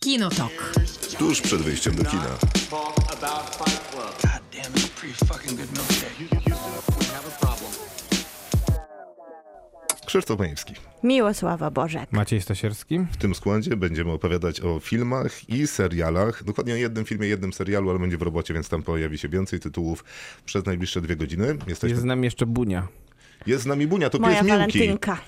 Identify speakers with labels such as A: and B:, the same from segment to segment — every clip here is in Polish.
A: Kinotok.
B: Tuż przed wyjściem do kina.
C: God damn, it's a pretty fucking good milkshake.
B: Krzysztof Majewski.
D: Miłosława Bożek.
E: Maciej Stasierski.
B: W tym składzie będziemy opowiadać o filmach i serialach. Dokładnie o jednym filmie, jednym serialu, ale będzie w robocie, więc tam pojawi się więcej tytułów przez najbliższe dwie godziny. Jesteśmy...
E: Jest z
B: Jest,
E: nami jeszcze Bunia.
B: z nami Bunia, to
D: Moja
B: pies Miłki.
D: walentynka.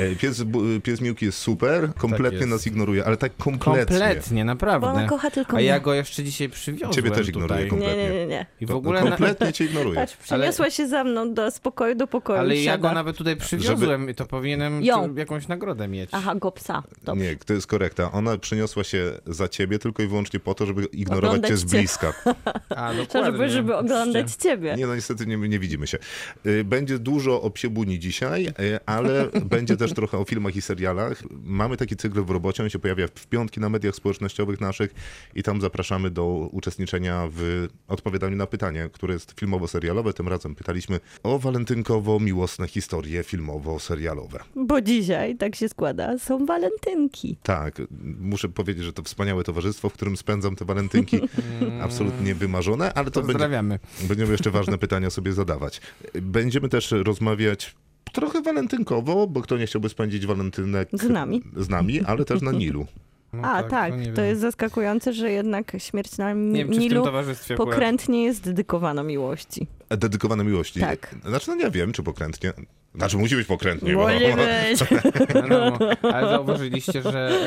B: E, Pies, bu- pies Miłki jest super, kompletnie
E: jest.
B: nas ignoruje, ale tak kompletnie.
E: Kompletnie, naprawdę.
D: Bo ona kocha tylko
E: A ja
D: mnie.
E: go jeszcze dzisiaj przywiozłem
B: Ciebie też ignoruje
E: tutaj.
B: kompletnie.
D: Nie, nie, nie, nie.
E: I w
B: To-
E: ogóle... na-
B: kompletnie cię ignoruje.
D: Patrz, przeniosła się ze mną do z pokoju do pokoju.
E: Ale
D: i
E: ja
D: siada.
E: go nawet tutaj przywiozłem i to powinienem
D: Ją.
E: tu jakąś nagrodę mieć.
D: Aha, go psa. Dobrze.
B: Nie, to jest korekta. Ona przyniosła się za ciebie tylko i wyłącznie po to, żeby ignorować
D: Oglądać
B: cię z
D: cię.
B: bliska.
E: A,
D: To,
E: dokładnie.
D: żeby, żeby oglądać ciebie.
B: Nie, no niestety nie, nie widzimy się. Y, Będzie dużo o psie buni dzisiaj, y, ale będzie też trochę o filmach i serialach. Mamy taki cykl w robocie, on się pojawia w piątki na mediach społecznościowych naszych i tam zapraszamy do uczestniczenia w odpowiadaniu na pytanie, które jest filmowo-serialowe. Tym razem pytaliśmy o walentynkowo-miłosne historie filmowo-serialowe.
D: Bo dzisiaj, tak się składa, są walentynki.
B: Tak, muszę powiedzieć, że to wspaniałe towarzystwo, w którym spędzam te walentynki. Absolutnie wymarzone, ale to będzie...
E: Pozdrawiamy.
B: Będziemy jeszcze ważne pytania sobie zadawać. Będziemy też rozmawiać trochę walentynkowo, bo kto nie chciałby spędzić walentynek
D: Z nami.
B: z nami, ale też na Nilu.
E: No
D: A tak,
E: no nie
D: to,
E: wiem.
D: jest zaskakujące, że jednak śmierć na
E: Nie wiem, czy w tym
D: Nilu
E: towarzystwie akurat.
D: pokrętnie jest dedykowana miłości.
B: Dedykowane miłości.
D: Tak.
B: Znaczy, no nie wiem, czy pokrętnie. Znaczy, musi być pokrętnie. Bo...
E: No, no, ale zauważyliście, że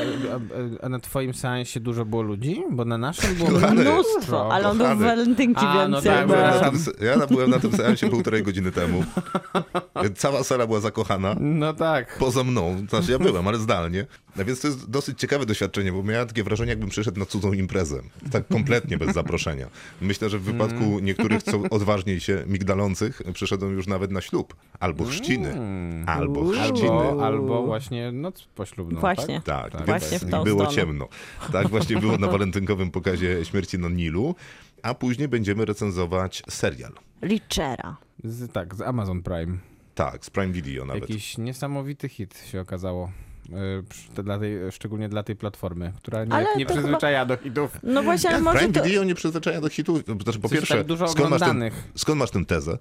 E: e, e, na twoim seansie dużo było ludzi? Bo na naszym było
B: Kochany.
E: No,
D: Mnóstwo, ale on był w
B: Kochany.
D: walentynki
E: A, no
D: więcej.
E: tak,
D: bo-
B: Ja byłem na
E: Przepraszam.
B: tym- Ja byłem na tym seansie półtorej godziny temu. Cała sala była zakochana.
E: No tak.
B: Poza mną, znaczy ja byłem, ale zdalnie. No więc to jest dosyć ciekawe doświadczenie, bo miałem takie wrażenie, jakbym przyszedł na cudzą imprezę. Tak kompletnie bez zaproszenia. Myślę, że w wypadku
D: Mm.
B: niektórych, co odważniej się migdalących, przyszedłem już nawet na ślub. Albo chrzciny.
D: Mm.
B: Albo chrzciny.
E: Hmm. Albo, albo właśnie noc poślubną.
D: Właśnie.
E: Tak?
B: Tak, więc
D: Właśnie w tą
B: było
D: stronę.
B: ciemno. Tak właśnie było na walentynkowym pokazie Śmierci na Nilu. A później będziemy recenzować serial.
D: Lichera.
E: Z, tak, z Amazon Prime.
B: Tak, z Prime Video nawet.
E: Jakiś niesamowity hit się okazało. E, przy- te- Dla tej, szczególnie dla tej platformy, która nie,
D: Ale
E: nie
D: to
E: przyzwyczaja do hitów.
D: No właśnie, ale może
B: Prime
D: to...
B: Video nie przyzwyczaja do hitów. Znaczy, po
E: Coś
B: pierwsze,
E: tak dużo
B: skąd, masz ten,
E: oglądanych.
B: skąd masz tę tezę?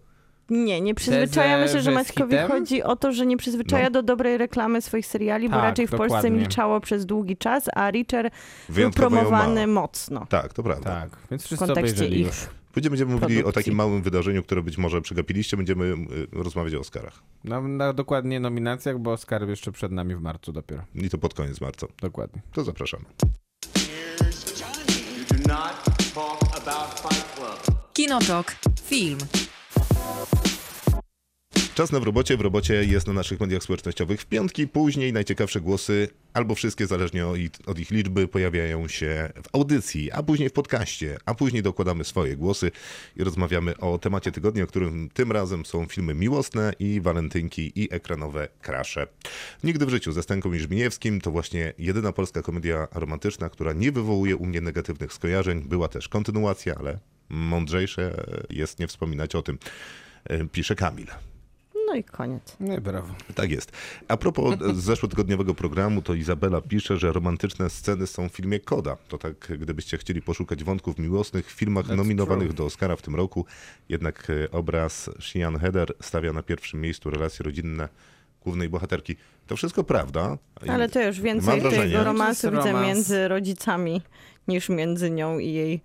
D: Nie, nie przyzwyczaja. Myślę, że
E: że z
D: Maćkowi
E: hitem?
D: chodzi o to, że nie przyzwyczaja do dobrej reklamy swoich seriali, bo
E: No. Tak,
D: raczej w Polsce
E: dokładnie.
D: milczało przez długi czas, a Richer był
B: Wyjątkowo ją ma.
D: promowany mocno
B: Tak, to prawda.
E: Tak, więc
D: w
E: wszyscy
D: kontekście
E: obejrzeli
D: ich.
E: już.
B: Później będziemy mówili o
D: produkcji.
B: takim małym wydarzeniu, które być może przegapiliście. Będziemy y, rozmawiać o Oscarach.
E: No, na dokładnie nominacjach, bo Oscar jeszcze przed nami w marcu dopiero.
B: I to pod koniec marca.
E: Dokładnie.
B: To zapraszamy.
C: You do not talk about Fight Club.
A: Kinotok. Film.
B: Czas na w robocie. W robocie jest na naszych mediach społecznościowych w piątki. Później najciekawsze głosy, albo wszystkie, zależnie od ich, od ich liczby, pojawiają się w audycji, a później w podcaście, a później dokładamy swoje głosy i rozmawiamy o temacie tygodnia, którym tym razem są filmy miłosne i walentynki i ekranowe krasze. Nigdy w życiu ze Stanką Iżminiewskim to właśnie jedyna polska komedia romantyczna, która nie wywołuje u mnie negatywnych skojarzeń. Była też kontynuacja, ale mądrzejsze jest nie wspominać o tym. E, Pisze Kamil.
D: No i koniec.
E: No i brawo.
B: Tak jest. A propos zeszłotygodniowego programu, to Izabela pisze, że romantyczne sceny są w filmie Koda. To tak, gdybyście chcieli poszukać wątków miłosnych w filmach nominowanych do Oscara w tym roku, jednak e, obraz Shian Heder stawia na pierwszym miejscu relacje rodzinne głównej bohaterki. To wszystko prawda.
D: Ale to już więcej
B: wrażenie-
D: tego romansu
E: To jest
D: widzę
E: romans.
D: między rodzicami niż między nią i jej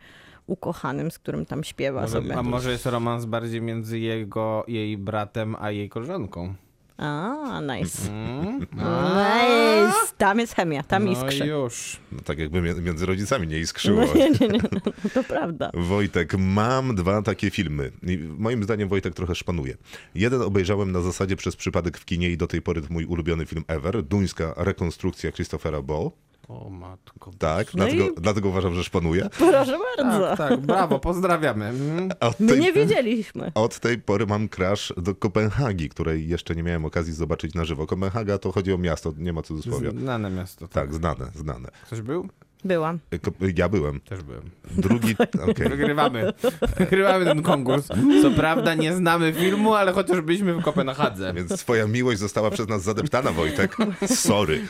D: ukochanym, z którym tam śpiewa sobie.
E: a może jest romans bardziej między jego, jej bratem, a jej koleżanką?
D: A, nice.
E: Mm?
D: Nice. Tam jest chemia, tam
E: no
D: iskrzy.
E: już.
B: No, tak jakby mie- między rodzicami nie iskrzyło.
D: No, nie, nie, nie, no, to prawda.
B: Wojtek, mam dwa takie filmy. I moim zdaniem Wojtek trochę szpanuje. Jeden obejrzałem na zasadzie przez przypadek w kinie i do tej pory to mój ulubiony film ever. Duńska rekonstrukcja Christophera Bo.
E: O matko.
B: Tak,
D: No
B: dlatego,
D: i-
B: dlatego uważam, że szpanuje.
D: Proszę
E: Tak,
D: bardzo.
E: tak, brawo, pozdrawiamy. Mm.
B: Od
D: My No nie
B: tej,
D: wiedzieliśmy.
B: od tej pory mam crash do Kopenhagi, której jeszcze nie miałem okazji zobaczyć na żywo. Kopenhaga to chodzi o miasto, nie ma cudzysłowia.
E: Znane miasto.
B: Tak, znane, znane.
E: Ktoś był?
D: Byłam.
B: Ko- Ja byłem.
E: Też byłem.
B: Drugi. Okej.
E: Wygrywamy. Wygrywamy ten konkurs. Co prawda nie znamy filmu, ale chociaż byliśmy w Kopenhadze.
B: Więc twoja miłość została przez nas zadeptana, Wojtek. Sorry.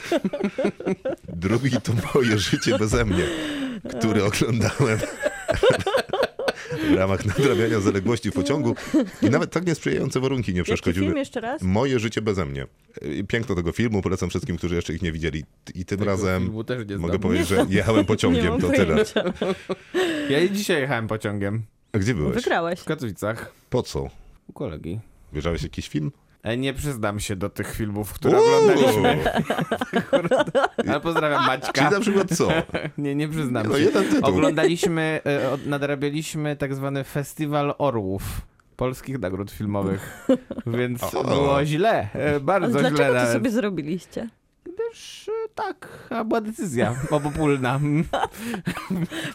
B: Drugi to moje życie beze mnie, który oglądałem w ramach nadrabiania zaległości w pociągu i nawet tak niesprzyjające warunki nie
D: Jaki
B: przeszkodziły.
D: film jeszcze raz?
B: Moje życie beze mnie. Piękno tego filmu, polecam wszystkim, którzy jeszcze ich nie widzieli. I tym razem
E: filmu też nie
B: mogę
E: znam.
B: powiedzieć, że jechałem
D: Nie
B: pociągiem,
D: mam
B: to tyle.
D: pojęcia.
E: Ja i dzisiaj jechałem pociągiem.
B: A gdzie byłeś?
D: Wygrałeś.
E: W Katowicach.
B: Po co?
E: U kolegi.
B: Wierzałeś jakiś film?
E: E, Nie przyznam się do tych filmów, które
B: Uuu!
E: oglądaliśmy. Ale pozdrawiam
B: Czyli
E: Maćka.
B: na przykład co?
E: Nie, nie przyznam
B: No
E: się.
B: jeden tytuł.
E: Oglądaliśmy, e, od- nadrabialiśmy tak zwany Festiwal Orłów. Polskich nagród filmowych. Więc
B: O.
E: było źle. e,
D: Ale
E: Bardzo źle
D: dlaczego to
E: nawet.
D: sobie zrobiliście?
E: Gdyż e, tak, a była decyzja obopólna.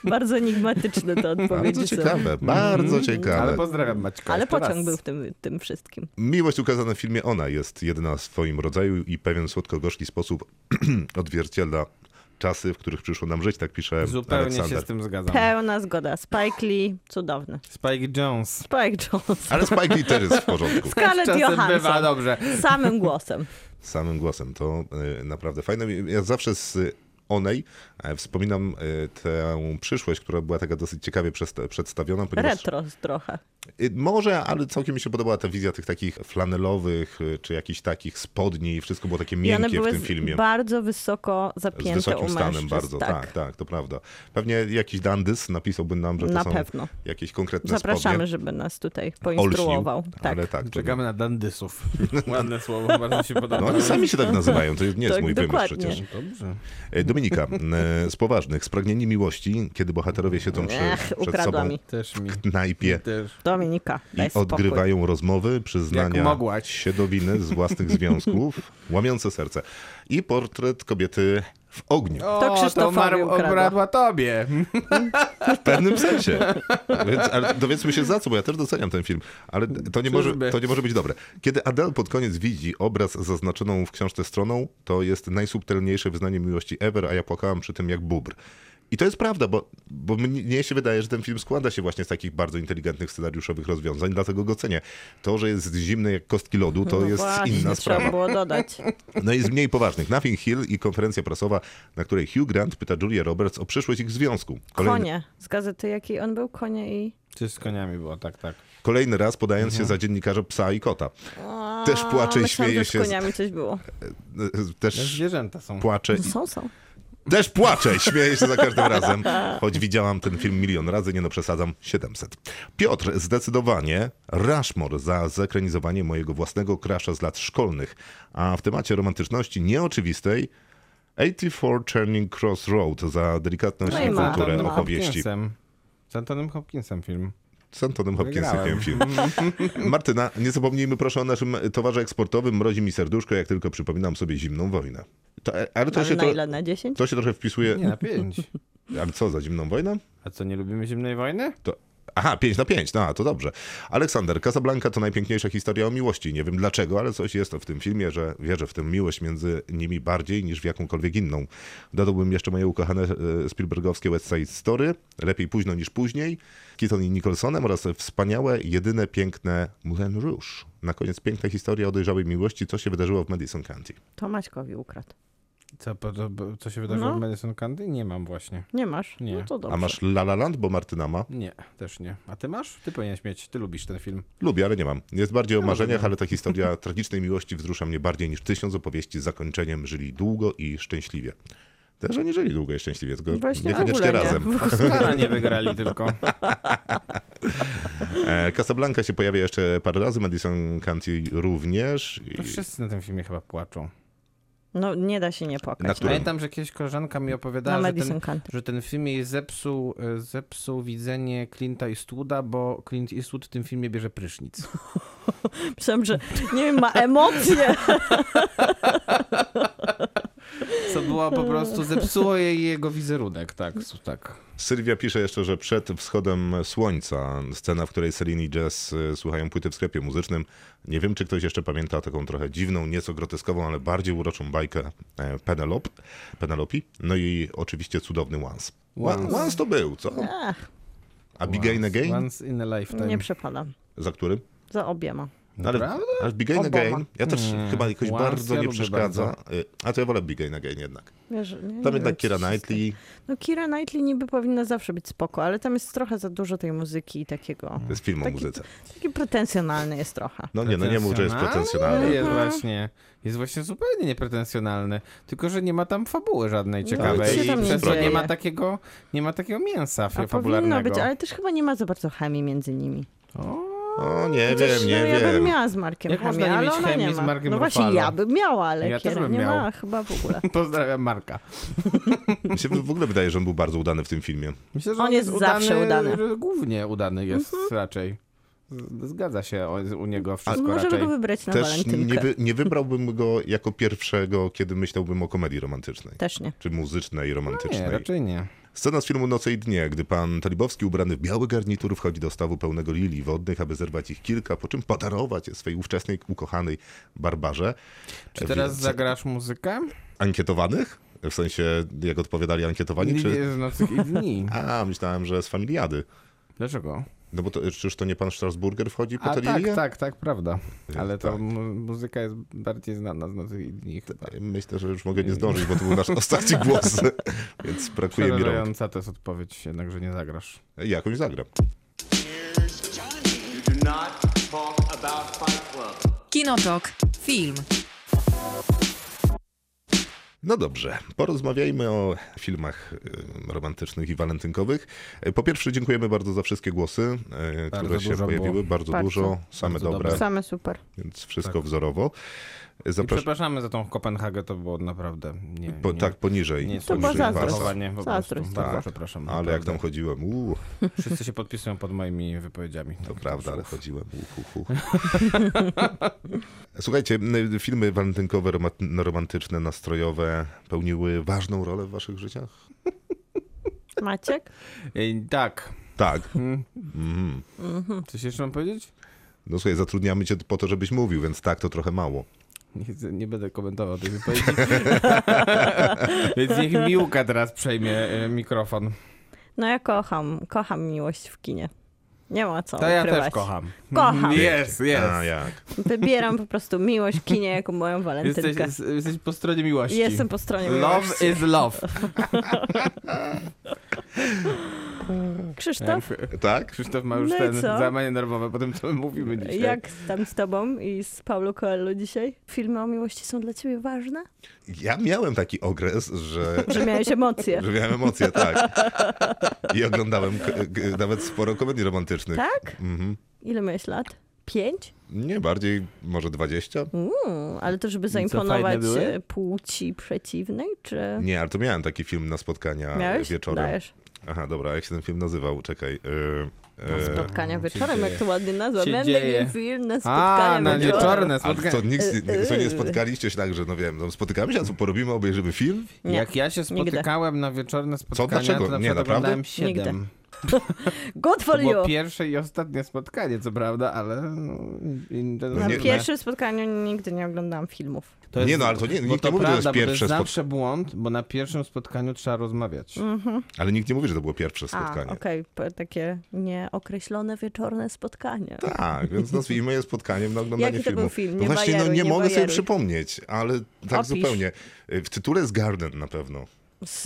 D: Bardzo enigmatyczne te odpowiedzi
B: Bardzo
D: są.
B: ciekawe,
D: Mhm.
B: bardzo
E: Ale
B: ciekawe.
E: pozdrawiam Maćka.
D: Ale
E: jeszcze raz.
D: pociąg był w tym, tym wszystkim.
B: Miłość ukazana w filmie Ona jest jedyna w swoim rodzaju i pewien słodko-gorzki sposób odzwierciedla czasy, w których przyszło nam żyć, tak pisze
E: Zupełnie się
B: Aleksander.
E: z tym zgadzam.
D: Pełna zgoda. Spike Lee, cudowny.
E: Spike Jones.
D: Spike Jones.
B: Ale Spike Lee też jest w porządku.
D: Scarlett
E: Czasem bywa
D: Johansson.
E: dobrze.
D: Samym głosem.
B: Samym głosem, to y, naprawdę fajne. Ja zawsze z Onej e, wspominam y, tę przyszłość, która była taka dosyć ciekawie przesta- przedstawiona, ponieważ...
D: Retro trochę.
B: Y, Może, ale całkiem mi się podobała ta wizja tych takich flanelowych, y, czy jakichś takich spodni i wszystko było takie
D: I one
B: miękkie
D: były
B: w tym
D: z-
B: filmie.
D: bardzo wysoko
B: Z
D: zapięte
B: wysokim
D: u
B: stanem
D: mężczyzn,
B: bardzo, tak. tak, to prawda. Pewnie jakiś dandys napisałby nam, że to
D: Na
B: są
D: pewno.
B: jakieś konkretne
D: Zapraszamy,
B: spodnie.
D: żeby nas tutaj
B: Olśnił,
D: poinstruował. Tak.
B: Ale tak, to,
E: Czekamy na dandysów. Ładne słowo, bardzo się podoba.
B: no oni sami się tak nazywają, to nie jest
D: Tak,
B: mój
D: dokładnie.
B: wymysł przecież.
E: Dobrze.
B: E, Dominika, e, z poważnych, spragnieni miłości, kiedy bohaterowie siedzą przy,
D: Ech,
B: przed
D: ukradła
B: sobą
D: mi.
E: Też mi.
B: w knajpie
E: Też.
D: Dominika, daj
B: i
D: spokój.
B: odgrywają rozmowy,
E: Jak
B: przyznania
E: mogłaś.
B: siedowiny z własnych związków, łamiące serce. I portret kobiety w ogniu.
D: To Krzysztofowi
E: Mar-
D: ukradła.
E: obradła tobie. Hm?
B: W pewnym sensie. Więc, ale dowiedzmy się za co, bo ja też doceniam ten film. Ale to nie, może,
E: Czyżby?
B: to nie może być dobre. Kiedy Adele pod koniec widzi obraz zaznaczoną w książce stroną, to jest najsubtelniejsze wyznanie miłości ever, a ja płakałam przy tym jak bubr. I to jest prawda, bo, bo mnie się wydaje, że ten film składa się właśnie z takich bardzo inteligentnych scenariuszowych rozwiązań, dlatego go cenię. To, że jest zimny jak kostki lodu, to
D: No
B: jest
D: właśnie,
B: inna
D: Trzeba
B: sprawa.
D: było dodać.
B: No i z mniej poważnych. Nothing Hill i konferencja prasowa, na której Hugh Grant pyta Julia Roberts o przyszłość ich związku. Kolejny-
D: Konie. Z gazety jakiej on był? Konie i...
E: Czy z koniami było, tak, tak.
B: Kolejny raz podając się za dziennikarza psa i kota.
D: A,
B: Też płacze i
D: Mhm. myślałam,
B: śmieje
D: że
B: się
D: z
B: z- e,
D: koniami coś było.
B: Też
E: Zwierzęta są.
B: płacze.
D: No
B: I...
D: są, są.
B: Też płacze i śmieję się za każdym razem. Choć widziałam ten film milion razy, nie no przesadzam, 700. Piotr, zdecydowanie Rushmore za zekranizowanie mojego własnego krasza z lat szkolnych. A w temacie romantyczności nieoczywistej 84 Turning Cross Road za delikatność
D: No i
B: i
D: ma.
B: kulturę
E: Antonym
B: opowieści.
E: Hopkinsem. Z Antonym Hopkinsem film.
B: Z Antonem Hopkinsem
E: Wygrałem.
B: ten film. Martyna, nie zapomnijmy proszę o naszym towarze eksportowym. Mrozi mi serduszko, jak tylko przypominam sobie zimną wojnę. To, e, ale to
D: Ale
B: się,
D: na
B: tro-
D: ile? Na 10?
B: to się trochę wpisuje.
E: Nie, na pięć.
B: Ale co, za zimną wojnę?
E: A co, nie lubimy zimnej wojny?
B: To... Aha, 5 na 5, no a, to dobrze. Aleksander, Casablanca to najpiękniejsza historia o miłości. Nie wiem dlaczego, ale coś jest w tym filmie, że wierzę w tę miłość między nimi bardziej niż w jakąkolwiek inną. Dodałbym jeszcze moje ukochane e, Spielbergowskie West Side Story, Lepiej późno niż później, Keaton i Nicholsonem oraz wspaniałe, jedyne piękne Moulin Rouge. Na koniec piękna historia o dojrzałej miłości, co się wydarzyło w Madison County.
D: To Maćkowi ukradł.
E: Co, po- to- po- co się wydarzyło
D: No.
E: w Madison County? Nie mam właśnie.
D: Nie masz?
E: Nie.
D: No to dobrze.
B: A masz La La Land, bo Martyna ma?
E: Nie, też nie. A ty masz? Ty powinieneś mieć, ty lubisz ten film.
B: Lubię, ale nie mam. Jest bardziej o marzeniach,
E: rozumiem.
B: ale ta historia tragicznej miłości wzrusza mnie bardziej niż tysiąc opowieści z zakończeniem żyli długo i szczęśliwie. Też oni żyli długo i szczęśliwie, tylko
D: Właśnie w
B: niekoniecznie
D: ogóle nie.
B: razem.
E: Oscara nie wygrali tylko.
B: E, Casablanca się pojawia jeszcze parę razy, Madison County również. I
E: To wszyscy na tym filmie chyba płaczą.
D: No nie da się nie
B: Na
D: płakać.
B: którym?
E: Pamiętam, że kiedyś koleżanka mi
D: Na
E: opowiadała, że ten,
D: Madison County.
E: że ten film jej zepsuł, e, zepsuł widzenie Clint'a Eastwooda, bo Clint Eastwood w tym filmie bierze prysznic.
D: Myślałam, że nie wiem, ma emocje.
E: Co to była po prostu, zepsuło jej jego wizerunek, tak, s- tak.
B: Sylwia pisze jeszcze, że przed wschodem słońca, scena, w której Celine i Jazz słuchają płyty w sklepie muzycznym. Nie wiem, czy ktoś jeszcze pamięta taką trochę dziwną, nieco groteskową, ale bardziej uroczą bajkę e, Penelop, Penelopi. No i oczywiście cudowny Once. Once,
E: Once.
B: once to był, co?
D: Ach,
B: A Big Again Again?
E: Once in a lifetime.
D: nie przepadam.
B: Za którym?
D: Za obiema.
B: Ale,
E: Naprawdę?
B: ale Big Again
D: Oboma.
B: Again, ja też
E: Nie.
B: chyba jakoś
E: Once
B: bardzo
E: ja
B: nie
E: lubię
B: przeszkadza. Y, A to ja wolę Big Again Again jednak.
D: Wiesz, nie,
B: Tam
D: nie
B: jednak
D: wiem,
B: Kiera
D: co się stało.
B: Knightley,
D: No Kira Knightley niby powinna zawsze być spoko, ale tam jest trochę za dużo tej muzyki i takiego.
B: to jest film o
D: Taki-
B: muzyce.
D: Taki pretensjonalny jest trochę.
B: No nie, no nie mów, że jest
E: Pretensjonalny?
B: pretensjonalny.
E: Jest właśnie, jest właśnie zupełnie niepretensjonalny, tylko że nie ma tam fabuły żadnej
D: No,
E: ciekawej
B: się
E: i
B: tam nie
E: przez to nie
B: dzieje.
E: ma takiego, nie ma takiego mięsa
D: A powinno
E: fabularnego.
D: być, ale też chyba nie ma za bardzo chemii między nimi.
B: O, nie
D: Chociaż,
B: wiem, nie
D: no, Ja bym
B: wiem.
D: miała z Markiem
E: Jak
D: chemię,
E: można nie
D: ale
E: mieć
D: ona
E: chemii
D: nie
E: z
D: ma.
E: Markiem
D: no właśnie,
E: Ruffalo?
D: ja bym miała, ale
E: Ja też
D: Kiera
E: bym
D: nie
E: miał.
D: ma chyba w ogóle.
E: Pozdrawiam Marka.
B: Mi się w ogóle wydaje, że on był bardzo udany w tym filmie.
E: Myślę, że
D: On jest zawsze udany. Mhm.
E: że Głównie udany jest raczej. Z- Zgadza się o- z- u niego wszystko
D: Możemy
E: raczej.
D: go wybrać na
B: Też
D: walentynkę.
B: nie, wy, nie wybrałbym go jako pierwszego, kiedy myślałbym o komedii romantycznej.
D: Też nie.
B: Czy muzycznej, romantycznej.
E: Nie, raczej nie.
B: Scena z filmu Noce i Dnie, gdy pan Talibowski ubrany w biały garnitur wchodzi do stawu pełnego lilii wodnych, aby zerwać ich kilka, po czym podarować je swej ówczesnej ukochanej Barbarze.
E: Czy teraz
B: Więc-
E: zagrasz muzykę?
B: Ankietowanych? W sensie, jak odpowiadali ankietowani, czy...
E: Nie z nocy i dni.
B: A, myślałem, że z familiady.
E: Dlaczego?
B: No bo to, czyż to nie pan Strasburger wchodzi po
E: A
B: te
E: tak,
B: lilie?
E: tak, tak, prawda. Ale to
B: Tak.
E: mu- muzyka jest bardziej znana z nocy i dni chyba.
B: Myślę, że już mogę nie zdążyć, bo to był nasz ostatni głos, więc brakuje mi rąk.
E: Przerażająca to jest odpowiedź, jednakże nie zagrasz.
B: Jakąś zagram.
C: You do not talk about Fight Club.
A: Kinotok. Film.
B: No dobrze, porozmawiajmy o filmach e, romantycznych i walentynkowych. E, Po pierwsze, dziękujemy bardzo za wszystkie głosy, e,
E: Bardzo
B: które się
E: dużo
B: pojawiły.
E: było.
B: Bardzo,
D: Bardzo.
B: dużo, same
E: Bardzo
B: dobre,
E: dobre.
D: Same super.
B: więc wszystko wzorowo. E,
E: I
B: Zapraszam.
E: przepraszamy za tą Kopenhagę, to było naprawdę nie...
B: Po,
E: nie,
B: tak, poniżej.
E: nie
D: To była
B: poniżej
E: słuszne
D: zazdrość.
B: warstw.
E: zachowanie, po
D: Zazdrość.
E: prostu. Bardzo
B: Tak.
E: przepraszam.
B: Ale jak
E: naprawdę.
B: tam chodziłem, uuu,
E: Wszyscy się podpisują pod moimi wypowiedziami.
B: to prawda, ale chodziłem, uuu, hu, hu. Słuchajcie, m, filmy walentynkowe, romat- romantyczne, nastrojowe pełniły ważną rolę w waszych życiach?
D: Maciek?
E: Ej, tak.
B: Tak.
E: Mm.
B: Mhm.
E: Coś jeszcze mam powiedzieć?
B: No słuchaj, zatrudniamy cię po to, żebyś mówił, więc tak, to trochę mało.
E: Nie, chcę- nie będę komentował tej wypowiedzi. Więc niech Miłka teraz przejmie e, mikrofon.
D: No ja kocham, kocham miłość w kinie. Nie ma co
E: To ja
D: ukrywać.
E: też kocham.
D: Kocham.
E: Jest, jest.
B: A jak?
D: Wybieram po prostu miłość w kinie jako moją
E: Jesteś,
D: walentynkę.
E: jesteś po stronie miłości.
D: Jestem po stronie
E: Love
D: miłości.
E: is love.
D: Krzysztof,
B: Tak?
E: Krzysztof ma już
D: No i
E: ten
D: co?
E: załamanie nerwowe po tym, co my mówimy dzisiaj.
D: jak tam z tobą i z Paulo Coelho dzisiaj? Filmy o miłości są dla ciebie ważne?
B: Ja miałem taki okres, że,
D: Że miałeś emocje.
B: że miałem emocje, tak. I oglądałem k- k- nawet sporo komedii romantycznych.
D: Tak?
B: Mhm.
D: Ile miałeś lat? Pięć?
B: Nie, bardziej może 20?
D: Mm, ale to żeby
E: fajne
D: zaimponować
E: były?
D: e, płci przeciwnej, czy...
B: Nie, ale to miałem taki film na spotkania
D: Tak. Miałeś?
B: Mm, e, wieczorem.
D: Dajesz.
B: Aha, dobra, jak się ten film nazywał? Czekaj. Yy,
D: No,
B: yy.
D: Spotkania
E: się
D: wieczorem,
E: dzieje.
D: jak to ładnie nazwa.
E: Się
D: Będę
E: dzieje.
D: miał film na spotkania
E: A, na
D: wieczorem.
E: wieczorne
B: Ale
E: spotkanie.
B: to nikt, nie- nie- co nie
D: Yy.
B: spotkaliście się tak, że no wiem, no, spotykamy się, a co porobimy, obejrzymy film?
D: Nie.
E: Jak ja się
D: Nigdy.
E: spotykałem na wieczorne spotkania,
B: dlaczego?
E: to na
B: Nie,
E: przykład
B: naprawdę?
E: oglądałem siedem.
D: Nigdy. Good
E: To
D: for you!
E: było pierwsze i ostatnie spotkanie, co prawda, ale... no, in-
B: No
D: Na
B: nie-
D: pierwszym spotkaniu nigdy nie oglądałam filmów.
E: To
B: Nie, no, ale to nie-
E: bo
B: nikt nie mówi, że to jest
E: prawda, bo
B: pierwsze
E: To
B: spot-
E: jest zawsze błąd, bo na pierwszym spotkaniu trzeba rozmawiać.
D: Mhm.
B: Ale nikt nie mówi, że to było pierwsze
D: A,
B: spotkanie.
D: okej, po- takie nieokreślone wieczorne spotkanie.
B: Tak, więc nazwijmy je spotkaniem na oglądanie
D: Jaki to
B: filmu.
D: był film?
B: No
D: Nie
B: właśnie, no
D: bajeruj,
B: nie,
D: nie
B: mogę sobie
D: bajeruj.
B: przypomnieć, ale tak
D: Opisz.
B: zupełnie. Y, W tytule jest Garden na pewno.
D: Z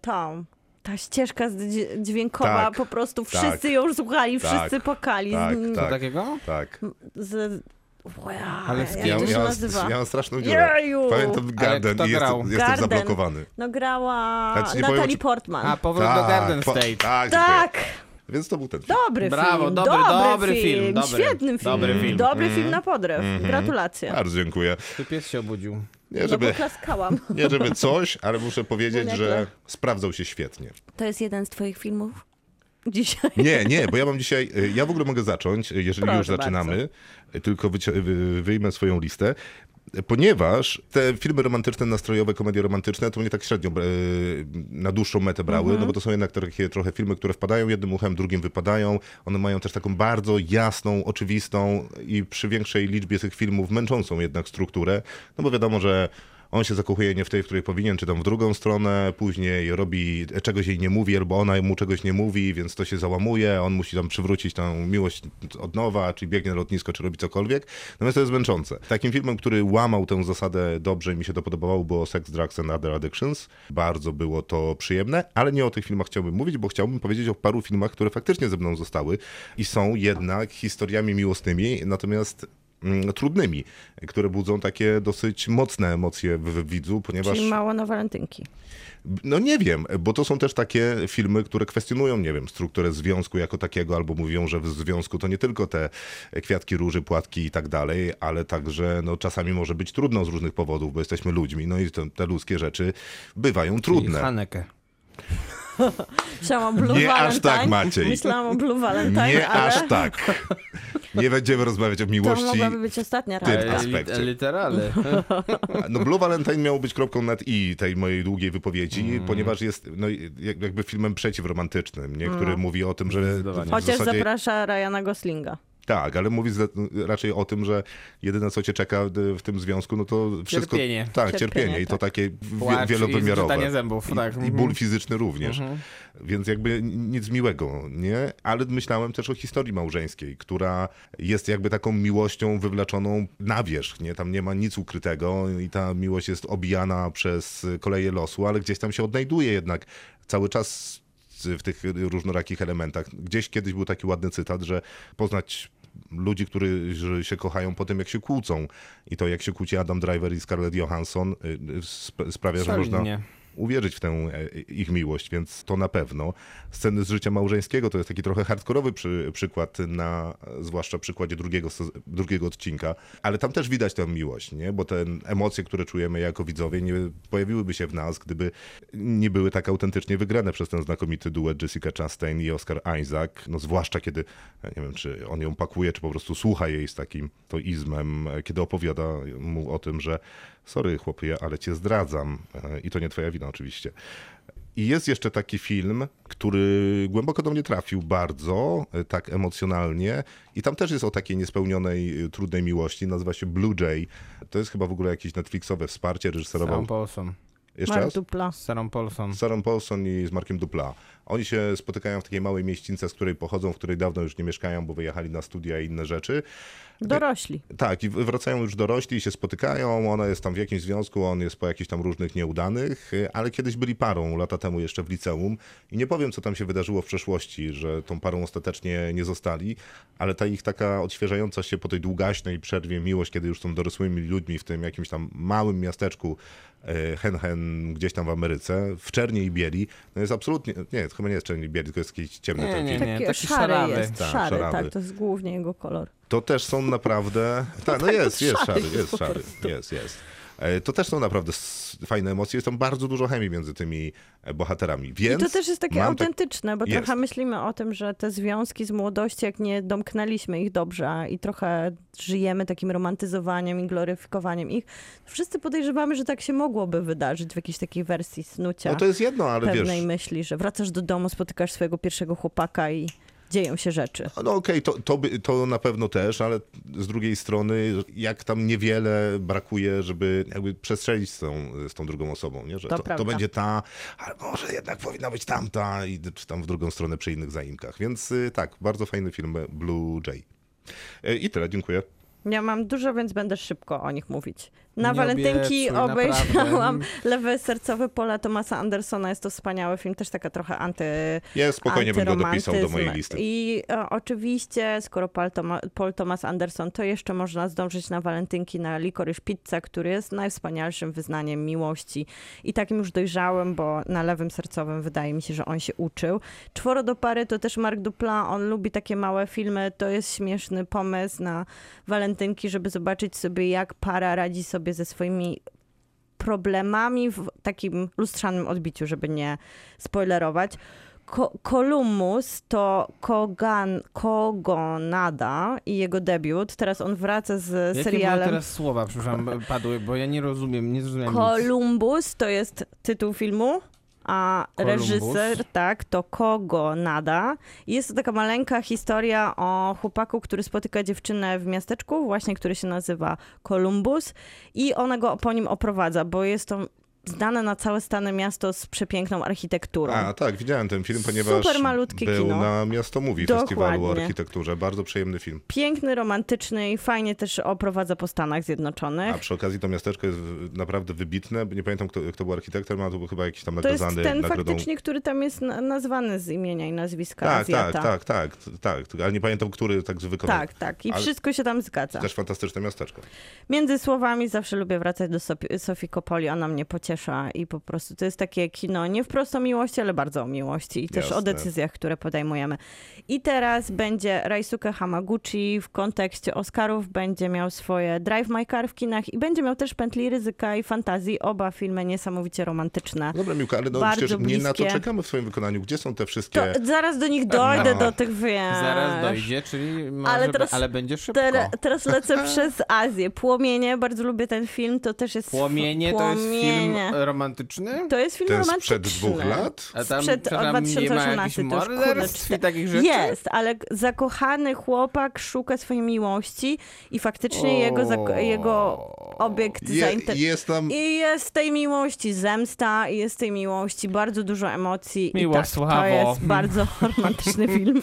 D: tą. Ta ścieżka z- dź- dźwiękowa,
B: Tak,
D: po prostu
B: tak.
D: wszyscy ją słuchali,
B: Tak,
D: wszyscy pokali.
B: tak,
D: z,
E: Co
B: Tak.
E: takiego?
B: tak.
D: z, wow,
E: Ale
D: Ale
E: z
D: jak
E: kim?
D: to się
B: miałem-
D: nazywa?
B: ja mam straszną dziurę.
D: Jeju!
B: Pamiętam Garden
E: kto
B: i jestem,
E: grał?
B: jestem
D: Garden.
B: zablokowany.
D: No grała
B: Ja ci nie powiem,
D: Natalie
B: czy-
D: Portman.
E: A, powrót do Garden
B: po-
E: State.
B: Tak, tak.
D: tak!
B: Więc to był ten film.
D: Dobry
E: Brawo,
D: film.
E: dobry, dobry film, dobry.
D: Świetny film.
E: Dobry film.
D: film na podryw. Gratulacje.
B: Mhm. Bardzo dziękuję.
E: Czy pies się obudził?
B: Nie
D: No bo
B: żeby,
D: klaskałam.
B: nie żeby coś, ale muszę powiedzieć, że sprawdzał się świetnie.
D: To jest jeden z twoich filmów dzisiaj.
B: Nie, nie, bo ja mam dzisiaj. y, Ja w ogóle mogę zacząć, y, jeżeli
D: Proszę
B: już zaczynamy. y, Tylko wycie- wy- wyjmę swoją listę. ponieważ te filmy romantyczne, nastrojowe, komedie romantyczne, to mnie tak średnio e, na dłuższą metę brały, no bo to są jednak takie trochę filmy, które wpadają jednym uchem, drugim wypadają. One mają też taką bardzo jasną, oczywistą i przy większej liczbie tych filmów męczącą jednak strukturę, no bo wiadomo, że on się zakochuje nie w tej, w której powinien, czy tam w drugą stronę, później robi, czegoś jej nie mówi, albo ona mu czegoś nie mówi, więc to się załamuje, on musi tam przywrócić tą miłość od nowa, czy biegnie na lotnisko, czy robi cokolwiek. Natomiast to jest męczące. Takim filmem, który łamał tę zasadę dobrze i mi się to podobało, było Sex, Drugs and Other Addictions. Bardzo było to przyjemne, ale nie o tych filmach chciałbym mówić, bo chciałbym powiedzieć o paru filmach, które faktycznie ze mną zostały i są jednak historiami miłosnymi, natomiast mm, trudnymi, które budzą takie dosyć mocne emocje w, w widzu, ponieważ...
D: Czyli mało na walentynki.
B: No nie wiem, bo to są też takie filmy, które kwestionują, nie wiem, strukturę związku jako takiego, albo mówią, że w związku to nie tylko te kwiatki róży, płatki i tak dalej, ale także no, czasami może być trudno z różnych powodów, bo jesteśmy ludźmi, no i te, te ludzkie rzeczy bywają
E: I
B: trudne.
E: Hanekę.
D: Myślałam o Blue
B: Nie aż
D: Valentine.
B: tak, Maciej.
D: Myślałam o Blue Valentine,
B: Nie
D: ale
B: aż tak. Nie będziemy rozmawiać o
D: to
B: miłości.
D: mogłaby być ostatnia
B: Ty-
E: E,
D: randka.
B: aspekcie.
E: Literale.
B: No Blue Valentine miało być kropką nad i tej mojej długiej wypowiedzi,
E: Mhm.
B: ponieważ jest no, jak- jakby filmem przeciwromantycznym, nie? który mówi o tym, że
E: No.
B: w
E: Zdecydowanie.
D: Chociaż
B: zasadzie
D: zaprasza Ryana Goslinga.
B: Tak, ale mówi zle- raczej o tym, że jedyne co cię czeka d- w tym związku, no to wszystko.
E: Cierpienie.
B: Tak, cierpienie,
D: Cierpienie,
B: i to
D: tak.
B: takie wie-
E: Płacz i
B: wielowymiarowe.
E: zgrzytanie zębów, tak.
B: I, I ból fizyczny również. Więc jakby n- nic miłego, nie? Ale myślałem też o historii małżeńskiej, która jest jakby taką miłością wywleczoną na wierzch, nie? Tam nie ma nic ukrytego i ta miłość jest obijana przez y, koleje losu, ale gdzieś tam się odnajduje jednak cały czas w tych różnorakich elementach. Gdzieś kiedyś był taki ładny cytat, że poznać ludzi, którzy się kochają po tym, jak się kłócą. I to, jak się kłóci Adam Driver i Scarlett Johansson, y, y, sp- sprawia, że można
E: Solidnie.
B: uwierzyć w tę e, ich miłość, więc to na pewno. Sceny z życia małżeńskiego to jest taki trochę hardkorowy przy, przykład, na, zwłaszcza przykładzie drugiego, sez- drugiego odcinka, ale tam też widać tę miłość, nie? bo te emocje, które czujemy jako widzowie, nie pojawiłyby się w nas, gdyby nie były tak autentycznie wygrane przez ten znakomity duet Jessica Chastain i Oscar Isaac, no zwłaszcza kiedy, e, nie wiem, czy on ją pakuje, czy po prostu słucha jej z takim to izmem, e, kiedy opowiada mu o tym, że sorry chłopie, ale cię zdradzam E, i to nie twoja wina oczywiście. I jest jeszcze taki film, który głęboko do mnie trafił bardzo, e, tak emocjonalnie. I tam też jest o takiej niespełnionej, e, trudnej miłości. Nazywa się Blue Jay. To jest chyba w ogóle jakieś Netflixowe wsparcie.
E: Z Sarą
B: Reżyserował.
E: Paulson.
B: Jeszcze
D: Mark
B: raz?
D: Dupla.
E: Z Sarą Paulson.
B: Z Sarą Paulson i z Markiem Dupla. Oni się spotykają w takiej małej mieścince, z której pochodzą, w której dawno już nie mieszkają, bo wyjechali na studia i inne rzeczy.
D: Dorośli.
B: Tak, i wracają już dorośli i się spotykają. Ona jest tam w jakimś związku, on jest po jakichś tam różnych nieudanych, y, ale kiedyś byli parą lata temu jeszcze w liceum. I nie powiem, co tam się wydarzyło w przeszłości, że tą parą ostatecznie nie zostali, ale ta ich taka odświeżająca się po tej długaśnej przerwie miłość, kiedy już są dorosłymi ludźmi w tym jakimś tam małym miasteczku y, hen hen gdzieś tam w Ameryce, w czerni i bieli, no jest absolutnie, nie, to chyba nie jest czerni i bieli, tylko jest jakiś ciemny
E: Nie,
B: ten
E: nie,
B: film.
E: nie.
D: Taki
E: taki
D: szary
E: szarawy.
D: jest,
B: Tak,
D: szary,
B: szarawy.
D: tak, to jest głównie jego kolor.
B: To też są naprawdę. Tak, no jest, jest szary, jest szary. Jest, jest. E, To też są naprawdę s- fajne emocje. Jest tam bardzo dużo chemii między tymi e, bohaterami.
D: I
B: Więc
D: to też jest takie
B: mam tak-
D: autentyczne, bo
B: Jest.
D: trochę myślimy o tym, że te związki z młodości, jak nie domknęliśmy ich dobrze i trochę żyjemy takim romantyzowaniem i gloryfikowaniem ich, wszyscy podejrzewamy, że tak się mogłoby wydarzyć w jakiejś takiej wersji snucia
B: No to jest jedno, ale wiesz.
D: pewnej myśli, że wracasz do domu, spotykasz swojego pierwszego chłopaka i dzieją się rzeczy.
B: No okej, to, to, by- to na pewno też, ale z drugiej strony, jak tam niewiele brakuje, żeby jakby przestrzelić z tą, z tą drugą osobą, nie? że
D: To
B: to, to,
D: prawda.
B: będzie ta, ale może jednak powinna być tamta, i czy tam w drugą stronę przy innych zaimkach. Więc y, tak, bardzo fajny film e, Blue Jay. E, I tyle, dziękuję.
D: Ja mam dużo, więc będę szybko o nich mówić. Na
E: Nie
D: walentynki
E: obiecuj,
D: obejrzałam
E: naprawdę.
D: Lewe sercowe pola Tomasa Andersona. Jest to wspaniały film, też taka trochę anty...
B: Ja spokojnie bym go dopisał do mojej
D: antyromantyzm.
B: listy.
D: I e, oczywiście, skoro Paul, Toma, Paul Thomas Anderson, to jeszcze można zdążyć na walentynki na Licorice Pizza, który jest najwspanialszym wyznaniem miłości. I takim już dojrzałem, bo na lewym sercowym wydaje mi się, że on się uczył. Czworo do pary to też Mark Dupla, on lubi takie małe filmy, to jest śmieszny pomysł na walentynki, żeby zobaczyć sobie, jak para radzi sobie ze swoimi problemami w takim lustrzanym odbiciu, żeby nie spoilerować. Ko- Columbus to Kogan, Kogonada i jego debiut. Teraz on wraca z
E: Jakie
D: serialem.
E: były teraz słowa, przepraszam, padły, bo ja nie rozumiem, nie zrozumiałem nic.
D: Columbus to jest tytuł filmu, a
E: Columbus.
D: reżyser, tak, to Kogo Nada. Jest to taka maleńka historia o chłopaku, który spotyka dziewczynę w miasteczku, właśnie, który się nazywa Columbus i ona go po nim oprowadza, bo jest to znane na całe Stany miasto z przepiękną architekturą.
B: A tak, widziałem ten film, ponieważ
D: Super malutkie
B: był
D: kino.
B: na Miasto Mówi
D: Dokładnie.
B: Festiwalu o Architekturze. Bardzo przyjemny film.
D: Piękny, romantyczny i fajnie też oprowadza po Stanach Zjednoczonych.
B: A przy okazji to miasteczko jest w- naprawdę wybitne. Nie pamiętam, kto, kto był architektem, ale to był chyba jakiś tam
D: To jest
B: nagrodzany
D: ten
B: nagrodą.
D: faktycznie, który tam jest na- nazwany z imienia i nazwiska
B: Tak, tak,
D: Azjata.
B: tak, tak, tak, tak. Ale nie pamiętam, który tak wykonał.
D: Tak, tak. I
B: Ale-
D: wszystko się tam zgadza.
B: Też fantastyczne miasteczko.
D: Między słowami zawsze lubię wracać do Sopi- Sofii Kopoli. Ona mnie pociesza i po prostu to jest takie kino nie wprost o miłości, ale bardzo o miłości i też o
B: Jasne.
D: decyzjach, które podejmujemy. I teraz będzie Raisuke Hamaguchi w kontekście Oscarów. Będzie miał swoje Drive My Car w kinach i będzie miał też Pętli Ryzyka i Fantazji. Oba filmy niesamowicie romantyczne.
B: Dobra, Miłka, ale no,
D: Bardzo
B: przecież nie na to
D: bliskie.
B: czekamy w swoim wykonaniu. Gdzie są te
D: To
B: wszystkie...
D: zaraz do nich dojdę,
E: No.
D: do tych wiesz.
E: Zaraz dojdzie, czyli może,
D: Ale
E: ale,
D: teraz-
E: ale będzie szybko.
D: Teraz, teraz lecę przez Azję. Płomienie, bardzo lubię ten film, to też jest...
E: Płomienie, to
D: Płomienie.
E: jest film romantyczny?
D: To jest film
B: To jest
D: romantyczny.
B: sprzed dwóch lat?
E: A tam,
D: sprzed-
E: czy
D: od
E: tam nie ma
D: 2018
E: jakichś
D: to już, kurde,
E: morderstw
D: czte-
E: i takich rzeczy?
D: Jest, ale k- zakochany chłopak szuka swojej miłości i faktycznie jego, zak- jego obiekt
B: Je,
D: zainteresował.
B: jest tam...
D: I jest tej miłości zemsta, i jest tej miłości bardzo dużo emocji. I tak,
E: Miłosławo.
D: to jest bardzo romantyczny film.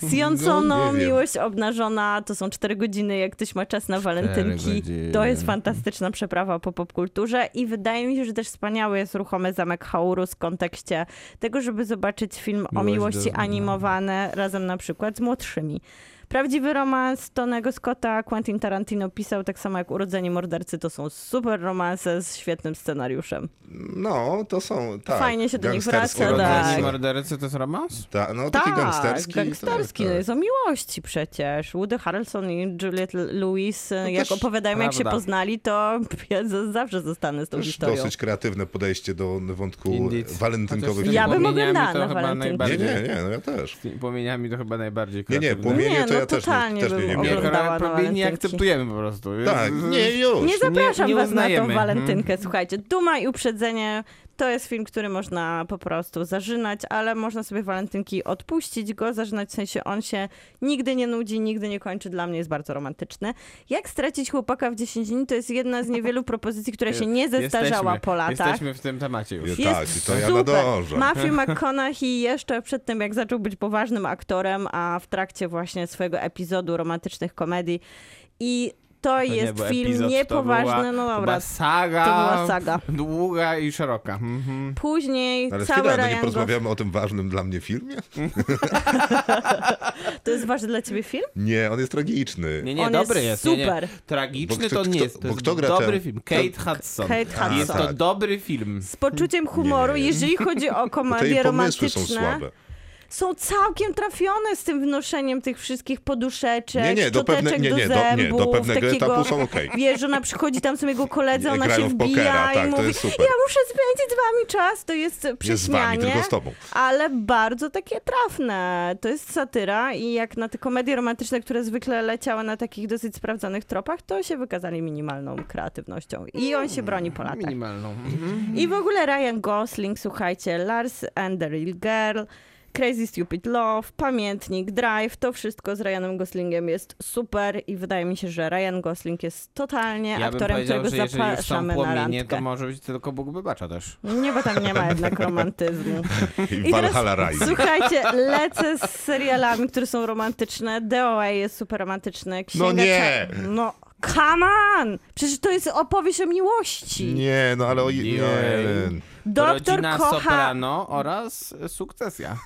D: Z Jonsoną,
B: No, nie wiem.
D: Miłość Obnażona, to są cztery godziny, jak ktoś ma czas na walentynki.
E: godziny.
D: To jest fantastyczna przeprawa po popkulturze i wydaje mi się, że też wspaniały jest ruchomy Zamek Haurus w kontekście tego, żeby zobaczyć film o
E: Miłość
D: miłości
E: do-
D: animowane razem na przykład z młodszymi. Prawdziwy romans Tonego Scotta Quentin Tarantino pisał tak samo jak Urodzenie Mordercy. To są super romanse z świetnym scenariuszem.
B: No, to są... Tak,
D: Fajnie się do nich
B: gangsterskie
D: wraca,
B: romanse.
E: Urodzeni
D: tak.
E: mordercy to jest romans?
B: Ta, no, taki gangsterski.
D: gangsterski.
B: tak,
D: no
B: tak.
D: Jest o miłości przecież. Woody Harrelson i Juliette Lewis, jak
E: też
D: opowiadają, jak się
E: prawda.
D: poznali, to ja z- zawsze zostanę z tą
B: Też
D: historią.
B: dosyć kreatywne podejście do wątku
E: Indeed.
B: walentynkowych
E: Chociaż
D: Ja
B: filmów.
D: bym
E: płomieniami
D: oglądała
E: to
D: na
E: chyba
D: walentynki.
B: Nie,
E: najbardziej-
B: nie, nie, no ja też.
E: Z tymi Płomieniami to chyba najbardziej
B: Nie, nie,
E: kreatywne.
B: płomienie
D: Nie,
B: to
D: no,
B: ja też
D: totalnie
B: nie, też nie, nie
D: bym
E: Nie,
B: miałem.
D: oglądała na
E: Płomienie nie
D: walentynki.
E: akceptujemy po prostu.
B: Tak,
E: Jest-
B: nie, już.
D: Nie zapraszam
E: nie
D: was na tą
E: uznajemy. Mhm.
D: walentynkę. Słuchajcie, Duma i Uprzedzenie to jest film, który można po prostu zażynać, ale można sobie walentynki odpuścić go, zażynać w sensie on się nigdy nie nudzi, nigdy nie kończy. Dla mnie jest bardzo romantyczny. Jak stracić chłopaka w 10 dni to jest jedna z niewielu propozycji, która się nie zestarzała
E: Jesteśmy-
D: po latach.
E: Jesteśmy w tym temacie już.
B: Jest-
D: Jest
B: Tak, i to ja
D: super.
B: nadążam.
D: Matthew McConaughey jeszcze przed tym, jak zaczął być poważnym aktorem, a w trakcie właśnie swojego epizodu romantycznych komedii. I to,
E: To nie
D: jest
E: był
D: film
E: epizod, to
D: niepoważny,
E: była-
D: no
E: to
D: dobra.
E: była saga,
D: to była saga.
E: Długa i szeroka. Mhm.
D: Później
B: Ale
D: cały
B: chwila, no nie
D: Ryan Gosling.
B: porozmawiamy o tym ważnym dla mnie filmie?
D: To jest ważny dla ciebie film?
B: Nie, on jest tragiczny.
E: Nie, nie,
D: On
E: dobry
D: jest
E: jest. nie,
D: super.
E: nie. Tragiczny
B: Bo kto-
E: to nie
B: kto-
E: jest. To
B: bo
E: jest
B: kto gra
E: dobry
B: ten-
E: film.
B: kto-
E: Kate Hudson.
D: Kate Hudson.
E: Jest to
B: tak.
E: dobry film.
D: Z poczuciem humoru,
B: Nie.
D: jeżeli chodzi o
B: Bo te jej pomysły
D: komedie romantyczne,
B: są słabe.
D: są całkiem trafione z tym wnoszeniem tych wszystkich poduszeczek,
B: Nie, nie, do
D: szczoteczek
B: pewne- nie, nie, do-
D: do
B: nie,
D: zębów,
B: do pewnego
D: takiego,
B: etapu są okej.
D: Wiesz, że ona przychodzi, tam są jego koledzy,
B: Nie,
D: ona
B: grają
D: się
B: w
D: wbija
B: pokera,
D: i
B: tak, to
D: mówi,
B: jest super.
D: ja muszę spędzić z wami czas, to jest
B: Nie z wami,
D: prześmianie,
B: tylko z tobą.
D: ale bardzo takie trafne. To jest satyra i jak na te komedie romantyczne, które zwykle leciały na takich dosyć sprawdzonych tropach, to się wykazali minimalną kreatywnością i on się broni po latach.
E: Minimalną. Mhm.
D: I w ogóle Ryan Gosling, słuchajcie, Lars and the Real Girl, Crazy Stupid Love, Pamiętnik, Drive, to wszystko z Ryanem Goslingiem jest super i wydaje mi się, że Ryan Gosling jest totalnie
E: Ja bym
D: aktorem,
E: powiedział,
D: którego
E: że jeżeli już są
D: zapraszamy na
E: płomienie,
D: randkę.
E: to może być tylko Bóg wybacza też.
D: Nie, bo tam nie ma jednak romantyzmu.
B: I
D: I teraz,
B: Valhalla Rise.
D: słuchajcie, lecę z serialami, które są romantyczne. DOA jest super romantyczny. Księga
B: No nie!
D: Cza- No, come on! Przecież to jest opowieść o miłości.
B: Nie, no ale o... Nie.
E: Ojej.
D: Doktor
E: Rodzina
D: kocha...
E: Soprano oraz e, Sukcesja.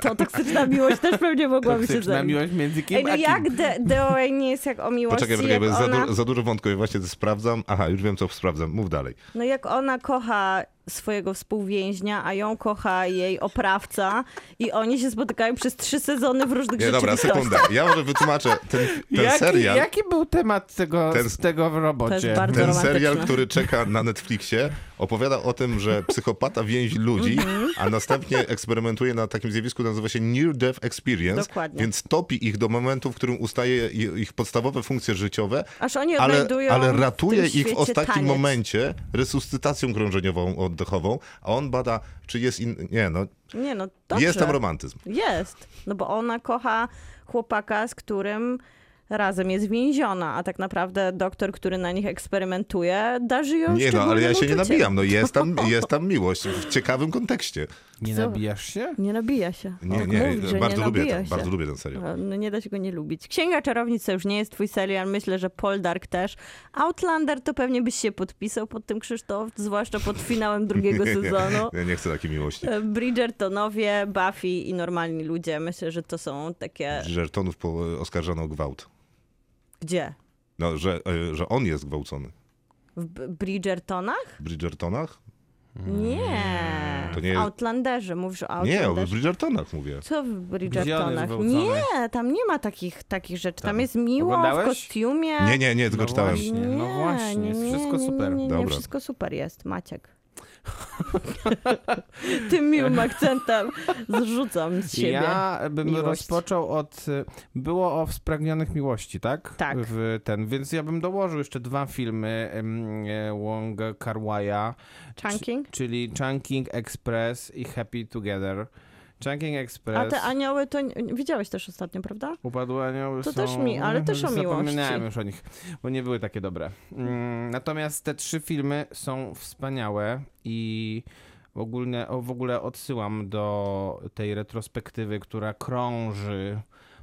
D: To toksyczna miłość też pewnie mogłaby się
E: Toksyczna
D: zająć.
E: miłość między kim
D: Ej, no
E: a kim.
D: jak De- DOA nie jest jak o miłości,
B: Poczekaj, poczekaj, bo
D: jak
B: jest za,
D: ona...
B: du- za dużo wątków, ja właśnie to sprawdzam. Aha, już wiem, co sprawdzam. Mów dalej.
D: No jak ona kocha swojego współwięźnia, a ją kocha jej oprawca i oni się spotykają przez trzy sezony w różnych
B: Nie, dobra,
D: rzeczywistościach.
B: sekunda. Ja może wytłumaczę. Ten, ten
E: jaki,
B: serial,
E: jaki był temat tego,
B: Ten-
E: tego w robocie?
D: To jest bardzo-
B: ten
D: romantyczny.
B: serial, który czeka na Netflixie, opowiada o tym, że psychopata więzi ludzi,
D: Mhm.
B: a następnie eksperymentuje na takim zjawisku, nazywa się Near Death Experience,
D: Dokładnie.
B: więc topi ich do momentu, w którym ustaje i- ich podstawowe funkcje życiowe,
D: Aż oni
B: ale,
D: odnajdują
B: ale ratuje
D: w tym
B: ich w
D: świecie
B: ostatnim
D: taniec.
B: momencie resuscytacją krążeniową oddechową, a on bada, czy jest in... Nie, no,
D: Nie no, dobrze.
B: jest tam romantyzm.
D: Jest, no bo ona kocha chłopaka, z którym razem jest więziona, a tak naprawdę doktor, który na nich eksperymentuje, darzy ją
B: Nie no, ale ja
D: szczególnym
B: się nie
D: uczuciem.
B: nabijam, no jest tam, jest tam miłość w ciekawym kontekście.
E: Nie
D: Zobacz.
E: nabijasz się?
D: Nie nabija się.
B: Nie,
D: Tak
B: nie,
D: mówić, że
B: bardzo
D: nie
B: lubię
D: nabija
B: ten,
D: się.
B: bardzo lubię ten serial.
D: A, No nie da się go nie lubić. Księga Czarownic to już nie jest twój serial, myślę, że Poldark też. Outlander to pewnie byś się podpisał pod tym Krzysztof, zwłaszcza pod finałem drugiego sezonu.
B: Ja nie chcę takiej miłości.
D: E, Bridgertonowie, Buffy i normalni ludzie. Myślę, że to są takie...
B: Żertonów po- oskarżano o gwałt.
D: Gdzie?
B: No, że, e, że on jest gwałcony.
D: W B- Bridgertonach?
B: W Bridgertonach?
D: Nie.
B: Mm. To nie jest-
D: W Outlanderze. Mówisz o
B: Nie, o
D: Outlanderze.
B: Bridgertonach mówię.
D: Co w
E: Gdzie on
D: Bridgertonach?
E: jest gwałcony?
D: Nie, tam nie ma takich, takich rzeczy. Tam
E: Tam.
D: jest miło, w
E: Oglądałeś?
D: kostiumie.
B: Nie, nie, nie, tylko
E: No
B: czytałem.
E: właśnie. no właśnie, jest wszystko super.
D: Nie, nie, nie,
B: Dobra.
D: wszystko super jest, Maciek. Tym miłym akcentem zrzucam z siebie.
E: Ja bym
D: miłość.
E: rozpoczął od. y, Było o Spragnionych Miłości, tak?
D: Tak.
E: W ten, więc ja bym dołożył jeszcze dwa filmy em, e, Wonga Karwaja,
D: Chunking?
E: czyli Chunking Express i Happy Together. Chunking
D: A
E: Express.
D: te anioły to nie- widziałeś też ostatnio, prawda?
E: Upadłe anioły
D: To
E: są...
D: też mi- ale też o
E: Zapomniałem
D: miłości.
E: już o nich, bo nie były takie dobre. Mm, Natomiast te trzy filmy są wspaniałe i ogólnie, o, w ogóle odsyłam do tej retrospektywy, która krąży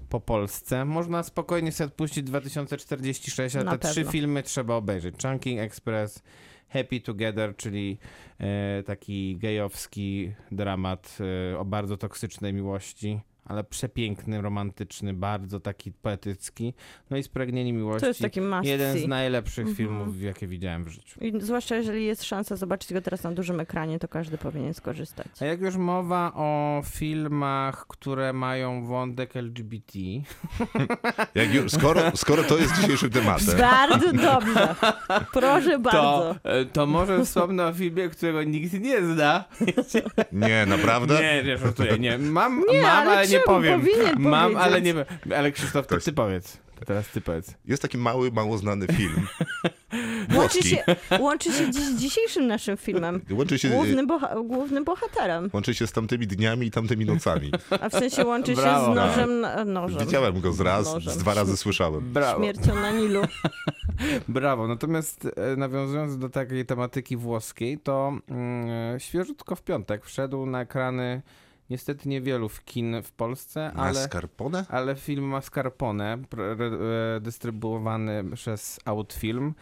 E: po Polsce. Można spokojnie sobie odpuścić 2046, ale
D: Na
E: te trzy
D: pewno.
E: filmy trzeba obejrzeć. Chunking Express, Happy Together, czyli e, taki gejowski dramat e, o bardzo toksycznej miłości, ale przepiękny, romantyczny, bardzo taki poetycki. No i Spragnieni Miłości.
D: To jest taki must
E: jeden
D: see. Mhm.
E: z najlepszych filmów, jakie widziałem w życiu.
D: I zwłaszcza jeżeli jest szansa zobaczyć go teraz na dużym ekranie, to każdy powinien skorzystać.
E: A jak już mowa o filmach, które mają wątek LGBT,
B: Jak już, skoro, skoro to jest dzisiejszym tematem,
D: Bardzo dobrze. Proszę bardzo.
E: to, e, to może wspomnę o filmie, którego nikt nie zna.
B: nie, naprawdę?
E: Nie, nie, żartuję, nie. Mam,
D: Nie,
E: mam
D: ale
E: ale, nie
D: czemu?
E: powiem.
D: Powinien
E: Mam, ale nie
D: powiedzieć.
E: Ale Krzysztof, to
B: Ktoś-
E: ty powiedz. To Teraz ty powiedz.
B: Jest taki mały, mało znany film.
D: Łączy
B: Włoski.
D: się, łączy się dziś z dzisiejszym naszym filmem.
B: Łączy się,
D: Głównym, boha- głównym bohaterem.
B: łączy się z tamtymi dniami i tamtymi nocami.
D: A w sensie łączy się
E: Brawo.
D: z nożem. na- nożem.
B: Widziałem go z raz,
D: Nożem.
B: z dwa razy słyszałem.
E: Brawo.
D: Śmiercią na Nilu.
E: Brawo. Natomiast e, nawiązując do takiej tematyki włoskiej, to mm, świeżutko w piątek wszedł na ekrany niestety niewielu w kin w Polsce, ale...
B: Mascarpone?
E: Ale film Mascarpone, pr- re- e, dystrybuowany przez Outfilm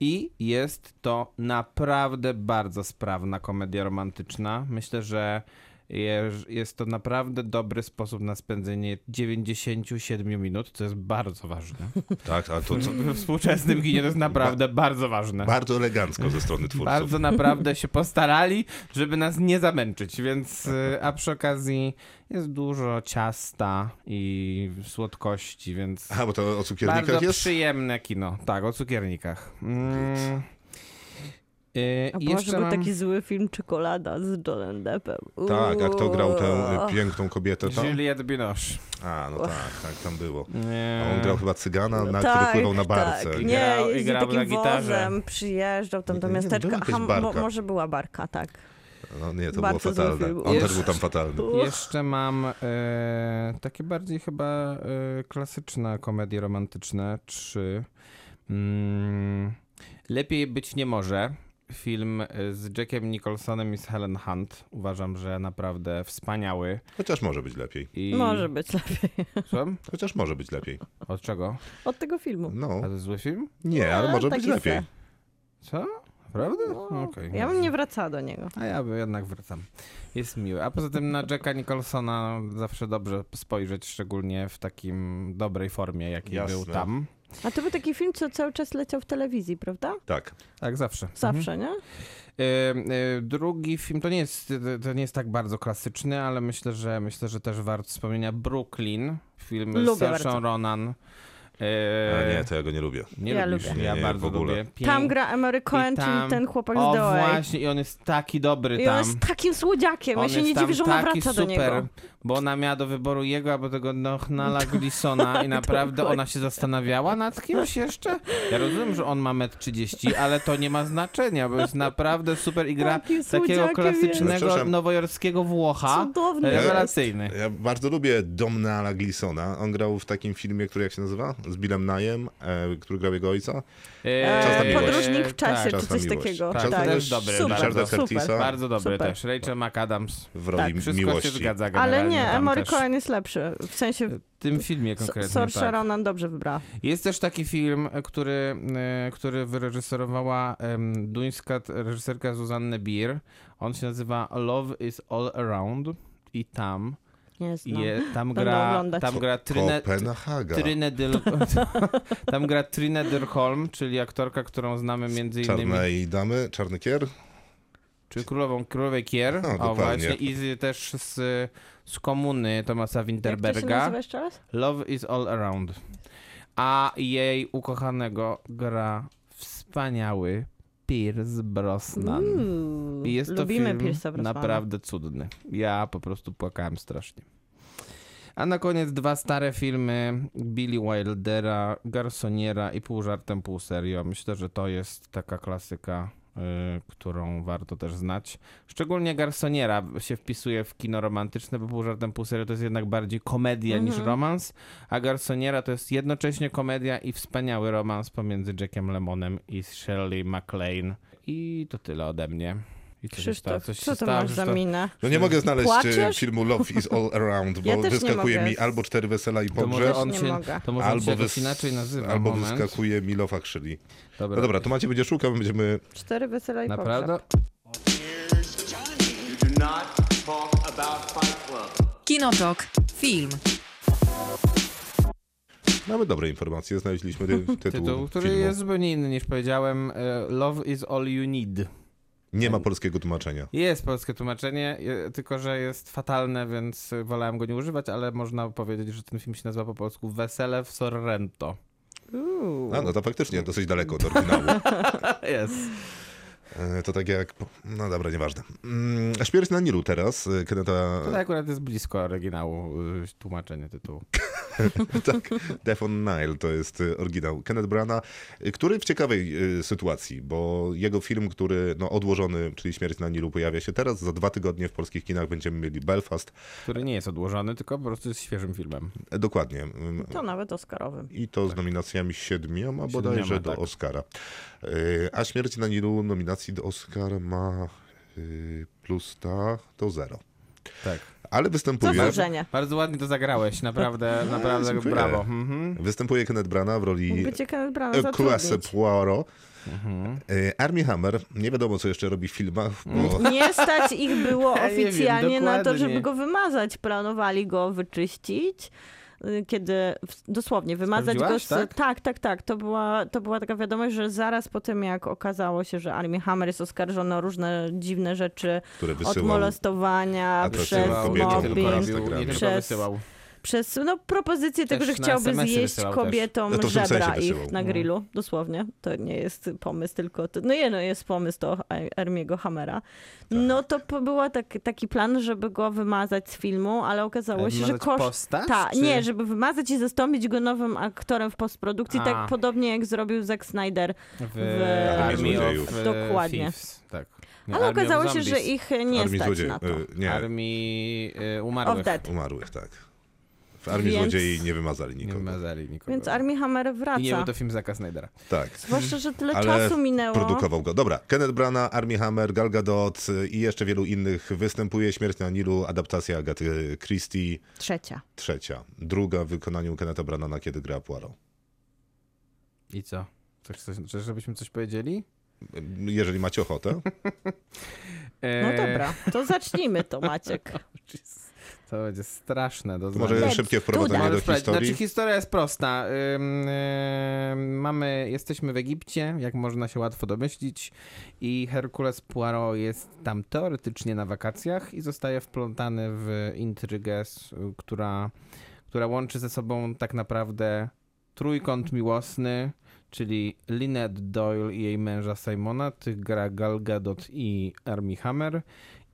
E: i jest to naprawdę bardzo sprawna komedia romantyczna. Myślę, że jeż- jest to naprawdę dobry sposób na spędzenie 97 minut, co jest bardzo ważne.
B: Tak, a to co?
E: We współczesnym kinie to jest naprawdę bardzo ważne.
B: Bardzo elegancko ze strony twórców.
E: Bardzo naprawdę się postarali, żeby nas nie zamęczyć, więc y, a przy okazji jest dużo ciasta i słodkości, więc
B: A, bo to o cukiernikach
E: bardzo
B: jest?
E: przyjemne kino. Tak, o cukiernikach. Mm. Y,
D: A
E: i
D: Boże,
E: jeszcze
D: był
E: mam-
D: taki zły film Czekolada z Johnem Deppem. Uuu.
B: Tak, a kto grał tę y, piękną kobietę tam?
E: Juliette Binoche.
B: A, no tak, tak, tam było.
E: Nie.
B: A on grał chyba cygana, na, który
D: Tak,
B: pływał na barce.
D: Tak.
E: I
D: Nie,
E: grał- i
D: jeździł
E: grał
D: takim
E: na gitarze.
D: wozem, przyjeżdżał tam do
B: Nie, nie,
D: miasteczka.
B: była jakaś
D: Aha, mo-
B: barka.
D: może była barka, tak.
B: No nie, to
D: Bardzo
B: było
D: zły
B: fatalne.
D: film.
B: On też
E: Jest.
B: był tam fatalny.
E: Jeszcze mam e, takie bardziej chyba e, klasyczne komedie romantyczne, czy mm, Lepiej być nie może. Film e, z Jackiem Nicholsonem i z Helen Hunt. Uważam, że naprawdę wspaniały.
B: Chociaż może być lepiej.
E: I...
D: Może być lepiej.
E: Słucham?
B: Chociaż może być lepiej.
E: Od czego?
D: Od tego filmu.
E: A
B: No,
E: to zły film?
B: nie, ale może
D: taki
B: być lepiej.
D: se.
E: Co? Prawda? No, okej.
D: Ja bym nie wracała do niego.
E: A ja by jednak wracam. Jest miły. A poza tym na Jacka Nicholsona zawsze dobrze spojrzeć, szczególnie w takim dobrej formie, jaki
B: Jasne.
E: był tam.
D: A to był taki film, co cały czas leciał w telewizji, prawda?
B: Tak.
E: Tak, zawsze.
D: Zawsze, nie?
E: E, e, drugi film to nie jest to nie jest tak bardzo klasyczny, ale myślę, że myślę, że też warto wspomnienia Brooklyn, film
D: Lubię
E: z Saoirse
D: bardzo.
E: Ronan.
B: A
E: E,
B: nie, to ja go nie lubię.
E: nie
D: Ja
E: lubisz,
B: lubię.
E: ja
B: Nie, nie,
E: bardzo
B: w ogóle.
E: lubię. Pięk-
D: Tam gra Emery
E: i
D: Cohen,
E: tam-
D: czyli ten chłopak
E: o,
D: z DOA.
E: właśnie, i on jest taki dobry
D: I on
E: tam.
D: jest takim słodziakiem, ja
E: On
D: się
E: jest
D: nie
E: tam
D: dziwię, że ona
E: taki
D: wraca do
E: super,
D: niego.
E: Bo ona miała do wyboru jego albo tego Nochnala Glisona i naprawdę ona się zastanawiała nad kimś
D: No.
E: jeszcze. Ja rozumiem, że on ma metr 30, ale to nie ma znaczenia, bo jest naprawdę super i gra
D: Takim
E: takiego
D: słodziakiem
B: jest.
E: klasycznego
B: Przepraszam. E,
E: nowojorskiego Włocha. e,
D: Cudowny jest.
E: Rewelacyjny.
B: Ja bardzo lubię Domnala Glisona. On grał w takim filmie, który jak się nazywa? Z Billem Najem, e, który grał jego ojca. Czas na
D: E,
B: miłość.
D: podróżnik w czasie,
E: Tak,
B: Czas
D: czy
B: na
D: coś
B: miłość.
D: takiego.
E: Tak,
B: Czas na
E: też
B: miłość
E: dobry,
B: Richarda
E: bardzo super.
B: Curtisa
E: Bardzo dobry
D: Super.
E: też. Rachel McAdams. Tak,
B: w roli
E: Wszystko się
B: miłości.
E: zgadza generalnie
D: Ale nie,
E: tam
D: Emory
E: też.
D: Cohen jest lepszy. W sensie
E: W tym filmie konkretnie,
D: Sor
E: tak.
D: Sharonan dobrze wybrała.
E: Jest też taki film, e, który, e, który wyreżyserowała em, duńska t- reżyserka Zuzanne Bier. On się nazywa Love is All Around i tam,
D: Nie znam.
E: je, tam
D: Będę
E: gra,
D: oglądać.
E: tam gra Trine,
B: Kopenhaga.
E: Trine Dyl, tam gra Trine Dyrholm, czyli aktorka, którą znamy między innymi
B: Czarnej damy, czarny kier.
E: Czy królową królowej Kier, o
B: No, dokładnie.
E: właśnie, i z, też z, z komuny Tomasa
D: Jak to się
E: Winterberga.
D: nazywa jeszcze raz?
E: Love is all around. A jej ukochanego gra wspaniały Pierce Brosnan.
D: Mm. Uuu,
E: I jest
D: Lubimy
E: to film
D: Pierce'a Brosnana.
E: naprawdę cudny. Ja po prostu płakałem strasznie. A na koniec dwa stare filmy Billy Wildera, Garsoniera i pół żartem, pół serio. Myślę, że to jest taka klasyka, y, którą warto też znać. Szczególnie Garsoniera się wpisuje w kino romantyczne, bo pół żartem, pół serio to jest jednak bardziej komedia
D: Mhm.
E: niż romans, a Garsoniera to jest jednocześnie komedia i wspaniały romans pomiędzy Jackiem Lemonem i Shirley MacLaine. I to tyle ode mnie. I coś
D: Krzysztof,
E: coś
D: co
E: się
D: to
E: stało,
D: masz za
E: Krzysztof?
D: minę?
B: No nie mogę znaleźć e,
D: Płaczesz?
B: filmu Love is all around, bo
D: Ja też nie
B: wyskakuje
D: mogę.
B: mi albo Cztery Wesela i
E: To może
B: Pogrzeb,
E: on
D: Nie
E: się,
D: mogę.
E: to może on się
B: albo,
E: jakoś
B: wys...
E: inaczej nazywa.
B: albo
E: Moment.
B: wyskakuje mi Love Actually.
E: Dobra.
B: No dobra, to macie będzie szukał, będziemy...
D: Cztery wesela i pogrzeb.
E: Naprawdę?
C: You do not talk about Fight Club.
A: Kinotok. Film.
B: Mamy dobre informacje, znaleźliśmy ty- tytuł,
E: Tytuł, który
B: filmu.
E: jest zupełnie inny niż powiedziałem. e, Love is all you need.
B: Nie ma polskiego tłumaczenia.
E: Jest polskie tłumaczenie, e, tylko że jest fatalne, więc e, wolałem go nie używać, ale można powiedzieć, że ten film się nazywa po polsku Wesele w Sorrento.
D: Uuu.
B: A no to faktycznie dosyć daleko od oryginału.
E: Jest.
B: E, To tak jak. No dobra, nieważne. Mm, a Śmierć na Nilu teraz, e, Keneta
E: To akurat jest blisko oryginału e, tłumaczenie tytułu.
B: Death on Tak, Nile to jest e, oryginał Kenneth Brana, y, który w ciekawej e, sytuacji, bo jego film, który no, odłożony, czyli Śmierć na Nilu, pojawia się teraz. Za dwa tygodnie w polskich kinach będziemy mieli Belfast.
E: Który nie jest odłożony, tylko po prostu jest świeżym filmem.
B: E, Dokładnie. Mm,
D: To nawet Oscarowym.
B: I to z nominacjami siedmioma bodajże
E: Tak. Siedmioma,
B: do
E: tak.
B: Oscara. E, A Śmierć na Nilu nominacji do Oscara ma e, plus ta, to zero.
E: Tak.
B: Ale
D: Co
B: występuje...
D: wrażenie?
E: Bardzo ładnie to zagrałeś, naprawdę, naprawdę
B: dziękuję.
E: brawo. Mhm.
B: Występuje Kenneth Brana w roli
D: Mógłby cię Kenneth Branagh
B: E, Klasę
D: zatrudnić.
B: Poirot.
E: Mhm.
B: E, Armie Hammer, nie wiadomo co jeszcze robi w filmach, bo
D: Nie stać ich było
E: Ja nie wiem,
D: oficjalnie na to,
E: dokładnie.
D: żeby go wymazać. Planowali go wyczyścić. y, Kiedy w- dosłownie wymazać go
E: Sprawdziłaś,
D: z...
E: tak?
D: tak, tak. tak. To, była, to była taka wiadomość, że zaraz po tym, jak okazało się, że Armie Hammer jest oskarżony o różne dziwne rzeczy,
B: które
D: od
B: wysyłał.
D: molestowania,
B: atrakcyjną
D: przez
B: kobietom mobbing.
E: nie tylko
B: na
D: mobbing,
E: robił, nie tylko
D: Przez-
E: wysyłał.
D: przez no, propozycję tego,
E: Też
D: że
E: na
D: chciałby
E: SMS-y
D: zjeść
E: wysyłał też.
D: kobietom
B: No to w tym
D: żebra
B: sensie
D: ich
B: wysyłał.
D: na grillu, dosłownie. To nie jest pomysł, tylko to, no nie, no jest pomysł do Ermiego Hamera.
B: Tak.
D: No to po- była tak, taki plan, żeby go wymazać z filmu, ale okazało się, że
E: Wymazać
D: koszt...
E: postać,
D: Ta,
E: czy-
D: nie, żeby wymazać i zastąpić go nowym aktorem w postprodukcji,
E: A.
D: tak podobnie jak zrobił Zack Snyder.
E: w,
D: w-
E: Army
B: Złodziejów.
E: of e,
D: Dokładnie.
E: Thieves. Tak. Nie,
D: Ale
E: Army of
D: okazało się,
E: Zombies.
D: że ich nie
B: Armii
D: stać
B: złodziei.
D: na to.
B: e, Nie,
E: Armii e,
D: Of
E: umarłych.
D: Dead.
B: umarłych, tak. W Armii
D: Więc-
B: Złodziei nie wymazali
E: Nie
B: nikogo.
E: wymazali nikogo.
D: Więc Armie Hammer
E: I nie był
D: wraca.
E: to film Zaka Snydera.
B: Tak.
D: Zwłaszcza, że tyle
B: Ale
D: czasu minęło.
B: Produkował go. Dobra, Kenneth Brana, Armie Hammer, Gal Gadot e, i jeszcze wielu innych występuje. Śmierć na Nilu, adaptacja Agaty Christie,
D: Trzecia.
B: trzecia. Druga w wykonaniu Kenneta Branana, kiedy gra Poirot. E,
E: I co? Chcesz, coś- chcesz, żebyśmy coś powiedzieli?
B: E, Jeżeli macie ochotę.
D: No dobra, to zacznijmy to Maciek.
E: Eee, To będzie straszne do
B: Może
E: znania.
B: szybkie wprowadzenie
E: Możesz
B: do
E: sprawdzić.
B: historii.
E: Znaczy historia jest prosta. Ym, ym, mamy, jesteśmy w Egipcie, jak można się łatwo domyślić i Herkules Poirot jest tam teoretycznie na wakacjach i zostaje wplątany w intrygę, s- która, która łączy ze sobą tak naprawdę trójkąt miłosny, czyli Lynette Doyle i jej męża Simona, tych gra Gal Gadot i Armie Hammer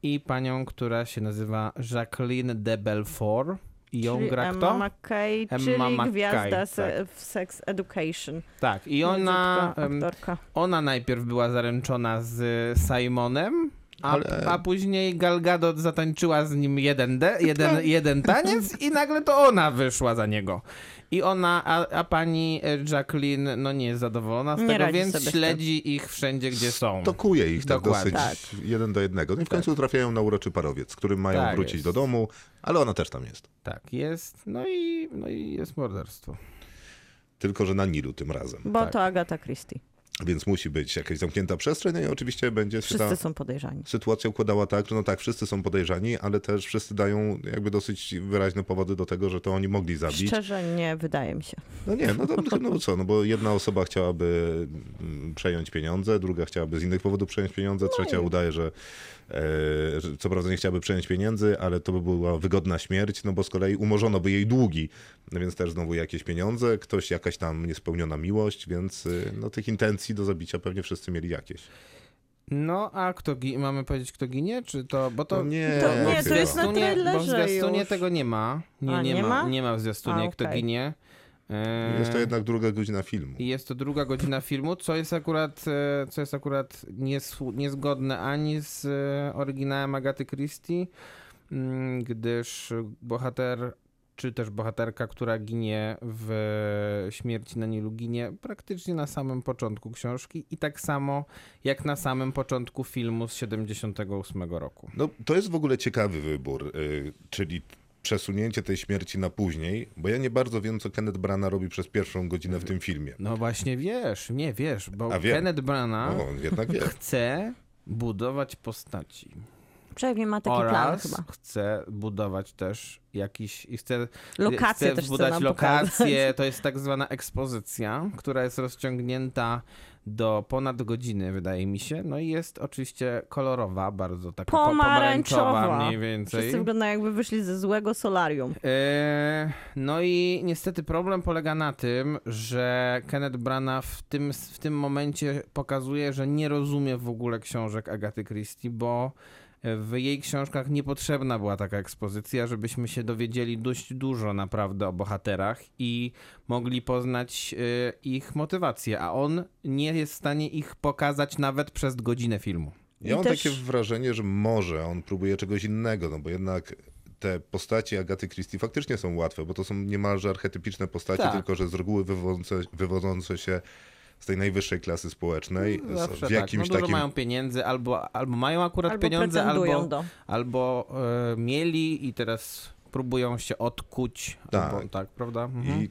E: i panią, która się nazywa Jacqueline de Belfort i ją
D: Czyli
E: gra kto?
D: Emma McKay,
E: Emma
D: czyli
E: McKay,
D: gwiazda se, w Sex Education.
E: Tak, i ona,
D: Niezłe
E: em,
D: aktorka.
E: ona najpierw była zaręczona z Simonem, a,
B: Ale-
E: a później Gal Gadot zatańczyła z nim jeden, de, jeden,
B: Tak.
E: jeden taniec i nagle to ona wyszła za niego. I ona, a, a pani e, Jacqueline, no nie jest zadowolona z
D: Nie
E: tego,
D: radzi
E: więc
D: sobie z tym.
E: śledzi ich wszędzie, gdzie są.
B: Tokuje ich tak
E: Dokładnie.
B: dosyć jeden do jednego. No i w końcu trafiają na uroczy parowiec, z którym mają
E: Tak
B: wrócić
E: jest.
B: do domu, ale ona też tam jest.
E: Tak, jest. No i, no i jest morderstwo.
B: Tylko, że na Nilu tym razem.
D: Bo
E: tak.
D: to Agata Christie.
B: Więc musi być jakaś zamknięta przestrzeń no i oczywiście będzie się ta
D: Wszyscy są podejrzani.
B: sytuacja układała tak, że no tak, wszyscy są podejrzani, ale też wszyscy dają jakby dosyć wyraźne powody do tego, że to oni mogli zabić.
D: Szczerze nie wydaje mi się.
B: No nie, no to no co, no bo jedna osoba chciałaby mm, przejąć pieniądze, druga chciałaby z innych powodów przejąć
D: No
B: pieniądze, trzecia udaje, że, e, że co prawda nie chciałaby przejąć pieniędzy, ale to by była wygodna śmierć, no bo z kolei umorzono by jej długi, no więc też znowu jakieś pieniądze, ktoś jakaś tam niespełniona miłość, więc y, no tych intencji do zabicia pewnie wszyscy mieli jakieś.
E: No, a kto gi- mamy powiedzieć, kto ginie? Czy to, bo to...
B: No nie,
D: to nie,
B: no
D: to
B: chyba.
D: jest na
E: zwiastunie- Bo E, w
D: trailerze
E: zwiastunie
D: już.
E: tego nie ma. Nie,
D: A,
E: nie,
D: nie
E: ma?
D: ma?
E: Nie ma w zwiastunie,
D: A,
E: kto
D: okej.
E: ginie. E,
B: Jest to jednak druga godzina filmu.
E: I jest to druga godzina filmu, co jest akurat, e, co jest akurat niesłu- niezgodne ani z e, oryginałem Agaty Christie, mm, gdyż bohater czy też bohaterka, która ginie w śmierci na Nilu, ginie praktycznie na samym początku książki i tak samo jak na samym początku filmu z 78 roku.
B: No, to jest w ogóle ciekawy wybór, y, czyli przesunięcie tej śmierci na później, bo ja nie bardzo wiem, co Kenneth Branagh robi przez pierwszą godzinę w tym filmie.
E: No właśnie wiesz, nie wiesz, bo
B: A wiem.
E: Kenneth Branagh
B: O, No, on jednak wie.
E: chce budować postaci.
D: Przynajmniej ma taki plan
E: oraz
D: chyba.
E: chce budować też jakiś, i chce,
D: Lokacje
E: chce
D: też chce
E: budować
D: nam
E: lokacje, to jest tak zwana ekspozycja, która jest rozciągnięta do ponad godziny, wydaje mi się, no i jest oczywiście kolorowa, bardzo taka po- pomarańczowa
D: Pomarańczowa.
E: mniej więcej.
D: Wszyscy wyglądają jakby wyszli ze złego solarium.
E: E, No i niestety problem polega na tym, że Kenneth Branagh w tym, w tym momencie pokazuje, że nie rozumie w ogóle książek Agaty Christie, bo w jej książkach niepotrzebna była taka ekspozycja, żebyśmy się dowiedzieli dość dużo naprawdę o bohaterach i mogli poznać e, ich motywacje, a on nie jest w stanie ich pokazać nawet przez godzinę filmu.
B: Ja
D: I
B: mam
D: też-
B: takie wrażenie, że może on próbuje czegoś innego, no bo jednak te postacie Agaty Christie faktycznie są łatwe, bo to są niemalże archetypiczne postacie,
E: Tak.
B: tylko że z reguły wywodzące, wywodzące się z tej najwyższej klasy społecznej,
E: Zawsze
B: z
E: tak. No
B: jakimś
E: dużo
B: takim...
E: mają pieniędzy, albo, albo mają akurat
D: Albo
E: pieniądze,
D: pretendują
E: albo,
D: do.
E: albo e, mieli i teraz próbują się odkuć.
B: Tak.
E: Albo, tak, prawda? Mhm.
B: I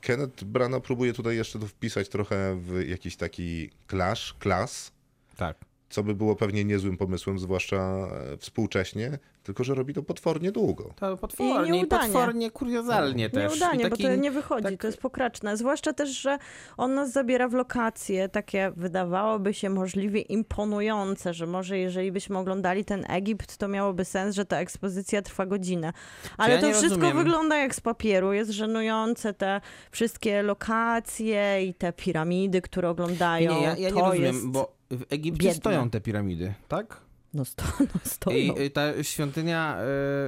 B: Kenneth Branagh próbuje tutaj jeszcze to wpisać trochę w jakiś taki clash, klas,
E: Tak.
B: co by było pewnie niezłym pomysłem, zwłaszcza e, współcześnie, tylko że robi to potwornie długo.
E: To potwornie, I
D: nieudanie.
E: potwornie, kuriozalnie też. I
D: Tak. Nieudanie,
E: taki-
D: bo to nie wychodzi,
E: tak-
D: to jest pokraczne. Zwłaszcza też, że on nas zabiera w lokacje takie, wydawałoby się możliwie imponujące, że może jeżeli byśmy oglądali ten Egipt, to miałoby sens, że ta ekspozycja trwa godzinę. Ale
E: ja
D: to
E: nie
D: wszystko
E: rozumiem.
D: wygląda jak z papieru, jest żenujące te wszystkie lokacje i te piramidy, które
E: nie,
D: oglądają.
E: ja, ja nie
D: to
E: rozumiem,
D: jest...
E: bo w Egipcie
D: biedne.
E: stoją te piramidy, tak?
D: No, sto, no stoją.
E: I y, ta świątynia,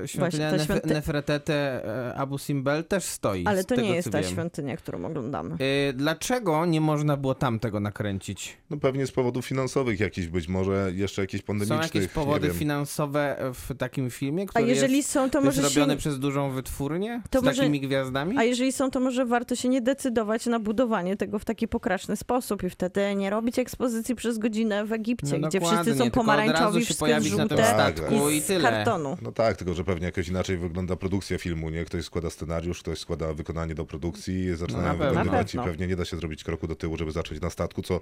E: y, świątynia
D: ta
E: Nef-
D: świąty-
E: Nefretete y, Abu Simbel też stoi.
D: Ale
E: z
D: to
E: tego,
D: nie jest
E: co
D: ta
E: wiem.
D: świątynia, którą oglądamy.
E: Y, Dlaczego nie można było tam tego nakręcić?
B: No pewnie z powodów finansowych jakichś, być może jeszcze jakichś
E: Są
B: pandemicznych.
E: jakieś
B: nie
E: powody
B: wiem.
E: finansowe w takim filmie,
D: A
E: który
D: jeżeli
E: jest,
D: są, to
E: jest
D: może
E: robiony
D: się...
E: przez dużą wytwórnię
D: To
E: z
D: może-
E: takimi gwiazdami?
D: A jeżeli są, to może warto się nie decydować na budowanie tego w taki pokraczny sposób i wtedy nie robić ekspozycji przez godzinę w Egipcie,
E: No
D: gdzie
E: dokładnie,
D: wszyscy są
E: tylko od razu
D: pomarańczowi,
E: się
D: wszyscy wszystko jest
E: pojawić na tym
D: żółte
E: statku
D: i
E: i
D: z
E: tyle.
D: kartonu.
B: No tak, tylko że pewnie jakoś inaczej wygląda produkcja filmu, nie? Ktoś składa scenariusz, ktoś składa wykonanie do produkcji, zaczynają
E: No, pewno.
B: wykonywać
D: Na
B: i
D: pewno.
B: pewnie nie da się zrobić kroku do tyłu, żeby zacząć na statku, co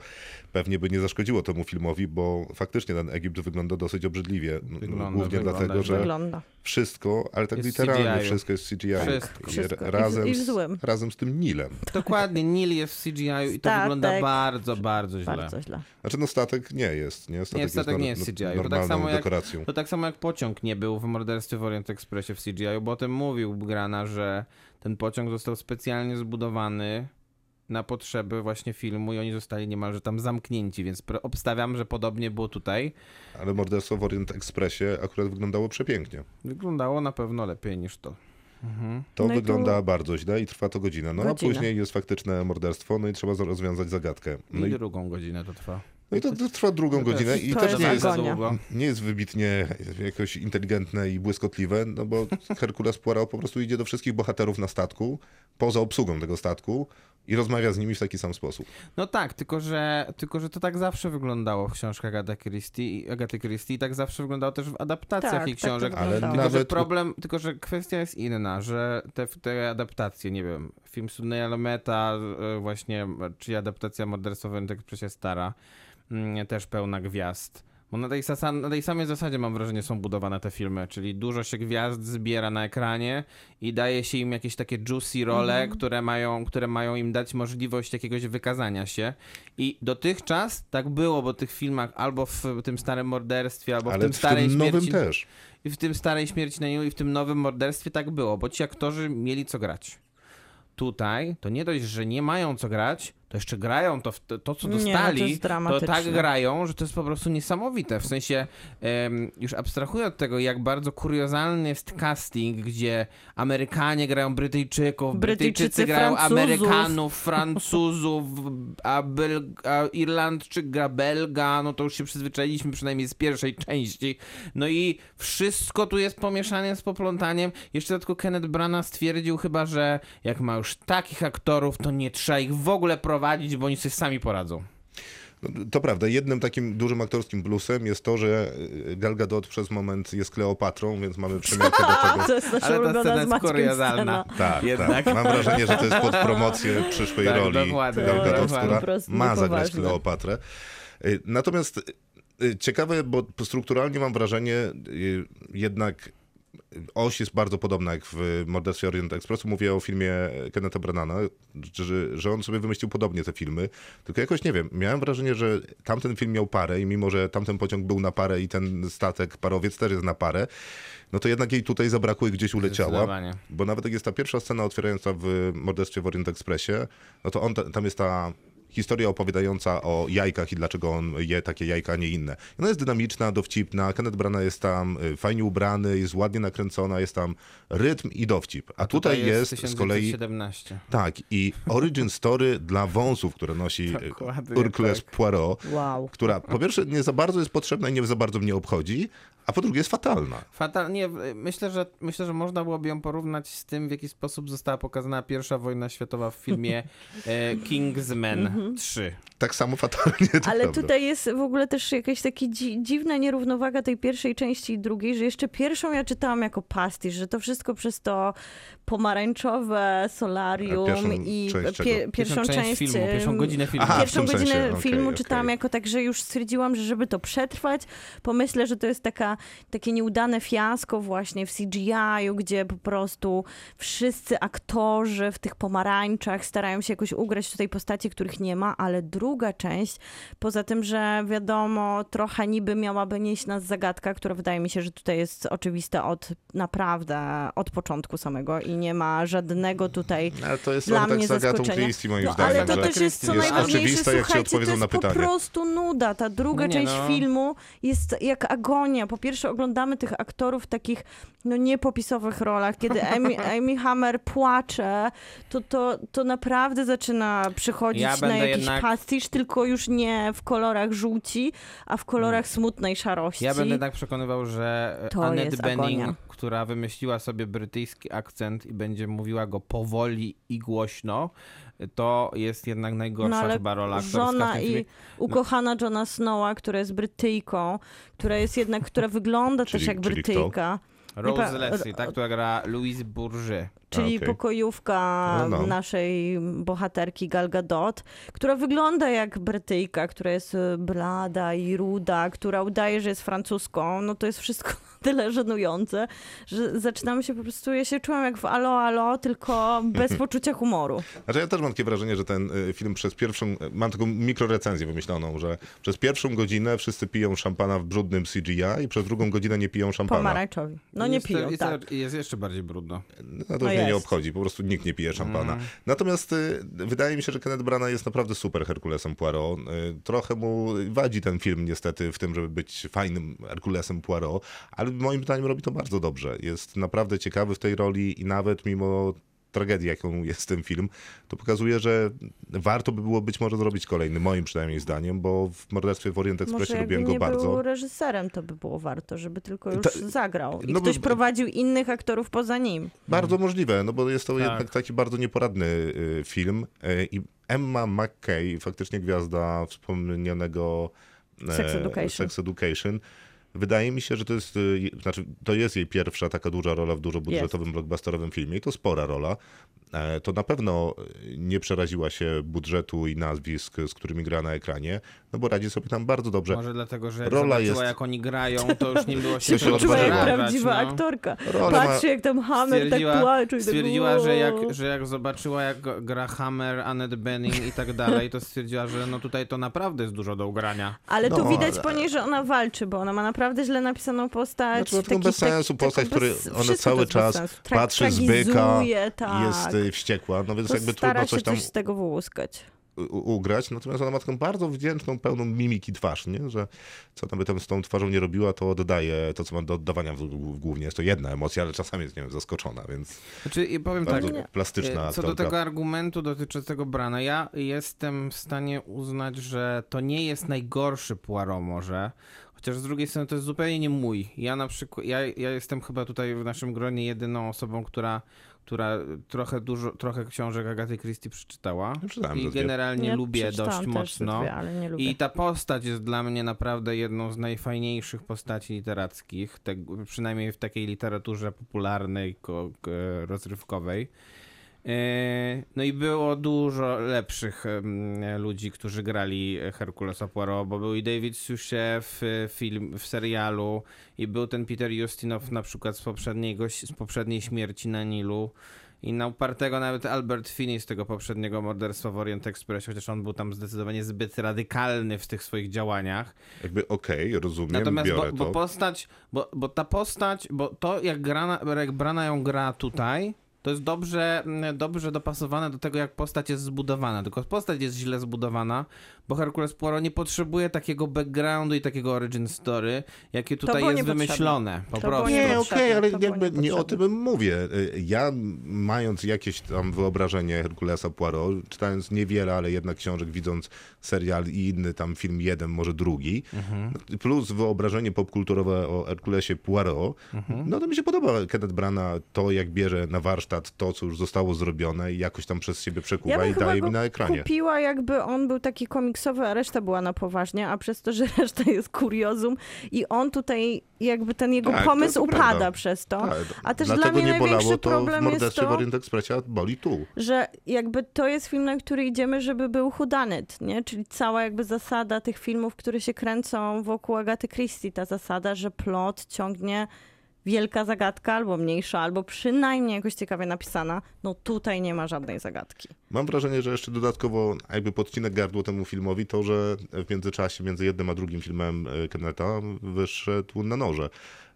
B: pewnie by nie zaszkodziło temu filmowi, bo faktycznie ten Egipt wygląda dosyć obrzydliwie. N-
E: Wygląda,
B: Głównie
E: wygląda,
B: dlatego, że
D: Wygląda.
B: wszystko, ale tak
E: Jest
B: literalnie
E: CGI.
B: wszystko jest CGI.
E: Wszystko.
B: I
D: Wszystko. I w-
B: Razem,
D: i w
B: z-
D: złym.
B: razem z tym Nilem.
E: Dokładnie, Nil jest w CGI-u i to
D: Statek.
E: wygląda bardzo, bardzo źle.
D: Tak, Bardzo źle.
B: Znaczy no statek nie jest, nie? Statek,
E: Nie, statek
B: jest
E: nie jest
B: nor-
E: CGI. To
B: normalną
E: tak, samo jak,
B: dekoracją.
E: to tak samo jak pociąg nie był w Morderstwie w Orient Expressie w CGI, bo o tym mówił Grana, że ten pociąg został specjalnie zbudowany na potrzeby właśnie filmu i oni zostali niemalże tam zamknięci, więc pro- obstawiam, że podobnie było tutaj.
B: Ale morderstwo w Orient Expressie akurat wyglądało przepięknie.
E: Wyglądało na pewno lepiej niż to.
B: To
D: No i tu-
B: wygląda bardzo źle i trwa to godzinę. No
D: Godzinę.
B: a później jest faktyczne morderstwo, no i trzeba za- rozwiązać zagadkę.
E: I
B: No i,
E: drugą godzinę to trwa.
B: no i to, to trwa drugą godzinę i
D: to
B: też
D: jest
B: nie jest,
D: agonia.
B: nie jest wybitnie jakoś inteligentne i błyskotliwe, no bo Herkules Poirot po prostu idzie do wszystkich bohaterów na statku, poza obsługą tego statku i rozmawia z nimi w taki sam sposób.
E: No tak, tylko że, tylko że to tak zawsze wyglądało w książkach Agaty Christie, i- Agaty Christie i tak zawsze wyglądało też w adaptacjach
D: Tak,
E: jej
D: tak to
E: książek.
D: Ale wyglądało.
E: tylko, że
B: nawet-
E: problem, tylko że kwestia jest inna, że te, te adaptacje, nie wiem, film Sudneya Lemeta, e, właśnie, e, czy adaptacja Morderstwa Wętek przecież stara, mm, też pełna gwiazd. Bo na tej, sasa- na tej samej zasadzie mam wrażenie są budowane te filmy, czyli dużo się gwiazd zbiera na ekranie i daje się im jakieś takie juicy role,
B: Mhm.
E: które, mają, które mają im dać możliwość jakiegoś wykazania się. I dotychczas tak było, bo tych filmach albo w tym starym morderstwie, albo w
B: Ale
E: tym
B: w
E: starej
B: tym nowym
E: śmierci.
B: też.
E: I w tym starej śmierci na Nilu i w tym nowym morderstwie tak było, bo ci aktorzy mieli co grać. Tutaj to nie dość, że nie mają co grać, to jeszcze grają to, w to, to co
D: Nie, no to
E: dostali.
D: jest dramatyczne.
E: tak grają, że to jest po prostu niesamowite. W sensie, em, już abstrahuję od tego, jak bardzo kuriozalny jest casting, gdzie Amerykanie grają Brytyjczyków, Brytyjczycy,
D: Brytyjczycy
E: grają
D: Francuzów.
E: Amerykanów, Francuzów, a, Bel- a Irlandczyk gra Belga. No to już się przyzwyczailiśmy przynajmniej z pierwszej części. No i wszystko tu jest pomieszanie z poplątaniem. Jeszcze tylko Kenneth Branagh stwierdził chyba, że jak ma już takich aktorów, to nie trzeba ich w ogóle prowadzić, bo oni sobie sami poradzą.
B: No, To prawda, jednym takim dużym aktorskim plusem jest to, że y, Gal Gadot przez moment jest Kleopatrą, więc mamy przemiankę do tego.
D: To jest nasza
E: Ale ta
D: ulubiona
E: scena
D: z
E: jest
D: Maćkiem scena.
E: kuriozalna.
B: Tak,
E: Jednak.
B: tak. Mam wrażenie, że to jest pod promocję przyszłej
E: Tak,
B: roli
E: dokładnie,
B: Gal Gadot,
E: dokładnie.
B: która
D: Po prostu
B: ma zagrać
D: niepoważne.
B: Kleopatrę. Y, Natomiast y, y, ciekawe, bo strukturalnie mam wrażenie y, jednak oś jest bardzo podobna jak w Morderstwie Orient Expressu. Mówię o filmie Kenneta Branana, że, że on sobie wymyślił podobnie te filmy. Tylko jakoś nie wiem, miałem wrażenie, że tamten film miał parę i mimo, że tamten pociąg był na parę i ten statek parowiec też jest na parę, no to jednak jej tutaj zabrakło i gdzieś uleciała.
E: Zdecydowanie.
B: Bo nawet jak jest ta pierwsza scena otwierająca w Morderstwie w Orient Expressie, no to on, ta- tam jest ta historia opowiadająca o jajkach i dlaczego on je takie jajka, a nie inne. I Ona jest dynamiczna, dowcipna, Kenneth Branagh jest tam y, fajnie ubrany, jest ładnie nakręcona, jest tam rytm i dowcip. A, tutaj, jest, z kolei...
E: 1917.
B: Tak, i origin story dla wąsów, które nosi y,
E: Dokładnie
B: Hercules Poirot,
D: Wow.
B: która po pierwsze nie za bardzo jest potrzebna i nie za bardzo mnie obchodzi, a po drugie jest fatalna.
E: Fatalnie, myślę, że myślę, że można byłoby ją porównać z tym, w jaki sposób została pokazana pierwsza wojna światowa w filmie e,
D: Mhm.
E: Kingsman 3.
B: Tak samo fatalnie. to
D: Ale
B: prawda.
D: tutaj jest w ogóle też jakaś taka dzi- dziwna nierównowaga tej pierwszej części i drugiej, że jeszcze pierwszą ja czytałam jako pastisz, że to wszystko przez to pomarańczowe solarium
B: A pierwszą
D: i
B: część czego?
D: pierwszą, część e,
E: filmu, pierwszą
D: em,
E: godzinę filmu.
B: Aha, w
D: Pierwszą
B: tym
D: godzinę
B: sensie, okej,
D: filmu
B: okej.
D: czytałam jako tak, że już stwierdziłam, że żeby to przetrwać, pomyślę, że to jest taka, takie nieudane fiasko właśnie w CGI-u, gdzie po prostu wszyscy aktorzy w tych pomarańczach starają się jakoś ugrać tutaj postaci, których nie ma, ale druga część, poza tym, że wiadomo, trochę niby miałaby nieść nas zagadka, która wydaje mi się, że tutaj jest oczywista od naprawdę, od początku samego i nie ma żadnego tutaj
B: Ale to jest
D: dla
B: on tak
D: mnie
B: z Agatą
D: zaskoczenia.
B: Christie moim
D: no,
B: zdaniem.
D: Ale to
B: że
D: też jest co
B: jest
D: najważniejsze,
B: oczywiste, jak się
D: słuchajcie, to
B: odpowiedzą
D: jest
B: na
D: po
B: pytanie.
D: prostu nuda. Ta druga
E: No nie,
D: część
E: no.
D: filmu jest jak agonia. Po pierwsze oglądamy tych aktorów w takich no, niepopisowych rolach. Kiedy Amy, Amy Hammer płacze, to, to, to naprawdę zaczyna przychodzić
E: Ja
D: na na
E: będę
D: jakiś
E: jednak-
D: pastisz, tylko już nie w kolorach żółci, a w kolorach smutnej szarości.
E: Hmm. Ja będę jednak przekonywał, że e,
D: To
E: Annette
D: jest
E: Bening,
D: agonia.
E: która wymyśliła sobie brytyjski akcent i będzie mówiła go powoli i głośno, to jest jednak najgorsza chyba rola aktorska w
D: No, żona
E: tym
D: i
E: filmie. No.
D: ukochana Johna Snowa, która jest Brytyjką, która jest jednak, która wygląda
B: Czyli-
D: też jak
B: czyli kto?
D: Brytyjka,
E: Rose
D: pa-
E: Leslie, tak, która gra Louise Bourget.
D: czyli
B: okej.
D: pokojówka
B: No, no.
D: naszej bohaterki Gal Gadot, która wygląda jak Brytyjka, która jest y, blada i ruda, która udaje, że jest francuską, no to jest wszystko tyle żenujące, że zaczynam się po prostu, ja się czułam jak w Alo Alo, tylko bez poczucia humoru.
B: Znaczy ja też mam takie wrażenie, że ten y, film przez pierwszą, y, mam taką mikrorecenzję wymyśloną, że przez pierwszą godzinę wszyscy piją szampana w brudnym CGI i przez drugą godzinę nie piją szampana.
D: Pomarańczowi. No nie
E: jest,
D: piją,
E: jest,
D: tak.
E: Jest jeszcze bardziej brudno.
B: No to
D: No
B: już mnie nie
D: jest. Mm.
B: obchodzi, po prostu nikt nie pije szampana. Natomiast y, wydaje mi się, że Kenneth Branagh jest naprawdę super Herkulesem Poirot. Y, trochę mu wadzi ten film niestety w tym, żeby być fajnym Herkulesem Poirot, ale moim zdaniem robi to bardzo dobrze. Jest naprawdę ciekawy w tej roli i nawet mimo tragedii, jaką jest ten film, to pokazuje, że warto by było być może zrobić kolejny, moim przynajmniej zdaniem, bo w Morderstwie w Orient Expressie
D: Może
B: lubiłem
D: jakby
B: go
D: nie
B: bardzo.
D: był reżyserem, to by było warto, żeby tylko już
B: Ta-
D: zagrał. I
B: no bo-
D: ktoś prowadził innych aktorów poza nim.
B: Bardzo możliwe, no bo jest to jednak taki bardzo nieporadny y, film. y, I Emma McKay, faktycznie gwiazda wspomnianego e,
D: Sex Education.
B: Sex Education. Wydaje mi się, że to jest, y, znaczy, to jest jej pierwsza taka duża rola w dużobudżetowym blockbusterowym filmie i to spora rola. E, To na pewno y, nie przeraziła się budżetu i nazwisk, z którymi gra na ekranie, no bo radzi sobie tam bardzo dobrze.
E: Może dlatego, że jak
B: Rola
E: zobaczyła,
B: jest-
E: jak oni grają, to już nie było
B: Się
E: się czego
D: Czuła jak
B: Odważyła.
E: obrażać,
D: prawdziwa
E: no.
D: aktorka.
B: Rola ma-
D: Patrzy jak tam Hammer tak
E: Stwierdziła,
D: płacze. i tak
E: stwierdziła
D: wow.
E: że, jak, że jak zobaczyła, jak go- gra Hammer, Annette Bening i tak dalej, to stwierdziła, że no tutaj to naprawdę jest dużo do ugrania.
D: Ale tu
B: No,
D: widać
B: ale-
D: po niej, że ona walczy, bo ona ma naprawdę źle napisaną postać.
B: Znaczy, taką
D: taki-
B: bez
D: tak-
B: sensu
D: taką
B: postać,
D: bez-
B: który
D: wszystko to
B: ona
D: jest
B: cały
D: bez
B: czas
D: sensu. Tra-
B: patrzy z byka
D: tragizuje,
B: i jest
D: tak.
B: y, wściekła, no więc
D: To
B: jakby
D: stara
B: trudno
D: się
B: coś tam
D: coś z tego wyłuskać.
B: u- ugrać, natomiast ona ma taką bardzo wdzięczną, pełną mimiki twarz, nie? że co tam by tam z tą twarzą nie robiła, to oddaje to, co ma do oddawania w, w, głównie. Jest to jedna emocja, ale czasami jest, nie wiem, zaskoczona, więc
E: Znaczy, i powiem tak,
B: bardzo plastyczna
E: e, co
B: aktorka.
E: do tego argumentu dotyczącego Brana, ja jestem w stanie uznać, że to nie jest najgorszy Poirot może, chociaż z drugiej strony to jest zupełnie nie mój. Ja na przykład, ja, ja jestem chyba tutaj w naszym gronie jedyną osobą, która która trochę dużo, trochę książek Agaty Christie przeczytała
B: Przeczytałem
E: i
B: ze dwie.
E: generalnie
D: Ja
E: lubię
D: przeczytałam
E: dość
D: też
E: mocno.
D: Dwie, ale nie lubię.
E: I ta postać jest dla mnie naprawdę jedną z najfajniejszych postaci literackich, te, przynajmniej w takiej literaturze popularnej, ko, k- rozrywkowej. Yy, No i było dużo lepszych em, ludzi, którzy grali Herkulesa Poirot, bo był i David Suchet w, film, w serialu i był ten Peter Justinow na przykład z, poprzedniego, z poprzedniej śmierci na Nilu. I na upartego nawet Albert Finney z tego poprzedniego morderstwa w Orient Express, chociaż on był tam zdecydowanie zbyt radykalny w tych swoich działaniach.
B: Jakby okej, rozumiem,
E: Natomiast
B: biorę
E: bo, bo
B: to.
E: postać, bo, bo ta postać, bo to jak, grana, jak Brana ją gra tutaj, to jest dobrze, mm, dobrze dopasowane do tego, jak postać jest zbudowana. Tylko postać jest źle zbudowana, bo Hercules Poirot nie potrzebuje takiego backgroundu i takiego origin story, jakie tutaj
D: było
E: jest
D: niepotrzebne.
E: wymyślone. Po
D: To było
E: prostu.
B: Nie,
D: niepotrzebne,
B: okej, ale
D: to było
B: jakby nie o
D: niepotrzebne.
B: tym mówię. Y, Ja, mając jakieś tam wyobrażenie Herkulesa Poirot, czytając niewiele, ale jednak książek, widząc serial i inny tam film, jeden, może drugi, no, plus wyobrażenie popkulturowe o Herkulesie Poirot, no to mi się podoba Kenneth Branagh, to jak bierze na warsztat to, co już zostało zrobione i jakoś tam przez siebie
D: Ja
B: przekuwa
D: bym
B: i
D: chyba
B: daje
D: go
B: mi na ekranie.
D: kupiła, jakby on był taki komiksowy, a reszta była na poważnie, a przez to, że reszta jest kuriozum i on tutaj, jakby ten jego
B: Tak, to
D: pomysł
B: jest
D: upada
B: prawda.
D: przez to.
B: Tak,
D: a też
B: dlatego
D: dla mnie
B: nie
D: największy
B: bolało to w
D: problem jest
B: morderstwie w
D: to,
B: Orient Expressie, a boli tu.
D: że jakby to jest film, na który idziemy, żeby był hudanyt, nie? Czyli cała jakby zasada tych filmów, które się kręcą wokół Agaty Christie, ta zasada, że plot ciągnie wielka zagadka albo mniejsza, albo przynajmniej jakoś ciekawie napisana. No tutaj nie ma żadnej zagadki.
B: Mam wrażenie, że jeszcze dodatkowo jakby podcinek gardło temu filmowi to, że w międzyczasie między jednym a drugim filmem e, Kenneta wyszedł na noże,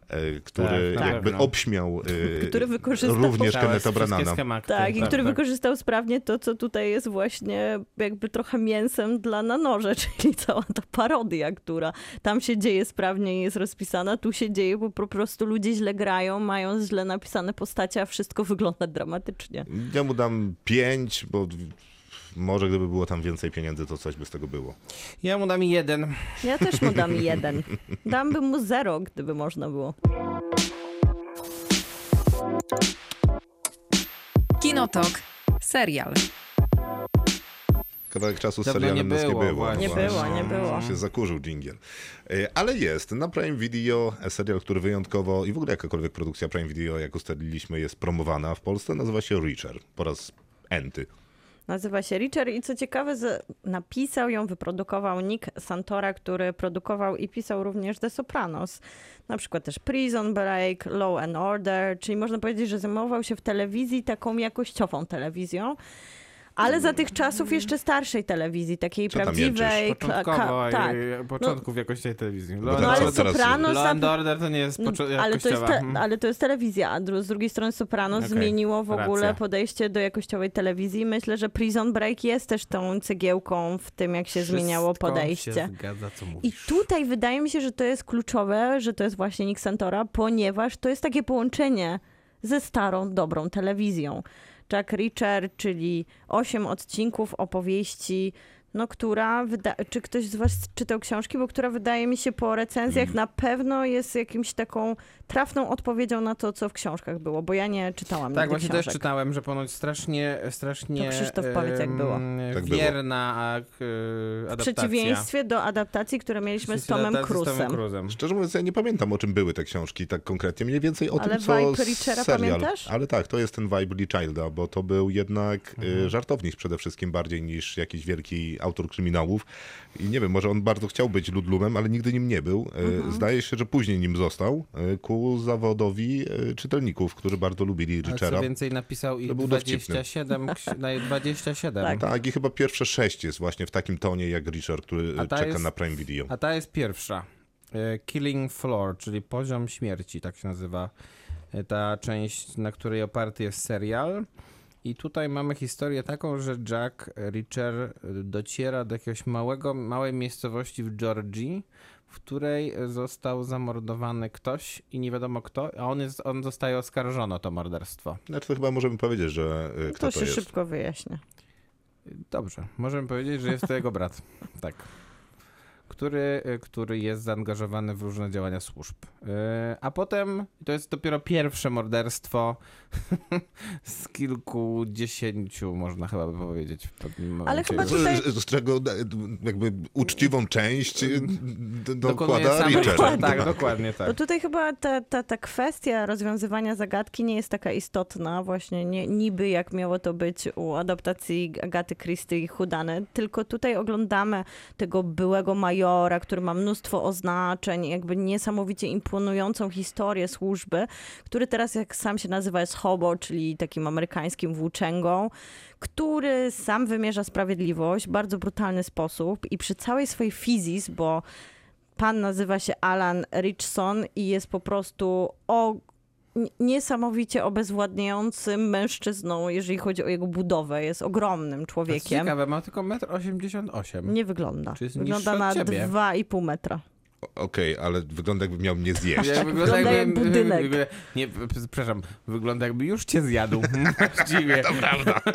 B: e, który
E: Tak, tak,
B: jakby
E: no.
B: obśmiał e,
D: Który wykorzystał-
B: również
E: Całe
B: Kenneta
E: wszystkie
B: Branana.
E: schematy.
D: Tak, i który wykorzystał sprawnie to, co tutaj jest właśnie jakby trochę mięsem dla na noże, czyli cała ta parodia, która tam się dzieje sprawnie i jest rozpisana, tu się dzieje, bo po prostu ludzie źle grają, mają źle napisane postacie, a wszystko wygląda dramatycznie.
B: Ja mu dam pięć, bo w- Może gdyby było tam więcej pieniędzy, to coś by z tego było.
E: Ja mu dam jeden.
D: Ja też mu dam jeden. Dałbym mu zero, gdyby można było.
A: Kinotok. Serial.
B: Kawałek czasu z
E: Dawno nie
B: serialem nas
E: było,
B: nie było.
E: właśnie.
D: Nie
B: Właśnie.
D: było, nie było.
B: się zakurzył dżingiel. E, Ale jest, na Prime Video serial, który wyjątkowo i w ogóle jakakolwiek produkcja Prime Video, jak ustaliliśmy, jest promowana w Polsce, nazywa się Richard. Po raz enty.
D: Nazywa się Richard i co ciekawe, z... napisał ją, wyprodukował Nick Santora, który produkował i pisał również The Sopranos. Na przykład też Prison Break, Law and Order, czyli można powiedzieć, że zajmował się w telewizji taką jakościową telewizją. Ale za tych czasów jeszcze starszej telewizji, takiej
B: Co tam
D: prawdziwej.
B: jęczysz?
D: kla-
E: Początkowo,
D: ka- tak.
E: początków jakoś tej telewizji.
B: tak,
D: No ale
B: co teraz-
D: Sopranos...
E: Law and
D: na-
E: Order to nie jest
D: No,
E: poczu-
D: ale, to jest
E: jakościowa.
D: te,
E: Mhm.
D: ale to jest telewizja, a dru- z drugiej strony Sopranos
E: Okej,
D: zmieniło w
E: racja.
D: ogóle podejście do jakościowej telewizji. Myślę, że Prison Break jest też tą cegiełką w tym, jak się zmieniało
E: Wszystko
D: podejście.
E: Się zgadza, co
D: I
E: mówisz.
D: tutaj wydaje mi się, że to jest kluczowe, że to jest właśnie Nick Santora, ponieważ to jest takie połączenie ze starą, dobrą telewizją. Jack Reacher, czyli osiem odcinków opowieści, no która, wyda- czy ktoś z was czytał książki, bo która wydaje mi się po
E: Mhm.
D: recenzjach na pewno jest jakimś taką trafną odpowiedzią na to, co w książkach było, bo ja nie czytałam
E: Tak,
D: nigdy
E: właśnie
D: książek.
E: też czytałem, że ponoć strasznie, strasznie
D: To Krzysztof powiedz, jak było.
E: em,
B: Tak było.
E: wierna a, e,
D: W
E: adaptacja.
D: przeciwieństwie do adaptacji, które mieliśmy z Tomem
E: Adaptacja Z Tomem
D: Cruise'em.
E: Cruise'em.
B: Szczerze mówiąc, ja nie pamiętam, o czym były te książki tak konkretnie. Mniej więcej o
D: Ale
B: tym, co
D: vibe Richera
B: serial.
D: pamiętasz?
B: Ale tak, to jest ten vibe Lee Childa, bo to był jednak mhm. żartownik przede wszystkim bardziej niż jakiś wielki autor kryminałów. I nie wiem, może on bardzo chciał być ludlumem, ale nigdy nim nie był. E,
D: Mhm.
B: Zdaje się, że później nim został e, ku zawodowi e, czytelników, którzy bardzo lubili
E: A co
B: Richera.
E: więcej, napisał ich
B: To był dowcipny.
E: 27. ksi- na- 27.
D: Tak.
B: Tak, i chyba pierwsze sześć jest właśnie w takim tonie jak Richard, który
E: A
B: e,
E: ta
B: czeka
E: jest-
B: na Prime Video.
E: A ta jest pierwsza. E, Killing Floor, czyli poziom śmierci, tak się nazywa e, ta część, na której oparty jest serial. I tutaj mamy historię taką, że Jack Reacher e, dociera do jakiegoś małego, małej miejscowości w Georgii, w której został zamordowany ktoś i nie wiadomo kto, a on, jest, on zostaje oskarżony o to morderstwo.
B: Znaczy to chyba możemy powiedzieć, że e, kto
D: No To
B: to
D: się
B: jest.
D: szybko wyjaśnia.
E: Dobrze, możemy powiedzieć, że jest to jego brat. Tak. Który, e, który jest zaangażowany w różne działania służb. Yy, A potem to jest dopiero pierwsze morderstwo z kilkudziesięciu, można chyba by powiedzieć. w pewnym
D: Ale
E: momencie.
D: chyba
B: Z,
D: tutaj-
B: z, z czego e, jakby uczciwą część e, d-
E: Dokonuje
B: dokłada
E: sam-
B: Richard.
E: Tak, dokładnie tak.
D: To tutaj chyba ta, ta, ta kwestia rozwiązywania zagadki nie jest taka istotna, właśnie nie, niby jak miało to być u adaptacji Agaty Christie i Hudany, tylko tutaj oglądamy tego byłego majora, który ma mnóstwo oznaczeń, jakby niesamowicie imponującą historię służby, który teraz, jak sam się nazywa, jest hobo, czyli takim amerykańskim włóczęgą, który sam wymierza sprawiedliwość w bardzo brutalny sposób i przy całej swojej fizis, bo Pan nazywa się Alan Richson i jest po prostu o n- niesamowicie obezwładniającym mężczyzną, jeżeli chodzi o jego budowę. Jest ogromnym
E: Jest
D: człowiekiem.
E: ciekawe, ma tylko 1,88 m.
D: Nie wygląda.
E: Czy jest
D: Wygląda
E: niższy
D: na
E: od ciebie?
D: 2,5 metra.
B: No, Okej, ale wygląda jakby miał mnie zjeść.
E: Ja
D: Wygląda jak tak budynek.
E: Nie, p- przepraszam, wygląda jakby już cię zjadł. Właściwie.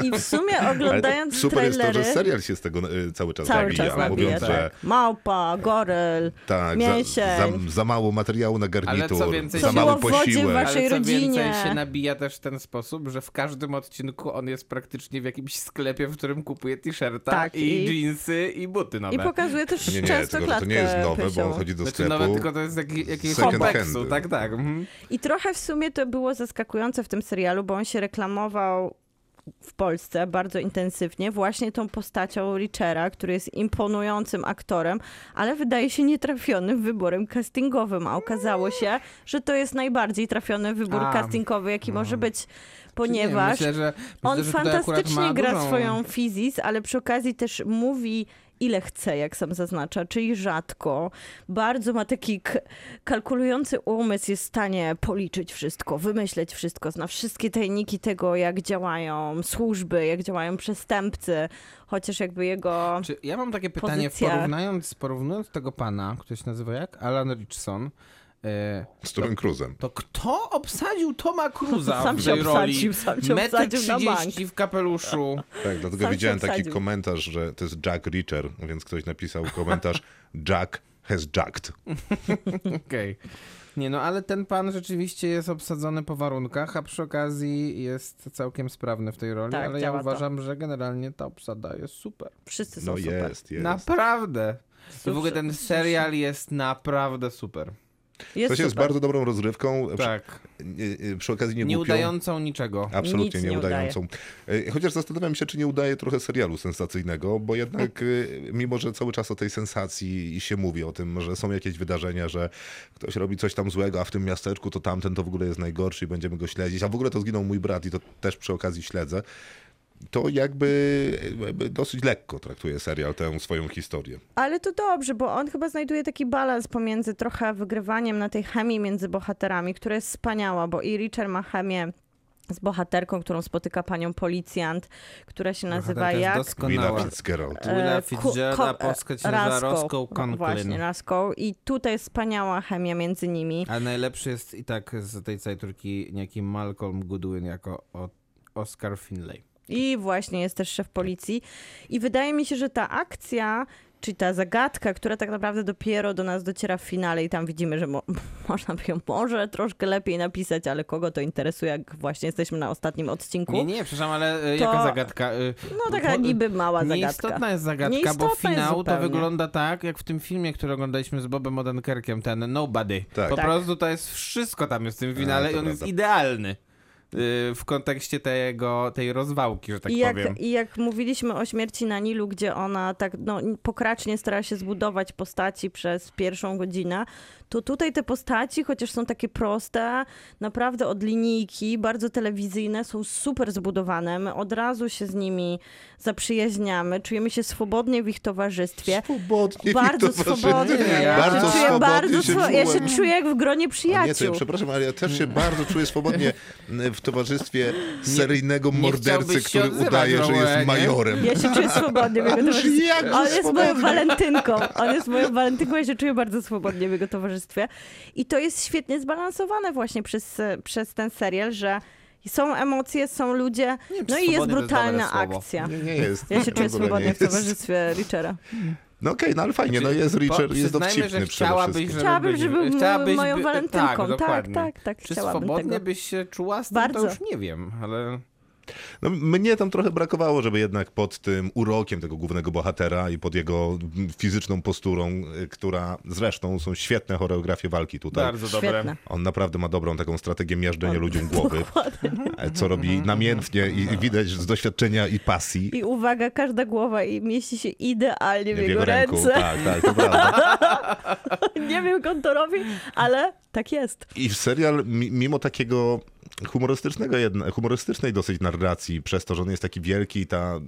D: I w sumie
B: Ale to
D: oglądając
B: super
D: trailery...
B: jest to, że serial się z tego e, cały czas
D: Cały
B: nabija, mówiąc,
D: czas nabija,
B: że
D: tak. Małpa, goryl,
B: tak, za, za,
D: mięsień.
B: za mało materiału na garnitur,
E: więcej-
B: za
E: Co
B: mały
D: było w wodzie
B: posiłek.
D: wasz- naszej
E: Ale co
D: rodzinie.
E: więcej, się nabija też w ten sposób, że w każdym odcinku on jest praktycznie w jakimś sklepie, w którym kupuje t-shirta
D: Tak,
E: i,
D: i-
E: jeansy i buty nowe.
D: I pokazuje też
B: Nie, nie,
D: często
B: tylko, że to
D: klatkę
B: nie jest nowe, bo on
D: piersiową.
B: chodzi do
E: Znaczy
B: sklepu.
E: nawet tylko to jest jakiś, jakiś
B: second
E: kompleksu,
B: handy.
E: tak, tak. Mhm.
D: I trochę w sumie to było zaskakujące w tym serialu, bo on się reklamował w Polsce bardzo intensywnie właśnie tą postacią Richera, który jest imponującym aktorem, ale wydaje się nietrafionym wyborem castingowym, a okazało się, że to jest najbardziej trafiony wybór
E: A, no.
D: castingowy, jaki może być,
E: Nie,
D: ponieważ
E: myślę, że,
D: on
E: myślę, że tutaj akurat
D: fantastycznie
E: ma
D: gra
E: dużą...
D: swoją fizis, ale przy okazji też mówi ile chce, jak sam zaznacza, czyli rzadko. Bardzo ma taki k- kalkulujący umysł, jest w stanie policzyć wszystko, wymyśleć wszystko, zna wszystkie tajniki tego, jak działają służby, jak działają przestępcy, chociaż jakby jego...
E: Czy ja mam takie pytanie,
D: pozycja.
E: porównując, porównując tego pana, który się nazywa jak? Alan Richson, e,
B: Z Tomem Cruzem.
E: to kto obsadził Toma Cruza
D: Sam
E: w
D: się
E: tej roli?
D: obsadził, sam się
E: Metr
D: obsadził na bank.
E: 30 w kapeluszu.
B: Tak, dlatego
D: Sam się
B: widziałem taki
D: wsadził.
B: komentarz, że to jest Jack Reacher, więc ktoś napisał komentarz Jack has jacked.
E: Okej. Nie no, ale ten pan rzeczywiście jest obsadzony po warunkach, a przy okazji jest całkiem sprawny w tej roli,
D: Tak,
E: ale ja
D: działa to.
E: uważam, że generalnie ta obsada jest super.
D: Wszyscy są
B: No
D: super.
B: jest, jest.
E: Naprawdę. I w ogóle
D: Super.
E: ten serial jest naprawdę super.
B: To
D: Jest
B: się jest
D: super.
B: bardzo dobrą rozrywką. Przy-
E: Tak.
B: y, y, Przy okazji nie Tak.
E: Nie
B: głupią.
E: udającą niczego.
B: Absolutnie
D: Nic nie
B: nieudającą. E, Chociaż zastanawiam się, czy nie udaje trochę serialu sensacyjnego, bo jednak e, mimo, że cały czas o tej sensacji się mówi, o tym, że są jakieś wydarzenia, że ktoś robi coś tam złego, a w tym miasteczku to tamten to w ogóle jest najgorszy i będziemy go śledzić, a w ogóle to zginął mój brat i to też przy okazji śledzę, to jakby e, dosyć lekko traktuje serial tę swoją historię.
D: Ale to dobrze, bo on chyba znajduje taki balans pomiędzy trochę wygrywaniem na tej chemii między bohaterami, która jest wspaniała, bo i Richard ma chemię z bohaterką, którą spotyka panią policjant, która się nazywa
E: Bohaterka
D: jak...
E: jest
B: Willa
E: doskonała.
B: Fitzgerald.
E: Willa
D: E, ku-
E: Fitzgeralda,
D: ko- e,
E: polska się nazywa
D: Rasko.
E: Roską
D: No Właśnie,
E: Conklin.
D: Raską. I tutaj jest wspaniała chemia między nimi.
E: A najlepszy jest i tak z tej całej turki niejaki Malcolm Goodwin jako o- Oscar Finlay.
D: I właśnie jest też szef policji. I wydaje mi się, że ta akcja, czy ta zagadka, która tak naprawdę dopiero do nas dociera w finale i tam widzimy, że mo- można by ją może troszkę lepiej napisać, ale kogo to interesuje, jak właśnie jesteśmy na ostatnim odcinku.
E: Nie, nie, przepraszam, ale e,
D: To-
E: jaka zagadka? E,
D: No taka
E: po-
D: niby mała zagadka.
E: Nieistotna jest zagadka, bo
D: Nieistotna jest
E: finał to
D: zupełnie.
E: wygląda tak, jak w tym filmie, który oglądaliśmy z Bobem Odenkerkiem, ten Nobody.
B: Tak.
E: Po
D: Tak.
E: prostu to jest wszystko tam jest w tym
B: A,
E: finale
B: to
E: i on jest
B: prawda.
E: idealny y, w kontekście tego, tej rozwałki, że tak
D: I jak,
E: powiem.
D: I jak mówiliśmy o śmierci na Nilu, gdzie ona tak no, pokracznie stara się zbudować postaci przez pierwszą godzinę, to tutaj te postaci, chociaż są takie proste, naprawdę od linijki, bardzo telewizyjne, są super zbudowane. My od razu się z nimi zaprzyjaźniamy, czujemy się swobodnie w ich towarzystwie.
B: Swobodnie mi
D: Bardzo
B: towarzyszy.
D: swobodnie. Ja
B: Bardzo
D: się czuję
B: swobodnie
D: bardzo
B: się
D: swo- Ja
B: czułem.
D: się czuję jak w gronie
B: A Nie, to ja
D: przyjaciół.
B: przepraszam, ale ja też się bardzo czuję swobodnie w towarzystwie seryjnego mordercy,
E: chciałbyś się
B: który
E: odzywać,
B: udaje, że jest
E: Romualdzie.
B: majorem.
D: Ja się czuję swobodnie w jego towarzystwie.
B: jak
D: On jest moją walentynką. On jest moją walentynką, ja się czuję bardzo swobodnie w jego towarzystwie. I to jest świetnie zbalansowane właśnie przez, przez ten serial, że są emocje, są ludzie,
E: Nie wiem, czy
D: no i jest
E: swobodnie to jest
D: brutalna
E: dobre słowo.
D: akcja.
B: Nie, nie jest.
D: Ja się
B: W ogóle
D: czuję swobodnie
B: nie
D: w
B: jest.
D: towarzystwie Richera.
B: No okej, no ale fajnie, no jest Richard, jest dowcipny
E: Znaczy, że
B: przede
E: chciałabyś,
B: wszystkim.
E: żeby
D: Chciałabym,
E: być-
D: żeby
E: chciałabyś
D: chciałabyś moją
E: by-
D: walentynką. Tak, tak,
E: dokładnie.
D: tak, tak
E: Czy
D: chciałabym
E: swobodnie
D: tego.
E: byś się czuła z tym,
D: Bardzo.
E: to już nie wiem, ale
B: No, mnie tam trochę brakowało, żeby jednak pod tym urokiem tego głównego bohatera i pod jego mm, fizyczną posturą, y, która zresztą są świetne choreografie walki tutaj.
E: bardzo dobre.
D: Świetne.
B: On naprawdę ma dobrą taką strategię miażdżenia ludziom głowy, E, co robi namiętnie i widać z doświadczenia i pasji.
D: I uwaga, każda głowa i mieści się idealnie w jego, ręce.
B: Tak, tak, to prawda.
D: Nie wiem, jak on to robi, ale tak jest.
B: I serial, mi- mimo takiego humorystycznego, jedna, humorystycznej dosyć narracji, przez to, że on jest taki wielki i ta,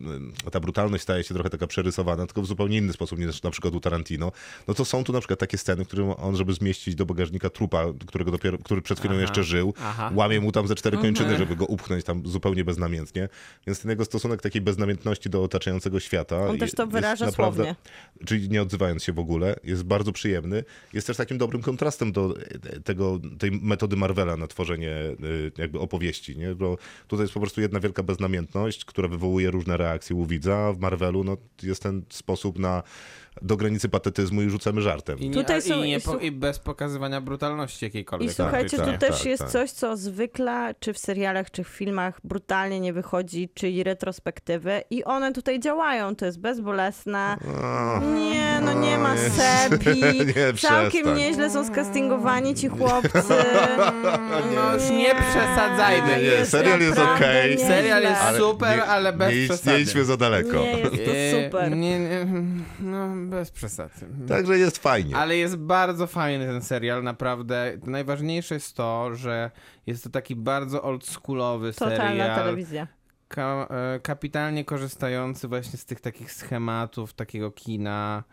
B: y, ta brutalność staje się trochę taka przerysowana, tylko w zupełnie inny sposób niż na przykład u Tarantino, no to są tu na przykład takie sceny, w którym on, żeby zmieścić do bagażnika trupa, którego dopiero, który przed chwilą
E: Aha,
B: jeszcze żył,
E: aha.
B: łamie mu tam ze cztery
D: Mhm.
B: kończyny, żeby go upchnąć tam zupełnie beznamiętnie. Więc ten jego stosunek takiej beznamiętności do otaczającego świata
D: On
B: i-
D: też to
B: jest
D: wyraża słownie.
B: Czyli nie odzywając się w ogóle, jest bardzo przyjemny. Jest też takim dobrym kontrastem do e, tego, tej metody Marvela na tworzenie e, jakby opowieści, nie? Bo tutaj jest po prostu jedna wielka beznamiętność, która wywołuje różne reakcje u widza. W Marvelu no, jest ten sposób na do granicy patetyzmu i rzucamy żartem.
E: I, nie,
D: Tutaj są-
E: i, nie
D: i
E: po,
D: słuch-
E: i bez pokazywania brutalności jakiejkolwiek.
D: I słuchajcie,
B: tak,
D: tu
E: faktycznie.
D: też
B: tak,
D: jest
B: tak.
D: coś, co zwykle, czy w serialach, czy w filmach brutalnie nie wychodzi, czyli retrospektywy. I one tutaj działają, to jest bezbolesne. Nie, no nie ma sepi.
B: Nie, przestań.
D: Całkiem nieźle są skastingowani ci chłopcy.
E: No już nie przesadzajmy.
B: Nie, nie, serial jest
D: naprawdę
B: okej.
D: nieźle.
E: Serial jest Ale- super,
B: nie,
E: ale bez
B: nie, idź- nie
E: przesady.
B: idźmy za daleko.
D: Nie, jest to
E: E,
D: super.
E: Nie, nie, no bez przesady.
B: Także jest fajnie.
E: Ale jest bardzo fajny ten serial, naprawdę. Najważniejsze jest to, że jest to taki bardzo oldschoolowy
D: Totalna
E: serial,
D: telewizja.
E: ka- e, kapitalnie korzystający właśnie z tych takich schematów, takiego kina.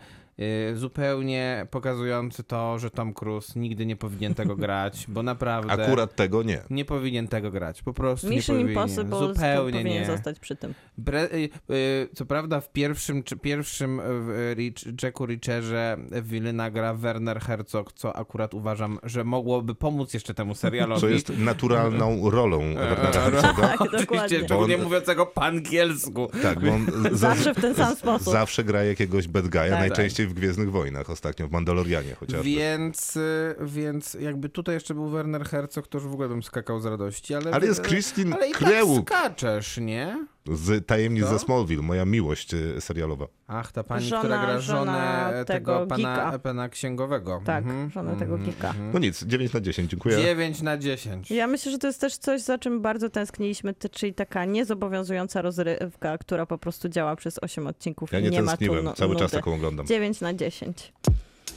E: y, zupełnie pokazujący to, że Tom Cruise nigdy nie powinien tego grać, bo naprawdę
B: Akurat tego nie.
E: nie powinien tego grać. Po prostu
D: Mission
E: nie powinien.
D: Impossible
E: zupełnie
D: powinien
E: nie.
D: zostać przy tym.
E: Bre, y, y, co prawda w pierwszym, czy pierwszym y, w Rich, Jacku Richerze Willyna gra Werner Herzog, co akurat uważam, że mogłoby pomóc jeszcze temu serialowi.
B: Co jest naturalną rolą Wernera
E: E,
B: Herzoga.
D: Tak,
E: Oczywiście,
D: dokładnie.
E: szczególnie
B: Bo on-
E: mówiącego po angielsku.
B: Tak, bo on z-
D: Zawsze w ten sam sposób.
B: zawsze gra jakiegoś bad guy'a,
E: tak.
B: najczęściej w Gwiezdnych Wojnach, ostatnio w Mandalorianie chociażby.
E: Więc, y, więc jakby tutaj jeszcze był Werner Herzog, to już w ogóle bym skakał z radości. Ale,
B: Ale jest Kristin
E: ale i tak No.
B: Kreuk
E: skaczesz, nie?
B: z Tajemnic
E: Co?
B: ze Smallville, moja miłość y, serialowa.
E: Ach, ta pani,
D: Żona-
E: która gra żonę
D: żona
E: tego,
D: tego
E: pana,
D: geeka.
E: pana księgowego.
D: Tak,
E: Mhm,
D: żona tego
E: mhm,
D: geeka.
E: mhm.
B: No nic, 9 na 10, dziękuję.
E: 9 na 10.
D: Ja myślę, że to jest też coś, za czym bardzo tęskniliśmy, ty- czyli taka niezobowiązująca rozrywka, która po prostu działa przez 8 odcinków
B: Ja
D: i
B: nie,
D: nie ma tu no-
B: tęskniłem,
D: nu-
B: cały czas
D: nudy.
B: taką oglądam.
D: 9 na 10.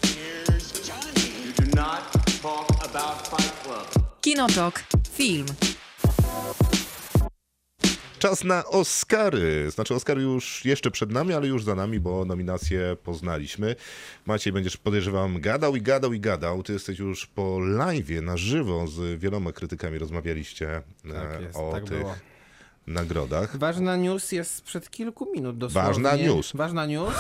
C: Here's Johnny. You do not talk about Fight Club.
A: Kinotok. Film.
B: Czas na Oscary. Znaczy Oscary już jeszcze przed nami, ale już za nami, bo nominacje poznaliśmy. Maciej, będziesz podejrzewam gadał i gadał i gadał. Ty jesteś już po live na żywo z wieloma krytykami rozmawialiście
E: Tak
B: e,
E: jest,
B: o
E: tak
B: tych
E: było.
B: nagrodach.
E: Ważna news jest sprzed kilku minut dosłownie.
B: Ważna news.
E: Ważna news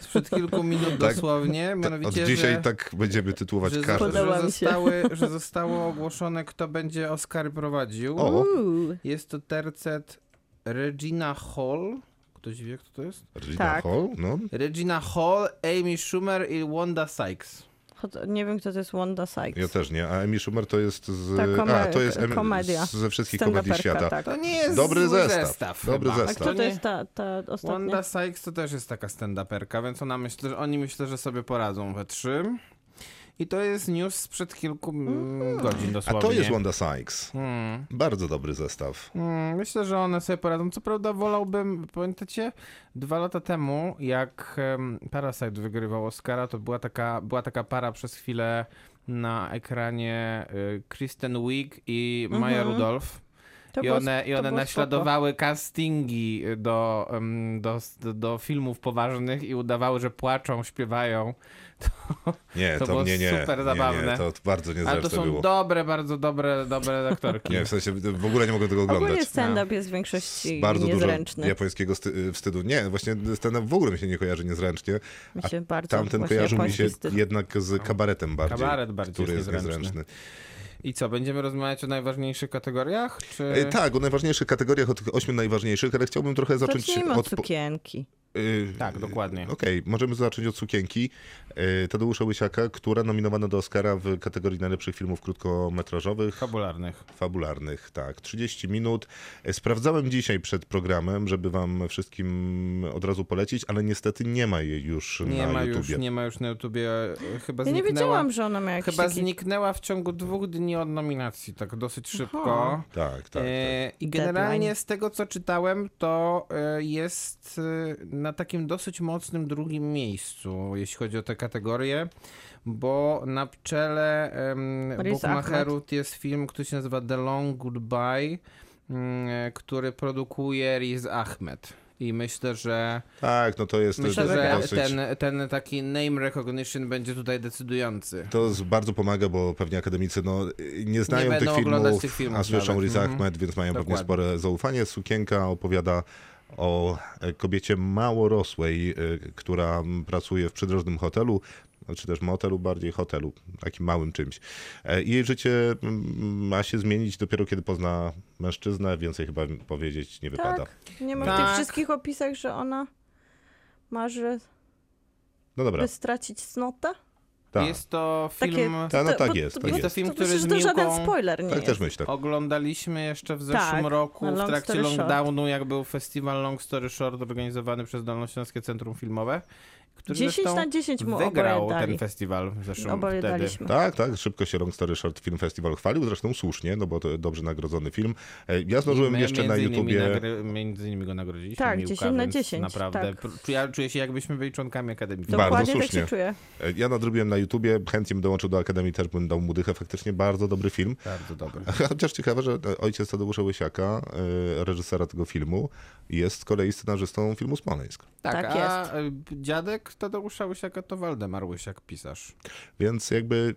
E: sprzed kilku minut
B: Tak.
E: dosłownie.
B: Od
E: Mianowicie,
B: dzisiaj
E: że,
B: tak będziemy tytułować
E: że,
B: każdy.
D: Podoba
E: że,
D: mi się.
E: zostały, że zostało ogłoszone, kto będzie Oscary prowadził.
B: O,
D: Uuu,
E: Jest to tercet Regina Hall. Ktoś wie, kto to jest?
B: Regina
D: Tak.
B: Hall, no.
E: Regina Hall, Amy Schumer i Wanda Sykes.
D: chod- nie wiem, kto to jest Wanda Sykes.
B: Ja też nie, a Amy Schumer to jest z...
D: Ta kome-
B: a, to jest em-
D: komedia.
B: z- ze wszystkich komedii
D: Stand-uperka,
B: świata.
D: Tak.
E: To nie jest
B: Dobry
E: zły
B: zestaw. Dobry
E: chyba.
D: A
B: zestaw.
D: kto to jest ta, ta ostatnia?
E: Wanda Sykes to też jest taka stand-uperka, więc ona myślę, że oni myślę, że sobie poradzą we trzy. I to jest news sprzed kilku mm, godzin
B: Mhm. A
E: dosłownie.
B: to jest Wanda Sykes.
E: Mm,
B: Bardzo dobry zestaw.
E: mm, myślę, że one sobie poradzą. Co prawda wolałbym, pamiętacie, dwa lata temu, jak em, Parasite wygrywał Oscara, to była taka, była taka para przez chwilę na ekranie y, Kristen Wiig i Maya
B: Mhm.
E: Rudolph.
D: To
E: I
D: było-
E: one, i
D: to
E: one
D: było
E: naśladowały castingi y, do, ym, do, s- do, do filmów poważnych i udawały, że płaczą, śpiewają.
B: Nie,
E: To
B: to,
E: było
B: mnie nie.
E: super
B: nie,
E: zabawne.
B: Nie, to bardzo
E: Ale to
B: niezręczne
E: są
B: było.
E: dobre, bardzo dobre, dobre aktorki.
B: Nie, w sensie w ogóle nie mogę tego
D: spoko. Ogólnie
B: oglądać.
E: No.
D: stand-up jest w
B: Z
D: większości
B: Bardzo dużo
D: niezręczny.
B: japońskiego sty- y, wstydu. Nie, właśnie stand-up w ogóle mi się nie kojarzy niezręcznie.
D: Mi się bardzo
B: Tamten
D: właśnie
B: kojarzył mi
D: japoński
B: się
D: styl.
B: jednak z kabaretem bardziej.
E: Kabaret bardziej
B: który
E: jest
B: jest niezręczny.
E: niezręczny. I co, będziemy rozmawiać o najważniejszych kategoriach? Czy...
B: E, tak, o najważniejszych kategoriach, o tych ośmiu najważniejszych, ale chciałbym trochę zacząć
D: Zacznijmy od
B: po-
D: sukienki.
B: Y,
E: Tak, dokładnie.
B: Okej, możemy zacząć od sukienki y, Tadeusza Łysiaka, która nominowana do Oscara w kategorii najlepszych filmów krótkometrażowych,
E: Fabularnych.
B: fabularnych, tak, 30 minut. Y, Sprawdzałem dzisiaj przed programem, żeby wam wszystkim od razu polecić, ale niestety nie ma jej już
E: Nie
B: na
E: ma, już,
B: YouTubie.
E: nie ma już na YouTubie. e, Chyba
D: Ja nie
E: zniknęła...
D: wiedziałam, że ona miała jakiś
E: Chyba
D: taki...
E: zniknęła w ciągu dwóch dni od nominacji, tak dosyć szybko.
B: Tak, tak. tak.
E: E, I generalnie
D: Deadline.
E: z tego, co czytałem, to e, jest e, na takim dosyć mocnym drugim miejscu, jeśli chodzi o te kategorie, bo na czele em,
D: Riz
E: Bookmacherów jest film, który się nazywa The Long Goodbye, mm, e, który produkuje Riz Ahmed. I myślę, że
B: Tak, no to jest
E: myślę,
B: to
E: że
B: dosyć...
E: ten, ten taki name recognition będzie tutaj decydujący.
B: To z- bardzo pomaga, bo pewnie akademicy no, y, nie znają tych,
E: będą
B: filmów,
E: oglądać tych filmów
B: a słyszą
E: nawet.
B: Riz
E: Mhm.
B: Ahmed, więc mają pewnie
E: Dokładnie.
B: spore zaufanie. Sukienka opowiada o e, kobiecie mało rosłej, y, która m, pracuje w przydrożnym hotelu, czy też motelu, bardziej hotelu, takim małym czymś. E, i Jej życie m, ma się zmienić dopiero kiedy pozna mężczyznę, więcej chyba m- powiedzieć nie wypada.
D: Tak, nie ma w
E: Tak.
D: tych wszystkich opisach, że ona marzy,
B: No dobra,
D: by stracić cnotę?
B: tak.
E: Jest to
D: Takie-
E: film...
B: Ta, no
D: To-
B: tak
D: bo-
B: jest,
D: bo-
B: tak
E: to
B: jest.
E: film,
D: to
E: który
D: myślę,
E: z
D: że to żaden
E: Milką-
D: spoiler nie
B: Tak też
D: jest.
B: myślę.
E: Oglądaliśmy jeszcze w zeszłym
D: Tak,
E: roku w
D: Long
E: trakcie
D: Story
E: lockdownu, jak był festiwal Long Story Short organizowany przez Dolnośląskie Centrum Filmowe, który
D: 10
E: zresztą
D: na 10 mu
E: wygrał
D: oboje dali.
E: ten festiwal w zeszłym
D: Oboje
E: wtedy.
D: daliśmy.
B: Tak, tak, szybko się Long Story Short Film Festival chwalił, zresztą słusznie, no bo to dobrze nagrodzony film. E, Ja zdążyłem
E: My
B: jeszcze na
E: między innymi
B: YouTubie...
E: Nagry, między innymi go nagrodziliśmy.
D: Tak,
E: Miłka,
D: 10 na
E: więc
D: 10,
E: Naprawdę.
D: tak.
E: pr- Ja czuję się, jakbyśmy byli członkami Akademii.
B: Bardzo
D: Dokładnie tak
B: słusznie.
D: się czuję.
B: e, Ja nadrobiłem na YouTubie, chętnie bym dołączył do Akademii, też bym dał mu dychę, faktycznie bardzo dobry film.
E: Bardzo dobry.
B: Chociaż ciekawe, że e, ojciec Tadeusza Łysiaka, e, reżysera tego filmu, jest z kolei scenarzystą filmu Smoleńsk.
E: Tak,
D: Tak
E: a y, dziadek jak Tadeusza Łysiaka, to Waldemar Łysiak, pisarz.
B: Więc jakby,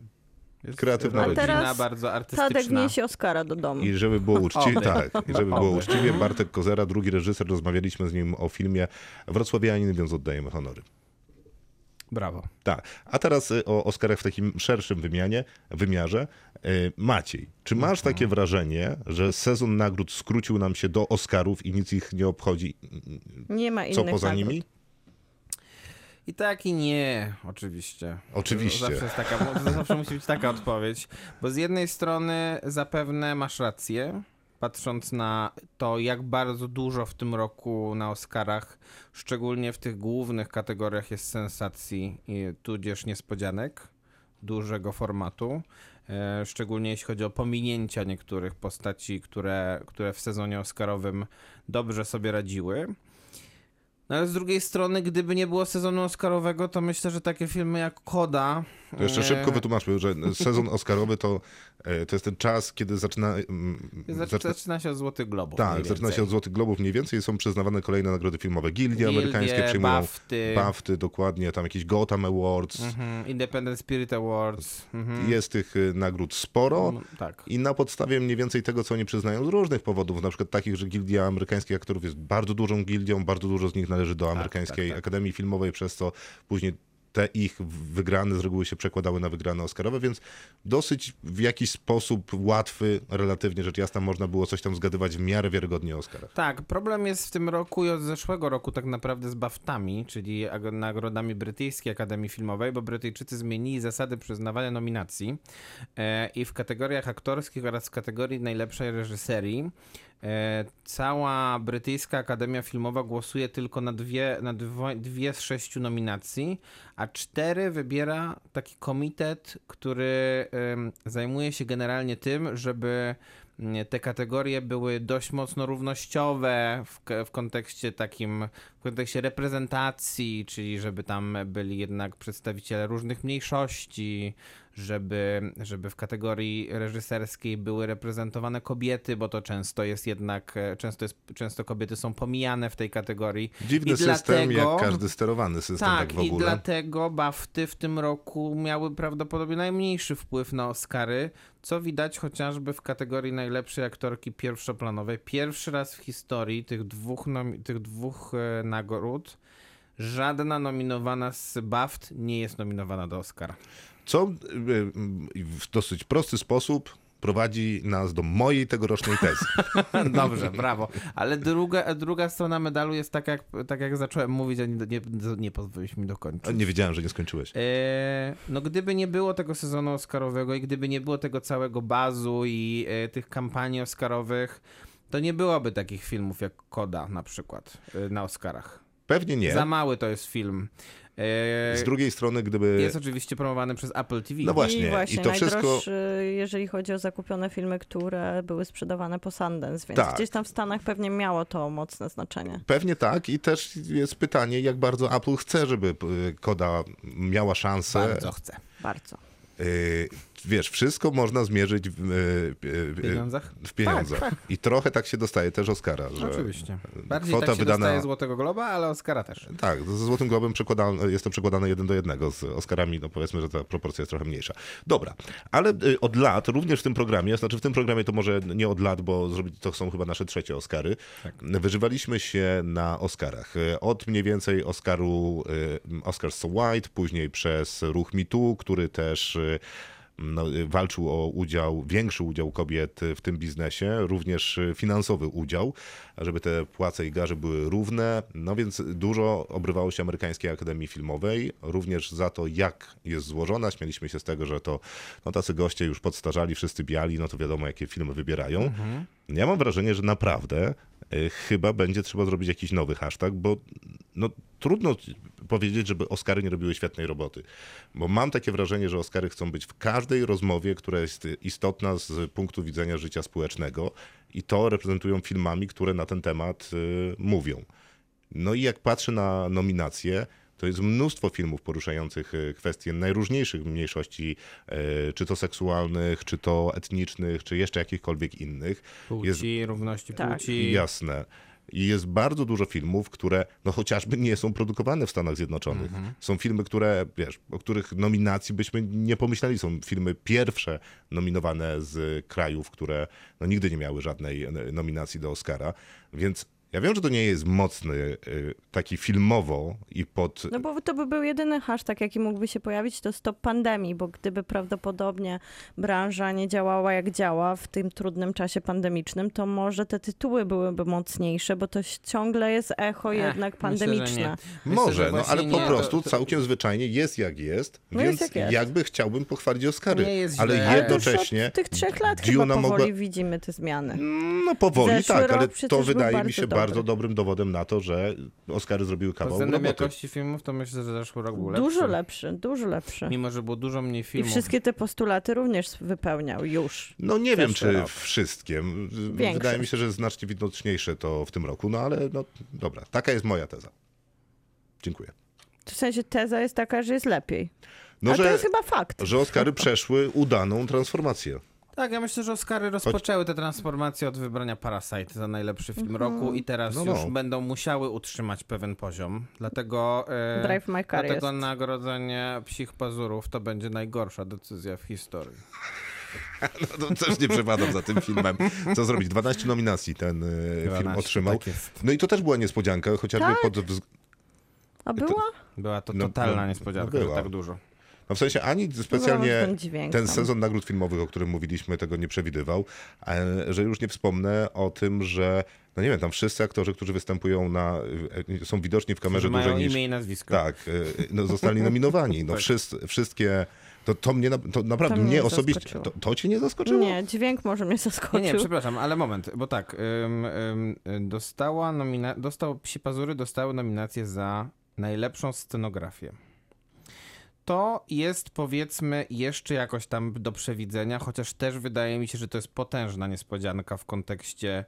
E: Jest
B: Kreatywna
E: rodzina,
D: rodzina. A teraz
E: bardzo
D: Tadek
E: artystyczna.
D: niesie Oscara do domu.
B: i żeby było uczciwie,
E: Oby.
B: tak, i żeby było
E: Oby.
B: uczciwie, Bartek Kozera, drugi reżyser, rozmawialiśmy z nim o filmie Wrocławianin, więc oddajemy honory.
E: Brawo.
B: Tak. A teraz y, o Oscarach w takim szerszym wymianie, wymiarze. Y, Maciej, czy masz takie wrażenie, że sezon nagród skrócił nam się do Oscarów i nic ich nie obchodzi?
D: Nie ma
B: Co
D: innych
B: poza
D: nagród.
B: nimi?
E: I tak i nie, oczywiście.
B: Oczywiście.
E: Zawsze, jest taka, bo- zawsze musi być taka odpowiedź. Bo z jednej strony zapewne masz rację, patrząc na to, jak bardzo dużo w tym roku na Oscarach, szczególnie w tych głównych kategoriach jest sensacji, i tudzież niespodzianek dużego formatu. E, Szczególnie jeśli chodzi o pominięcia niektórych postaci, które, które w sezonie Oscarowym dobrze sobie radziły. No ale z drugiej strony, gdyby nie było sezonu Oscarowego, to myślę, że takie filmy jak Koda.
B: To jeszcze
E: e,
B: szybko wytłumaczmy, że sezon Oscarowy to, y, to jest ten czas, kiedy zaczyna. mm,
E: zac-
B: zaczyna
E: Zaczyna się od Złotych Globów.
B: tak,
E: mniej
B: zaczyna się
E: więcej.
B: od Złotych Globów mniej więcej są przyznawane kolejne nagrody filmowe. Gildie,
E: Gildie,
B: amerykańskie przyjmują
E: BAFTY.
B: BAFTY, dokładnie, tam jakieś Gotham Awards.
E: Mhm, Independent Spirit Awards. Mhm.
B: Jest tych y, nagród sporo.
E: Mm, Tak.
B: I na podstawie mniej więcej tego, co oni przyznają z różnych powodów, na przykład takich, że Gildia Amerykańskich Aktorów jest bardzo dużą gildią, bardzo dużo z nich należy do Amerykańskiej
E: tak.
B: Akademii Filmowej, przez co później te ich wygrane z reguły się przekładały na wygrane Oscarowe, więc dosyć w jakiś sposób łatwy, relatywnie rzecz jasna, można było coś tam zgadywać w miarę wiarygodnie o Oscarach.
E: Tak, problem jest w tym roku i od zeszłego roku tak naprawdę z BAFTami, czyli ag- nagrodami brytyjskiej Akademii Filmowej, bo Brytyjczycy zmienili zasady przyznawania nominacji e, i w kategoriach aktorskich oraz w kategorii najlepszej reżyserii e, cała brytyjska Akademia Filmowa głosuje tylko na, dwie, na dwie, dwie z sześciu nominacji, a cztery wybiera taki komitet, który em, zajmuje się generalnie tym, żeby mm, te kategorie były dość mocno równościowe w, k- w kontekście takim, w kontekście reprezentacji, czyli żeby tam byli jednak przedstawiciele różnych mniejszości, żeby, żeby w kategorii reżyserskiej były reprezentowane kobiety, bo to często jest jednak, e, często, jest, często kobiety są pomijane w tej kategorii.
B: Dziwny
E: I
B: system,
E: dlatego-
B: jak każdy sterowany system tak, w
E: i
B: ogóle.
E: dlatego BAFTY w tym roku miały prawdopodobnie najmniejszy wpływ na Oscary, co widać chociażby w kategorii najlepszej aktorki pierwszoplanowej. Pierwszy raz w historii tych dwóch, nomi- tych dwóch e, nagród żadna nominowana z BAFT nie jest nominowana do Oscara.
B: Co y, y, y, w dosyć prosty sposób prowadzi nas do mojej tegorocznej tezy.
E: Dobrze, brawo. Ale druga, druga strona medalu jest tak jak, tak jak zacząłem mówić, a nie, nie, nie pozwoliłeś mi dokończyć.
B: Nie wiedziałem, że nie skończyłeś.
E: E, no gdyby nie było tego sezonu Oscarowego i gdyby nie było tego całego bazu i e, tych kampanii Oscarowych, to nie byłoby takich filmów jak Koda na przykład e, na Oscarach.
B: Pewnie nie.
E: Za mały to jest film. E,
B: Z drugiej strony, gdyby.
E: Jest oczywiście promowany przez Apple TV.
B: No właśnie,
D: I właśnie,
B: i to
D: najdroższy,
B: wszystko.
D: jeżeli chodzi o zakupione filmy, które były sprzedawane po Sundance, więc
B: Tak.
D: gdzieś tam w Stanach pewnie miało to mocne znaczenie.
B: Pewnie tak, i też jest pytanie, jak bardzo Apple chce, żeby y, koda miała szansę.
E: Bardzo chcę.
D: Bardzo.
B: Y, Wiesz, wszystko można zmierzyć w, y, y,
E: W
B: y,
E: pieniądzach?
B: w pieniądzach. I trochę tak się dostaje też Oscara. Że...
E: Oczywiście. Bardziej
B: kwota
E: tak się
B: wydana-
E: dostaje Złotego Globa, ale Oscara też.
B: Tak, ze Złotym Globem przekładam- jest to przekładane jeden do jednego z Oscarami, no powiedzmy, że ta proporcja jest trochę mniejsza. Dobra, ale y, od lat, również w tym programie, znaczy w tym programie to może nie od lat, bo zrobi- to są chyba nasze trzecie Oscary, wyżywaliśmy się na Oscarach. Y, Od mniej więcej Oscaru, y, Oscar So White, później przez ruch Me Too, który też... y, no, y, walczył o udział, większy udział kobiet w tym biznesie, również y, finansowy udział, żeby te płace i garze były równe. No więc dużo obrywało się Amerykańskiej Akademii Filmowej, również za to, jak jest złożona. Śmieliśmy się z tego, że to no, tacy goście już podstarzali, wszyscy biali, no to wiadomo, jakie filmy wybierają. Ja mam wrażenie, że naprawdę y, chyba będzie trzeba zrobić jakiś nowy hashtag, bo no, trudno ci- powiedzieć, żeby Oscary nie robiły świetnej roboty. Bo mam takie wrażenie, że Oscary chcą być w każdej rozmowie, która jest y, istotna z punktu widzenia życia społecznego i to reprezentują filmami, które na ten temat y, mówią. No i jak patrzę na nominacje, to jest mnóstwo filmów poruszających y, kwestie najróżniejszych mniejszości, y, czy to seksualnych, czy to etnicznych, czy jeszcze jakichkolwiek innych.
E: Płci,
B: Jest-
E: równości
D: Tak.
E: płci.
B: Jasne. I jest bardzo dużo filmów, które no chociażby nie są produkowane w Stanach Zjednoczonych.
E: Mhm.
B: Są filmy, które, wiesz, o których nominacji byśmy nie pomyśleli. Są filmy pierwsze nominowane z krajów, które no, nigdy nie miały żadnej e, nominacji do Oscara. Więc ja wiem, że to nie jest mocny e, taki filmowo i pod
D: No bo to by był jedyny hashtag, jaki mógłby się pojawić, to stop pandemii, bo gdyby prawdopodobnie branża nie działała jak działa w tym trudnym czasie pandemicznym, to może te tytuły byłyby mocniejsze, bo to ś- ciągle jest echo
E: Ech,
D: jednak
E: myślę, że nie.
D: pandemiczne.
E: Myślę,
B: Może,
E: że
B: no
E: właśnie
B: ale po
E: nie,
B: prostu
E: to- to-
B: całkiem zwyczajnie jest jak jest,
D: No
B: więc
D: jest jak jest.
B: jakby chciałbym pochwalić Oscary,
E: Nie jest
B: ale
E: źle. Ale to
B: jednocześnie,
D: Już od tych trzech lat
B: Duna
D: chyba powoli
B: mogła-
D: widzimy te zmiany.
E: Mm,
B: no powoli
D: Zeszły
B: tak,
D: rok
B: ale
D: przecież
B: to
D: był
B: wydaje mi
D: bardzo
B: się
D: dobry.
B: bardzo dobrym dowodem na to, że Oscary zrobiły
E: Pod
B: kawał
E: względem
B: roboty.
E: jakości filmów to myślę, że zeszły rok był lepszy.
D: Dużo lepszy, dużo lepszy.
E: Mimo, że było dużo mniej
D: I
E: filmów.
D: wszystkie te postulaty również wypełniał już.
B: No nie wiem,
D: Zeszły
B: czy
D: rok.
B: wszystkim.
D: Większość.
B: Wydaje mi się, że znacznie widoczniejsze to w tym roku, no ale no dobra, taka jest moja teza. Dziękuję.
D: W sensie teza jest taka, że jest lepiej.
B: No,
D: A to
B: że,
D: jest chyba fakt.
B: że Oscary przeszły udaną transformację.
E: Tak, ja myślę, że Oscary rozpoczęły tę transformację od wybrania Parasite za najlepszy
D: Mhm.
E: film roku i teraz
B: No, no.
E: już będą musiały utrzymać pewien poziom. Dlatego, e,
D: Drive My Car
E: dlatego
D: jest.
E: nagrodzenie psich pazurów to będzie najgorsza decyzja w historii.
B: No, to też nie przepadam za tym filmem. Co zrobić? 12 nominacji ten e,
E: 12,
B: film otrzymał.
E: tak jest.
B: No i to też była niespodzianka, chociażby
D: Tak.
B: pod wz...
D: A była?
E: Była to
B: No,
E: totalna
B: no,
E: niespodzianka,
B: no
E: że
B: była.
E: tak dużo.
B: no w sensie ani
D: Byłam
B: specjalnie
D: w tym dźwięku.
B: ten sezon nagród filmowych, o którym mówiliśmy, tego nie przewidywał, e, że już nie wspomnę o tym, że no nie wiem, tam wszyscy aktorzy, którzy występują na e, są widoczni w kamerze
E: Że mają
B: dłużej niż
E: imię i nazwisko.
B: tak, e, no, zostali nominowani. No
E: Tak.
B: wszyscy, wszystkie to, to mnie na, to naprawdę
D: To mnie
B: mnie osobiście
D: zaskoczyło.
B: to, to cię nie zaskoczyło?
D: Nie, dźwięk może mnie
E: Nie,
D: zaskoczył.
E: nie, przepraszam, ale moment, bo tak, ym, ym, dostała nomina- dostał Psi Pazury dostały nominację za najlepszą scenografię. To jest powiedzmy jeszcze jakoś tam do przewidzenia, chociaż też wydaje mi się, że to jest potężna niespodzianka w kontekście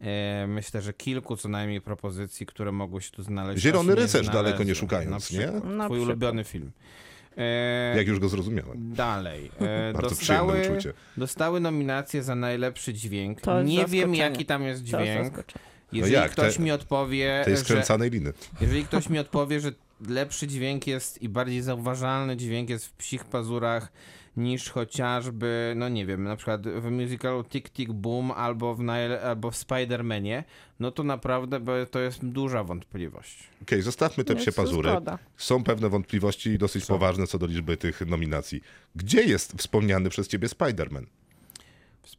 E: e, myślę, że kilku co najmniej propozycji, które mogły się tu znaleźć.
B: Zielony
E: aż nie
B: rycerz daleko nie
E: znalazły.
B: szukając,
E: Na przykład.
D: nie? Na
E: Twój
D: przykład.
E: ulubiony film. E,
B: Jak już go zrozumiałem.
E: Dalej. E,
B: Bardzo
E: dostały,
B: przyjemne uczucie.
E: dostały nominację za najlepszy dźwięk.
D: To jest
E: nie wiem,
D: zaskoczenie.
E: jaki tam jest
D: To
E: dźwięk.
D: zaskoczenie. No
E: Jeżeli
B: jak,
E: ktoś
B: te-
E: mi odpowie,
B: Tej
E: że,
B: skręcanej liny.
E: jeżeli ktoś mi odpowie, że lepszy dźwięk jest i bardziej zauważalny dźwięk jest w psich pazurach niż chociażby, no nie wiem, na przykład w musicalu Tick Tick Boom albo w, najle- albo w Spider-Manie, no to naprawdę bo to jest duża wątpliwość.
B: Okej, zostawmy te
D: Jest
B: psie pazury.
D: zgoda.
B: Są pewne wątpliwości i dosyć poważne co do liczby tych nominacji. Gdzie jest wspomniany przez ciebie Spider-Man?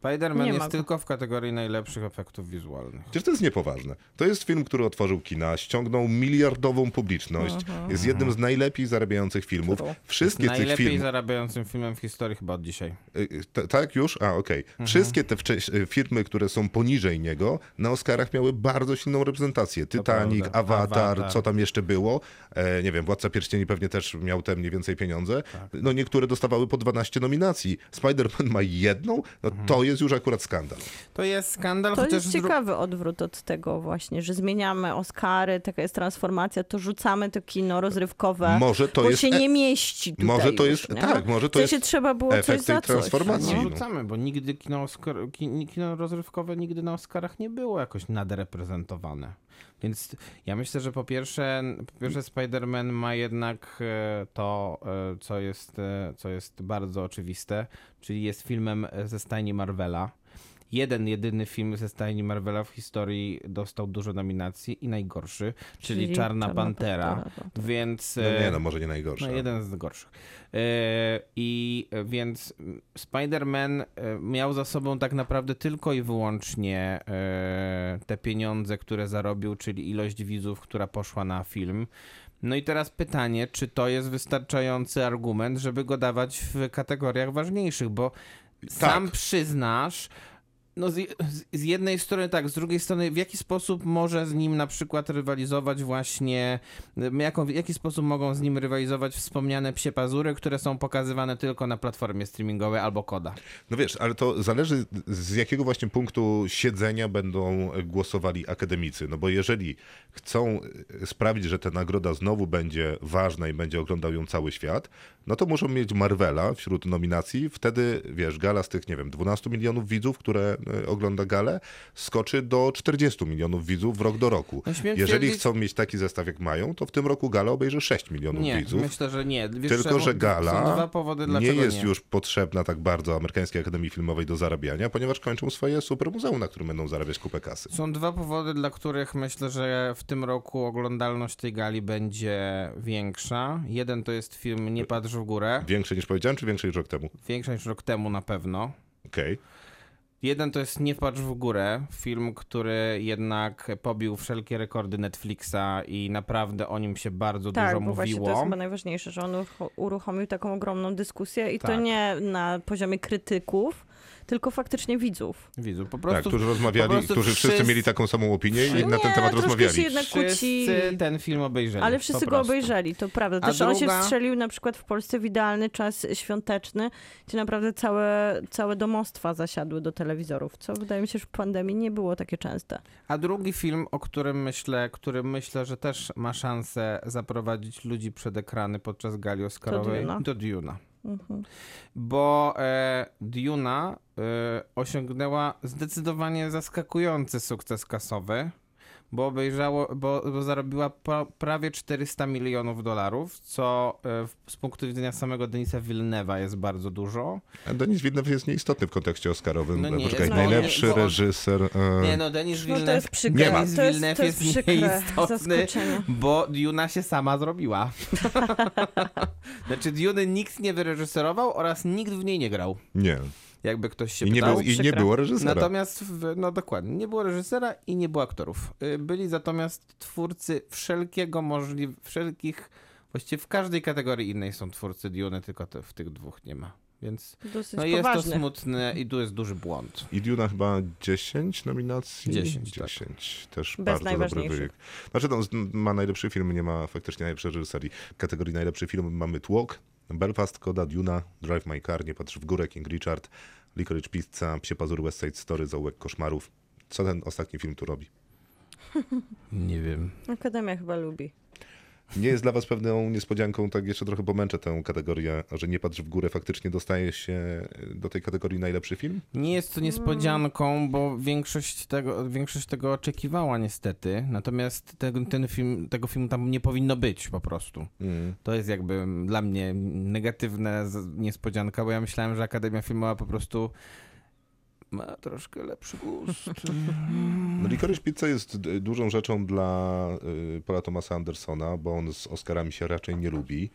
E: Spider-Man
D: Nie
E: jest
D: ma go.
E: tylko w kategorii najlepszych efektów wizualnych.
B: Przecież to jest niepoważne. To jest film, który otworzył kina, ściągnął miliardową publiczność,
D: Mhm.
B: jest jednym z najlepiej zarabiających filmów.
D: True.
B: Wszystkie tych
E: Najlepiej
B: filmów...
E: zarabiającym filmem w historii chyba od dzisiaj.
B: Y, y, t- Tak już? A, okej.
E: Mhm.
B: Wszystkie te wcześ- y, firmy, które są poniżej niego, na Oscarach miały bardzo silną reprezentację. Titanic,
E: prawda.
B: Avatar,
E: Avatar.
B: co tam jeszcze było. E, nie wiem, Władca Pierścieni pewnie też miał te mniej więcej pieniądze.
E: Tak.
B: No niektóre dostawały po 12 nominacji. Spider-Man ma jedną? No
E: Mhm.
B: to jest już akurat skandal.
E: No To jest skandal,
D: To
E: chociaż
D: jest
E: z dru-
D: ciekawy odwrót od tego właśnie, że zmieniamy Oscary, taka jest transformacja, to rzucamy to kino rozrywkowe,
B: Może to
D: bo
B: jest
D: się
B: e-
D: nie mieści tutaj
B: Może to
D: już,
B: jest-
D: nie?
B: tak, może to
D: w sensie
B: jest
D: trzeba było
B: efekt
D: coś
B: tej
D: za coś,
B: transformacji.
D: no.
E: No,
B: no.
E: rzucamy, bo nigdy kino, Oscar, ki- kino rozrywkowe nigdy na Oscarach nie było jakoś nadreprezentowane. Więc ja myślę, że po pierwsze, po pierwsze Spider-Man ma jednak e, to, e, co jest, e, co jest bardzo oczywiste, czyli jest filmem e, ze stajni Marvela. Jeden, jedyny film ze stajni Marvela w historii dostał dużo nominacji i najgorszy, czyli,
D: Czyli
E: Czarna,
D: Czarna
E: Pantera.
D: Pantera, tak.
E: Więc...
B: No
E: e,
B: nie no, może nie najgorsze.
E: no, jeden z gorszych. E, I e, więc mm, Spider-Man e, miał za sobą tak naprawdę tylko i wyłącznie e, te pieniądze, które zarobił, czyli ilość widzów, która poszła na film. No i teraz pytanie, czy to jest wystarczający argument, żeby go dawać w kategoriach ważniejszych, bo
B: Tak.
E: sam przyznasz, no z, z, z jednej strony tak, z drugiej strony w jaki sposób może z nim na przykład rywalizować właśnie, y, jaką, w jaki sposób mogą z nim rywalizować wspomniane psie pazury, które są pokazywane tylko na platformie streamingowej albo koda.
B: No wiesz, ale to zależy z jakiego właśnie punktu siedzenia będą głosowali akademicy. No bo jeżeli chcą e, sprawić, że ta nagroda znowu będzie ważna i będzie oglądał ją cały świat, no to muszą mieć Marvela wśród nominacji. Wtedy, wiesz, gala z tych, nie wiem, 12 milionów widzów, które e, ogląda galę, skoczy do 40 milionów widzów rok do roku.
E: No, śmiem
B: Jeżeli
E: twierdzić-
B: chcą mieć taki zestaw, jak mają, to w tym roku gala obejrzy 6 milionów
E: Nie,
B: widzów.
E: myślę, że nie. Wiesz,
B: Tylko,
E: czemu?
B: że
E: Są dwa
B: gala
E: powody,
B: nie
E: No dlaczego
B: jest
E: nie.
B: już potrzebna tak bardzo Amerykańskiej Akademii Filmowej do zarabiania, ponieważ kończą swoje super muzeum, na którym będą zarabiać kupę kasy.
E: Są dwa powody, dla których myślę, że w tym roku oglądalność tej gali będzie większa. Jeden to jest film Nie patrz w górę,
B: Większe niż powiedziałem, czy większe niż rok temu?
E: większa niż rok temu na pewno.
B: Okej.
E: Jeden to jest Nie patrz w górę, film, który jednak pobił wszelkie rekordy Netflixa i naprawdę o nim się bardzo
D: Tak,
E: dużo
D: bo właśnie to
E: mówiło.
D: jest chyba najważniejsze, że on urucho- uruchomił taką ogromną dyskusję i
E: Tak.
D: to nie na poziomie krytyków, tylko faktycznie widzów.
E: Widzu, po
B: Tak,
E: prostu
B: którzy rozmawiali,
E: prostu
B: którzy wszyscy
E: wszyscy-
B: mieli taką samą opinię i
E: Wszyscy-
B: na ten
D: Nie,
B: temat
D: troszkę się
B: rozmawiali.
D: jednak kłóci.
E: wszyscy ten film obejrzeli.
D: Ale
E: po
D: wszyscy go
E: prostu.
D: obejrzeli, to prawda.
E: A
D: Też on się
E: druga-
D: wstrzelił na przykład w Polsce w idealny czas świąteczny, gdzie naprawdę całe, całe domostwa zasiadły do telewizorów, co wydaje mi się, że w pandemii nie było takie częste.
E: A drugi film, o którym myślę, który myślę, że też ma szansę zaprowadzić ludzi przed ekrany podczas gali Oscarowej,
D: Duna.
E: to Duna.
D: Mhm.
E: Bo e, Duna e, osiągnęła zdecydowanie zaskakujący sukces kasowy, bo obejrzało, bo, bo zarobiła pra, prawie 400 milionów dolarów, co e, w- z punktu widzenia samego Denisa Villeneuve'a jest bardzo dużo.
B: A Denis Widnow jest nieistotny w kontekście Oscarowym.
E: No nie,
B: Poczekaj,
D: no nie,
B: najlepszy
E: bo on-
B: reżyser. e,
E: Nie no, Denis
D: No
E: Villeneuve...
D: to jest przykre.
B: Nie ma.
D: To jest, to jest przykre
E: nieistotny,
D: zaskoczenie.
E: Bo Duna się sama zrobiła. znaczy Duny nikt nie wyreżyserował oraz nikt w niej nie grał.
B: nie.
E: Jakby ktoś się
B: I nie,
E: pytał.
B: był, I nie
D: przykre.
B: było reżysera.
E: Natomiast, w, no dokładnie, nie było reżysera i nie było aktorów. Y, Byli natomiast twórcy wszelkiego możliw... wszelkich, właściwie w każdej kategorii innej są twórcy Duny, tylko te, w tych dwóch nie ma. Więc
D: Dosyć
E: no jest to
D: poważny.
E: smutne i tu jest duży błąd.
B: I Duna chyba 10 nominacji?
E: 10, tak.
B: 10. Też
D: Bez
B: bardzo dobry
D: najważniejszych.
B: wynik. Znaczy, no, z- ma najlepszy film, nie ma faktycznie najlepszej reżyserii. W kategorii najlepszy film mamy Tłok, Belfast, Koda, Duna, Drive My Car, Nie patrz w górę, King Richard, Licorice Pizza, Psie Pazur, West Side Story, Zaułek Koszmarów. Co ten ostatni film tu robi?
E: Nie wiem.
D: Akademia chyba lubi.
B: Nie jest dla was pewną niespodzianką, tak jeszcze trochę pomęczę tę kategorię, że Nie patrz w górę faktycznie dostaje się do tej kategorii najlepszy film?
E: Nie jest to niespodzianką, bo większość tego, większość tego oczekiwała niestety. Natomiast ten, ten film, tego filmu tam nie powinno być po prostu.
B: Mm.
E: To jest jakby dla mnie negatywna z- niespodzianka, bo ja myślałem, że Akademia Filmowa po prostu ma troszkę lepszy gust.
B: No, Licorice Pizza jest d- dużą rzeczą dla y, Paula Thomasa Andersona, bo on z Oscarami się raczej nie lubi.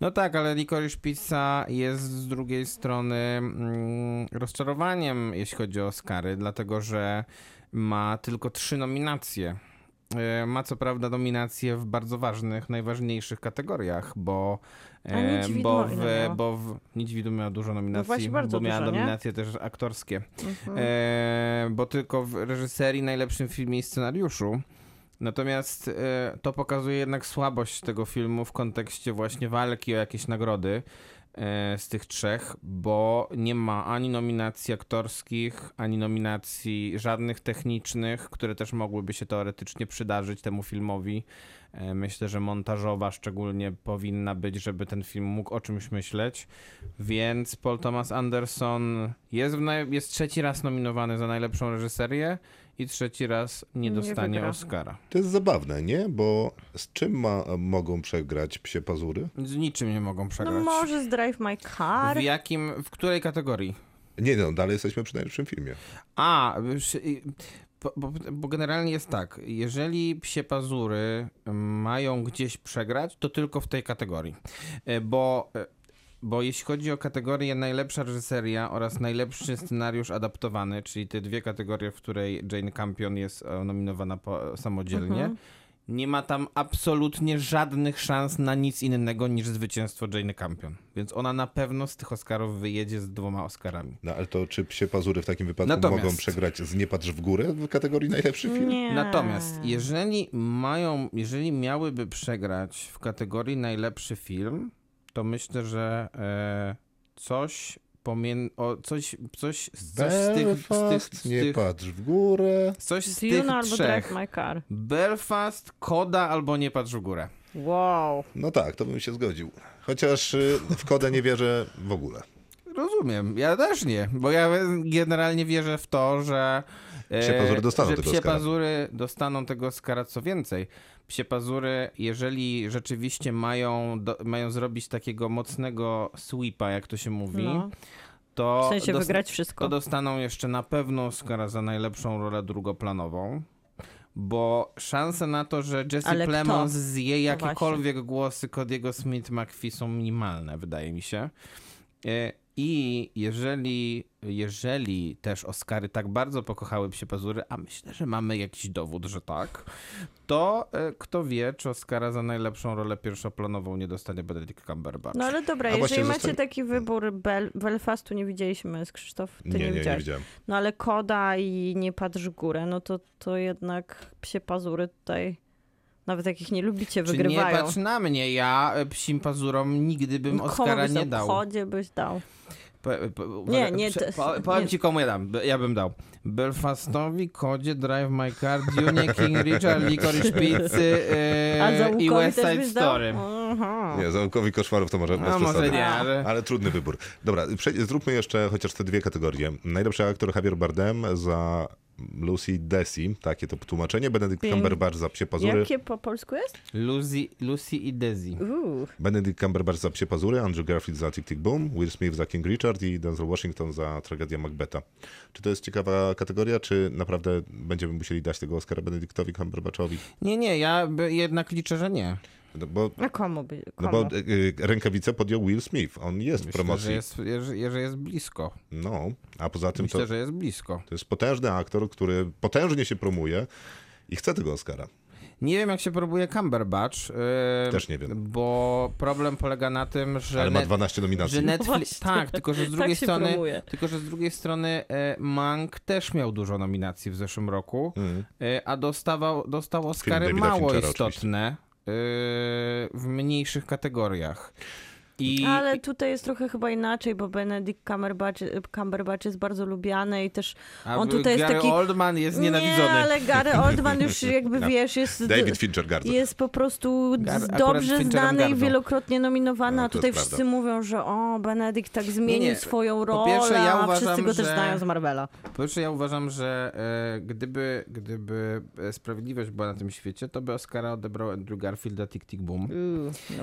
E: No tak, ale Licorice Pizza jest z drugiej strony mm, rozczarowaniem, jeśli chodzi o Oscary, dlatego że ma tylko trzy nominacje. E, Ma co prawda nominacje w bardzo ważnych, najważniejszych kategoriach, bo, e,
D: Niedźwidło
E: bo,
D: ile miała?
E: w, bo w Niedźwidu miała dużo nominacji,
D: no, właśnie bardzo
E: bo miała
D: dużo, nie?
E: nominacje też aktorskie.
D: Mhm.
E: E, bo tylko w reżyserii, najlepszym filmie i scenariuszu. Natomiast e, to pokazuje jednak słabość tego filmu w kontekście właśnie walki o jakieś nagrody e, z tych trzech, bo nie ma ani nominacji aktorskich, ani nominacji żadnych technicznych, które też mogłyby się teoretycznie przydarzyć temu filmowi. E, Myślę, że montażowa szczególnie powinna być, żeby ten film mógł o czymś myśleć. Więc Paul Thomas Anderson jest, w naj- jest trzeci raz nominowany za najlepszą reżyserię i trzeci raz nie
D: Nie
E: dostanie
D: wygra.
E: Oscara.
B: To jest zabawne, nie? Bo z czym ma, mogą przegrać psie pazury?
E: Z niczym nie mogą
D: No
E: przegrać.
D: może z Drive My Car.
E: W jakim, w której kategorii?
B: Nie no, dalej jesteśmy przy najlepszym filmie.
E: A, już, y, bo, bo, bo generalnie jest tak, jeżeli psie pazury mają gdzieś przegrać, to tylko w tej kategorii. Y, Bo, y, bo jeśli chodzi o kategorię najlepsza reżyseria oraz najlepszy scenariusz adaptowany, czyli te dwie kategorie, w której Jane Campion jest e, nominowana po, samodzielnie, nie ma tam absolutnie żadnych szans na nic innego niż zwycięstwo Jane Campion. Więc ona na pewno z tych Oscarów wyjedzie z dwoma Oscarami.
B: No ale to czy psie pazury w takim wypadku
E: Natomiast- Mm,
B: mogą przegrać z Nie patrz w górę w kategorii najlepszy film?
D: Nie.
E: Natomiast
D: Hmm.
E: jeżeli mają, jeżeli miałyby przegrać w kategorii najlepszy film, to myślę, że e, coś pomiędzy, coś, coś, z- coś z tych, z tych,
B: Belfast,
E: z
B: nie
E: tych,
B: patrz w górę.
E: coś z tych
D: Dune albo Drive
E: trzech.
D: My Car.
E: Belfast, Koda albo Nie patrz w górę.
D: Wow.
B: No tak, to bym się zgodził. Chociaż y, w kodę nie wierzę w ogóle.
E: Rozumiem, ja też nie, bo ja generalnie wierzę w to, że e,
B: Psie pazury dostaną
E: że
B: tego
E: psie
B: Oscara.
E: pazury dostaną tego Oscara, co więcej. Psie pazury, jeżeli rzeczywiście mają, do, mają zrobić takiego mocnego sweepa, jak to się mówi,
D: No.
E: to,
D: W sensie
E: dost-
D: wygrać
E: to
D: wszystko.
E: dostaną jeszcze na pewno Oscara za najlepszą rolę drugoplanową. Bo szanse na to, że Jesse
D: Ale
E: Plemons
D: kto? No
E: zje jakiekolwiek głosy Cody'ego Smith McPhee są minimalne, wydaje mi się. E, I jeżeli, jeżeli też Oscary tak bardzo pokochały psie pazury, a myślę, że mamy jakiś dowód, że tak, to e, kto wie, czy Oscara za najlepszą rolę pierwszoplanową nie dostanie Benedict Cumberbatch.
D: No ale dobra,
B: A
D: jeżeli
B: właśnie
D: macie
B: zostań-
D: taki wybór, Bel- Belfastu nie widzieliśmy z Krzysztof, ty nie,
B: nie, nie, nie
D: widziałeś.
B: widziałem.
D: No ale Koda i Nie patrz w górę, no to, to jednak psie pazury tutaj, nawet jakich nie lubicie,
E: Czy nie
D: wygrywają.
E: patrz na mnie, ja e, psim pazurom nigdy bym
D: No
E: Oscara
D: komu
E: nie
D: w
E: dał.
D: obchodzie byś dał.
E: Pe- pe-
D: Nie,
E: uważaj-
D: nie,
E: prze-
D: to-
E: po- Powiem
D: nie.
E: ci komu ja dam, Be- ja bym dał. Belfastowi, Kodzie, Drive My Car, Dune, King Richard, Licorice Pizzy
D: A
E: e,
D: za
E: i
D: Łukowi
E: West
D: też
E: Side
D: byś dał?
E: Story.
D: Aha.
B: Nie, zaułkowi koszmarów to może bez
E: No może
B: przesady.
E: nie, ale...
B: Ale trudny wybór. Dobra, przejdź- zróbmy jeszcze chociaż te dwie kategorie. Najlepszy aktor Javier Bardem za Lucy Desi, takie to tłumaczenie. Benedict
D: Pięk-
B: Cumberbatch za psie pazury.
D: Jakie po polsku jest?
E: Lucy, Lucy i Desi.
D: Uuu.
B: Benedict Cumberbatch za psie pazury, Andrew Garfield za Tick Tick Boom, Will Smith za King Richard i Denzel Washington za tragedię Macbeta. Czy to jest ciekawa kategoria, czy naprawdę będziemy musieli dać tego Oscara Benedictowi Cumberbatchowi?
E: Nie, nie, ja by- jednak liczę, że nie.
B: No bo,
D: A komu by?
B: no
D: Komu?
B: bo y, y, rękawice podjął Will Smith, on jest w
E: Myślę,
B: promocji.
E: że jest, że, że jest blisko.
B: No, a poza tym to,
E: Myślę, że jest blisko.
B: to jest potężny aktor, który potężnie się promuje i chce tego Oscara.
E: Nie wiem, jak się próbuje Cumberbatch. e,
B: Też nie wiem.
E: Bo problem polega na tym, że...
B: Ale ma
E: net-
B: 12 nominacji.
E: Że Netflix,
D: No Właśnie.
E: tak, tylko że z
D: Tak
E: drugiej
D: się
E: strony,
D: promuje.
E: tylko że z drugiej strony e, Mank też miał dużo nominacji w zeszłym roku,
B: Mm.
E: e, a dostawał, dostał Oscary
B: Davida
E: mało
B: Finchera
E: istotne e, w mniejszych kategoriach. I
D: Ale tutaj jest trochę chyba inaczej, bo Benedict Cumberbatch, Cumberbatch jest bardzo lubiany i też
E: a
D: on tutaj jest
E: Gary
D: taki-
E: Oldman jest nienawidzony.
D: Nie, ale Gary Oldman już jakby wiesz, jest...
B: No. David Fincher gardza.
D: Jest po prostu d-
E: Gar- akurat
D: dobrze
E: Fincherem
D: znany i
E: gardzą.
D: wielokrotnie nominowany,
B: No,
D: a
B: to
D: tutaj
B: jest
D: wszyscy
B: prawda.
D: mówią, że o, Benedikt tak zmienił
E: Nie, nie.
D: swoją
E: Po
D: rolę,
E: pierwsze, ja
D: a wszyscy
E: uważam,
D: go też
E: że-
D: znają z Marvela.
E: Po pierwsze, ja uważam, że e, gdyby, gdyby e, sprawiedliwość była na tym świecie, to by Oscara odebrał Andrew Garfielda Tick Tick Boom.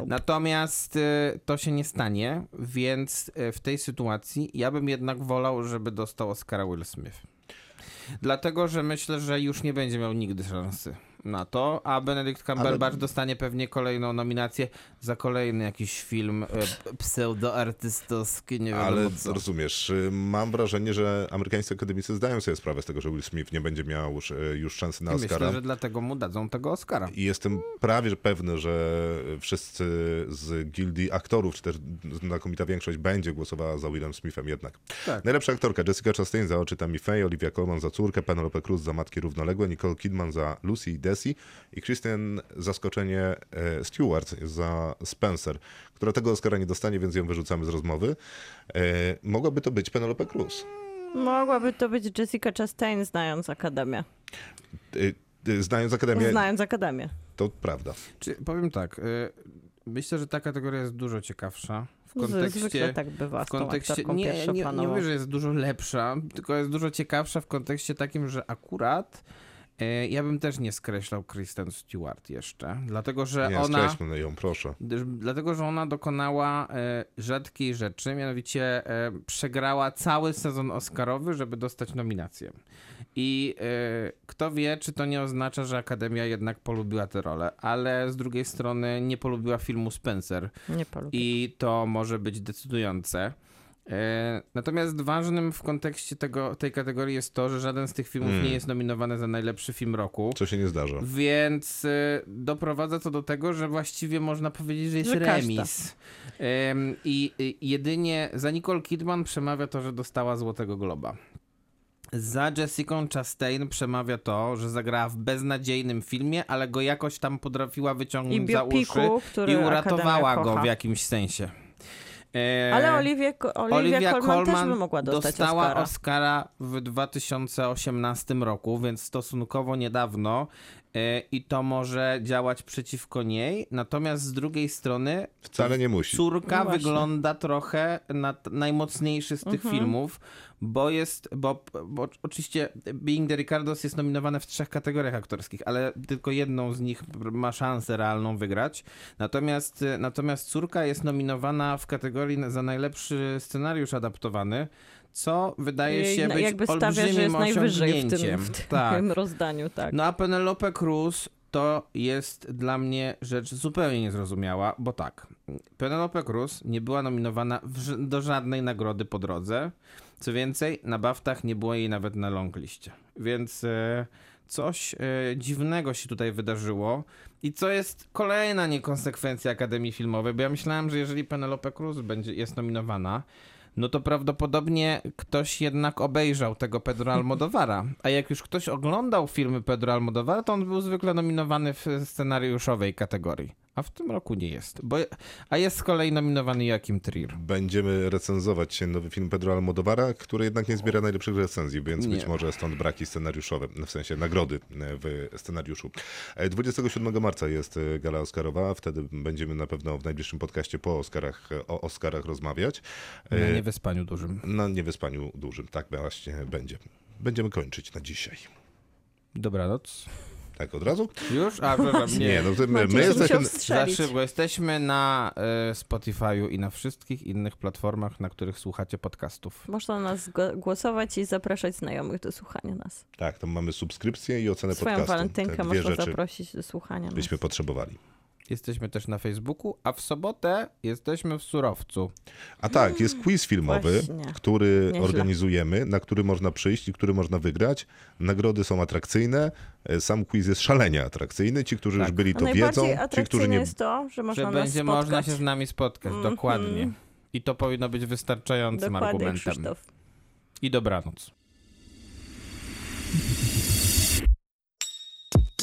E: Natomiast e, to się nie stanie, więc e, w tej sytuacji ja bym jednak wolał, żeby dostał Oscara Will Smith. Dlatego, że myślę, że już nie będzie miał nigdy szansy na to, a Benedict Cumberbatch dostanie pewnie kolejną nominację za kolejny jakiś film e, pseudoartystowski, nie wiadomo
B: Ale
E: co.
B: rozumiesz, y, mam wrażenie, że amerykańscy akademicy zdają sobie sprawę z tego, że Will Smith nie będzie miał już, y, już szansy na
E: I
B: Oscara.
E: myślę, że dlatego mu dadzą tego Oscara.
B: I jestem prawie że pewny, że wszyscy z gildii aktorów, czy też znakomita większość, będzie głosowała za Willem Smithem jednak.
E: Tak.
B: Najlepsza aktorka Jessica Chastain za Oczy Tammy Faye, Olivia Colman za Córkę, Penelope Cruz za Matki Równoległe, Nicole Kidman za Lucy i Desi i Kristen, zaskoczenie, e, Stewart za Spencer, która tego Oscara nie dostanie, więc ją wyrzucamy z rozmowy. E, Mogłaby to być Penelope Cruz.
D: Mogłaby to być Jessica Chastain, znając Akademię.
B: E, e, Znając Akademię,
D: Znając Akademię.
B: to prawda.
E: Czy, powiem tak, y, myślę, że ta kategoria jest dużo ciekawsza w
D: Z, zwykle
E: kontekście...
D: tak bywa
E: w
D: z tą
E: kontekście
D: aktorką
E: nie, nie, nie
D: pierwszoplanową.
E: mówię, że jest dużo lepsza, tylko jest dużo ciekawsza w kontekście takim, że akurat e, ja bym też nie skreślał Kristen Stewart jeszcze, dlatego że
B: Nie,
E: ona
B: skreślmy ją, proszę.
E: gdyż- dlatego że ona dokonała e, rzadkiej rzeczy, mianowicie e, przegrała cały sezon Oscarowy, żeby dostać nominację. I e, kto wie, czy to nie oznacza, że Akademia jednak polubiła tę rolę, ale z drugiej strony nie polubiła filmu Spencer.
D: Nie polubię.
E: I to może być decydujące. E, Natomiast ważnym w kontekście tego, tej kategorii jest to, że żaden z tych filmów nie jest nominowany za najlepszy film roku.
B: Co się nie zdarza.
E: Więc e, doprowadza to do tego, że właściwie można powiedzieć, że jest
D: Że każda.
E: remis. Em, I i jedynie za Nicole Kidman przemawia to, że dostała Złotego Globa. Za Jessica Chastain przemawia to, że zagrała w beznadziejnym filmie, ale go jakoś tam potrafiła wyciągnąć
D: I
E: za uszy
D: biopiku, który
E: i uratowała
D: Akademia
E: go
D: kocha.
E: w jakimś sensie. E,
D: Ale Olivia, Olivia, Colman, też by mogła dostać
E: dostała
D: Oscara.
E: Oscara w 2018 roku, więc stosunkowo niedawno e, i to może działać przeciwko niej, natomiast z drugiej strony
B: Wcale nie musi.
E: córka
D: No właśnie. Mhm.
E: wygląda trochę na t- najmocniejszy z tych filmów, bo jest, bo, bo oczywiście Being the Ricardos jest nominowane w trzech kategoriach aktorskich, ale tylko jedną z nich ma szansę realną wygrać. Natomiast, y, natomiast córka jest nominowana w kategorii na- za najlepszy scenariusz adaptowany, co wydaje
D: Jej
E: się
D: na-
E: być
D: jakby
E: olbrzymim
D: stawia, że jest najwyżej w tym,
E: osiągnięciem.
D: w tym
E: tak.
D: rozdaniu, tak.
E: No a Penelope Cruz to jest dla mnie rzecz zupełnie niezrozumiała, bo tak, Penelope Cruz nie była nominowana w, ż- do żadnej nagrody po drodze. Co więcej, na baftach nie było jej nawet na long liście. Więc e, coś e, dziwnego się tutaj wydarzyło. I co jest kolejna niekonsekwencja Akademii Filmowej, bo ja myślałem, że jeżeli Penelope Cruz będzie, jest nominowana, no to prawdopodobnie ktoś jednak obejrzał tego Pedro Almodovara. A jak już ktoś oglądał filmy Pedro Almodovara, to on był zwykle nominowany w scenariuszowej kategorii. A w tym roku nie jest. Bo, a jest z kolei nominowany Joachim Trier.
B: Będziemy recenzować nowy film Pedro Almodovara, który jednak nie zbiera najlepszych recenzji, więc
E: Nie.
B: być może stąd braki scenariuszowe, w sensie nagrody e, w scenariuszu. E, 27 marca jest e, gala Oscarowa, wtedy będziemy na pewno w najbliższym podcaście po Oscarach, o Oscarach rozmawiać. E,
E: Na niewyspaniu dużym.
B: Na niewyspaniu dużym, tak właśnie będzie. Będziemy kończyć na dzisiaj.
E: Dobranoc.
B: Tak od razu?
E: Już? A, przepraszam, nie.
B: Nie, no to my,
D: Maciej
B: my
D: się
B: jesteśmy...
D: musiał
E: Za
D: strzelić.
E: szybko. Jesteśmy na y, Spotify'u i na wszystkich innych platformach, na których słuchacie podcastów.
D: Można nas go- głosować i zapraszać znajomych do słuchania nas.
B: Tak, tam mamy subskrypcję i ocenę
D: Swoją
B: podcastu.
D: walentynkę
B: Te dwie
D: można
B: rzeczy
D: zaprosić do słuchania nas.
B: byśmy potrzebowali.
E: Jesteśmy też na Facebooku, a w sobotę jesteśmy w Surowcu.
B: A tak, jest quiz filmowy,
D: Mm, Właśnie.
B: który
D: Nieźle.
B: organizujemy, na który można przyjść i który można wygrać. Nagrody są atrakcyjne. e, Sam quiz jest szalenie atrakcyjny. Ci, którzy już
E: Tak.
B: byli,
D: A
B: to wiedzą.
D: najbardziej
B: Ci, którzy
D: atrakcyjne
B: nie.
D: jest to, że można
E: że
D: nas
E: będzie
D: spotkać.
E: można się z nami spotkać,
D: Mhm.
E: dokładnie. I to powinno być wystarczającym
D: Dokładnie,
E: argumentem.
D: Krzysztof.
E: I dobranoc.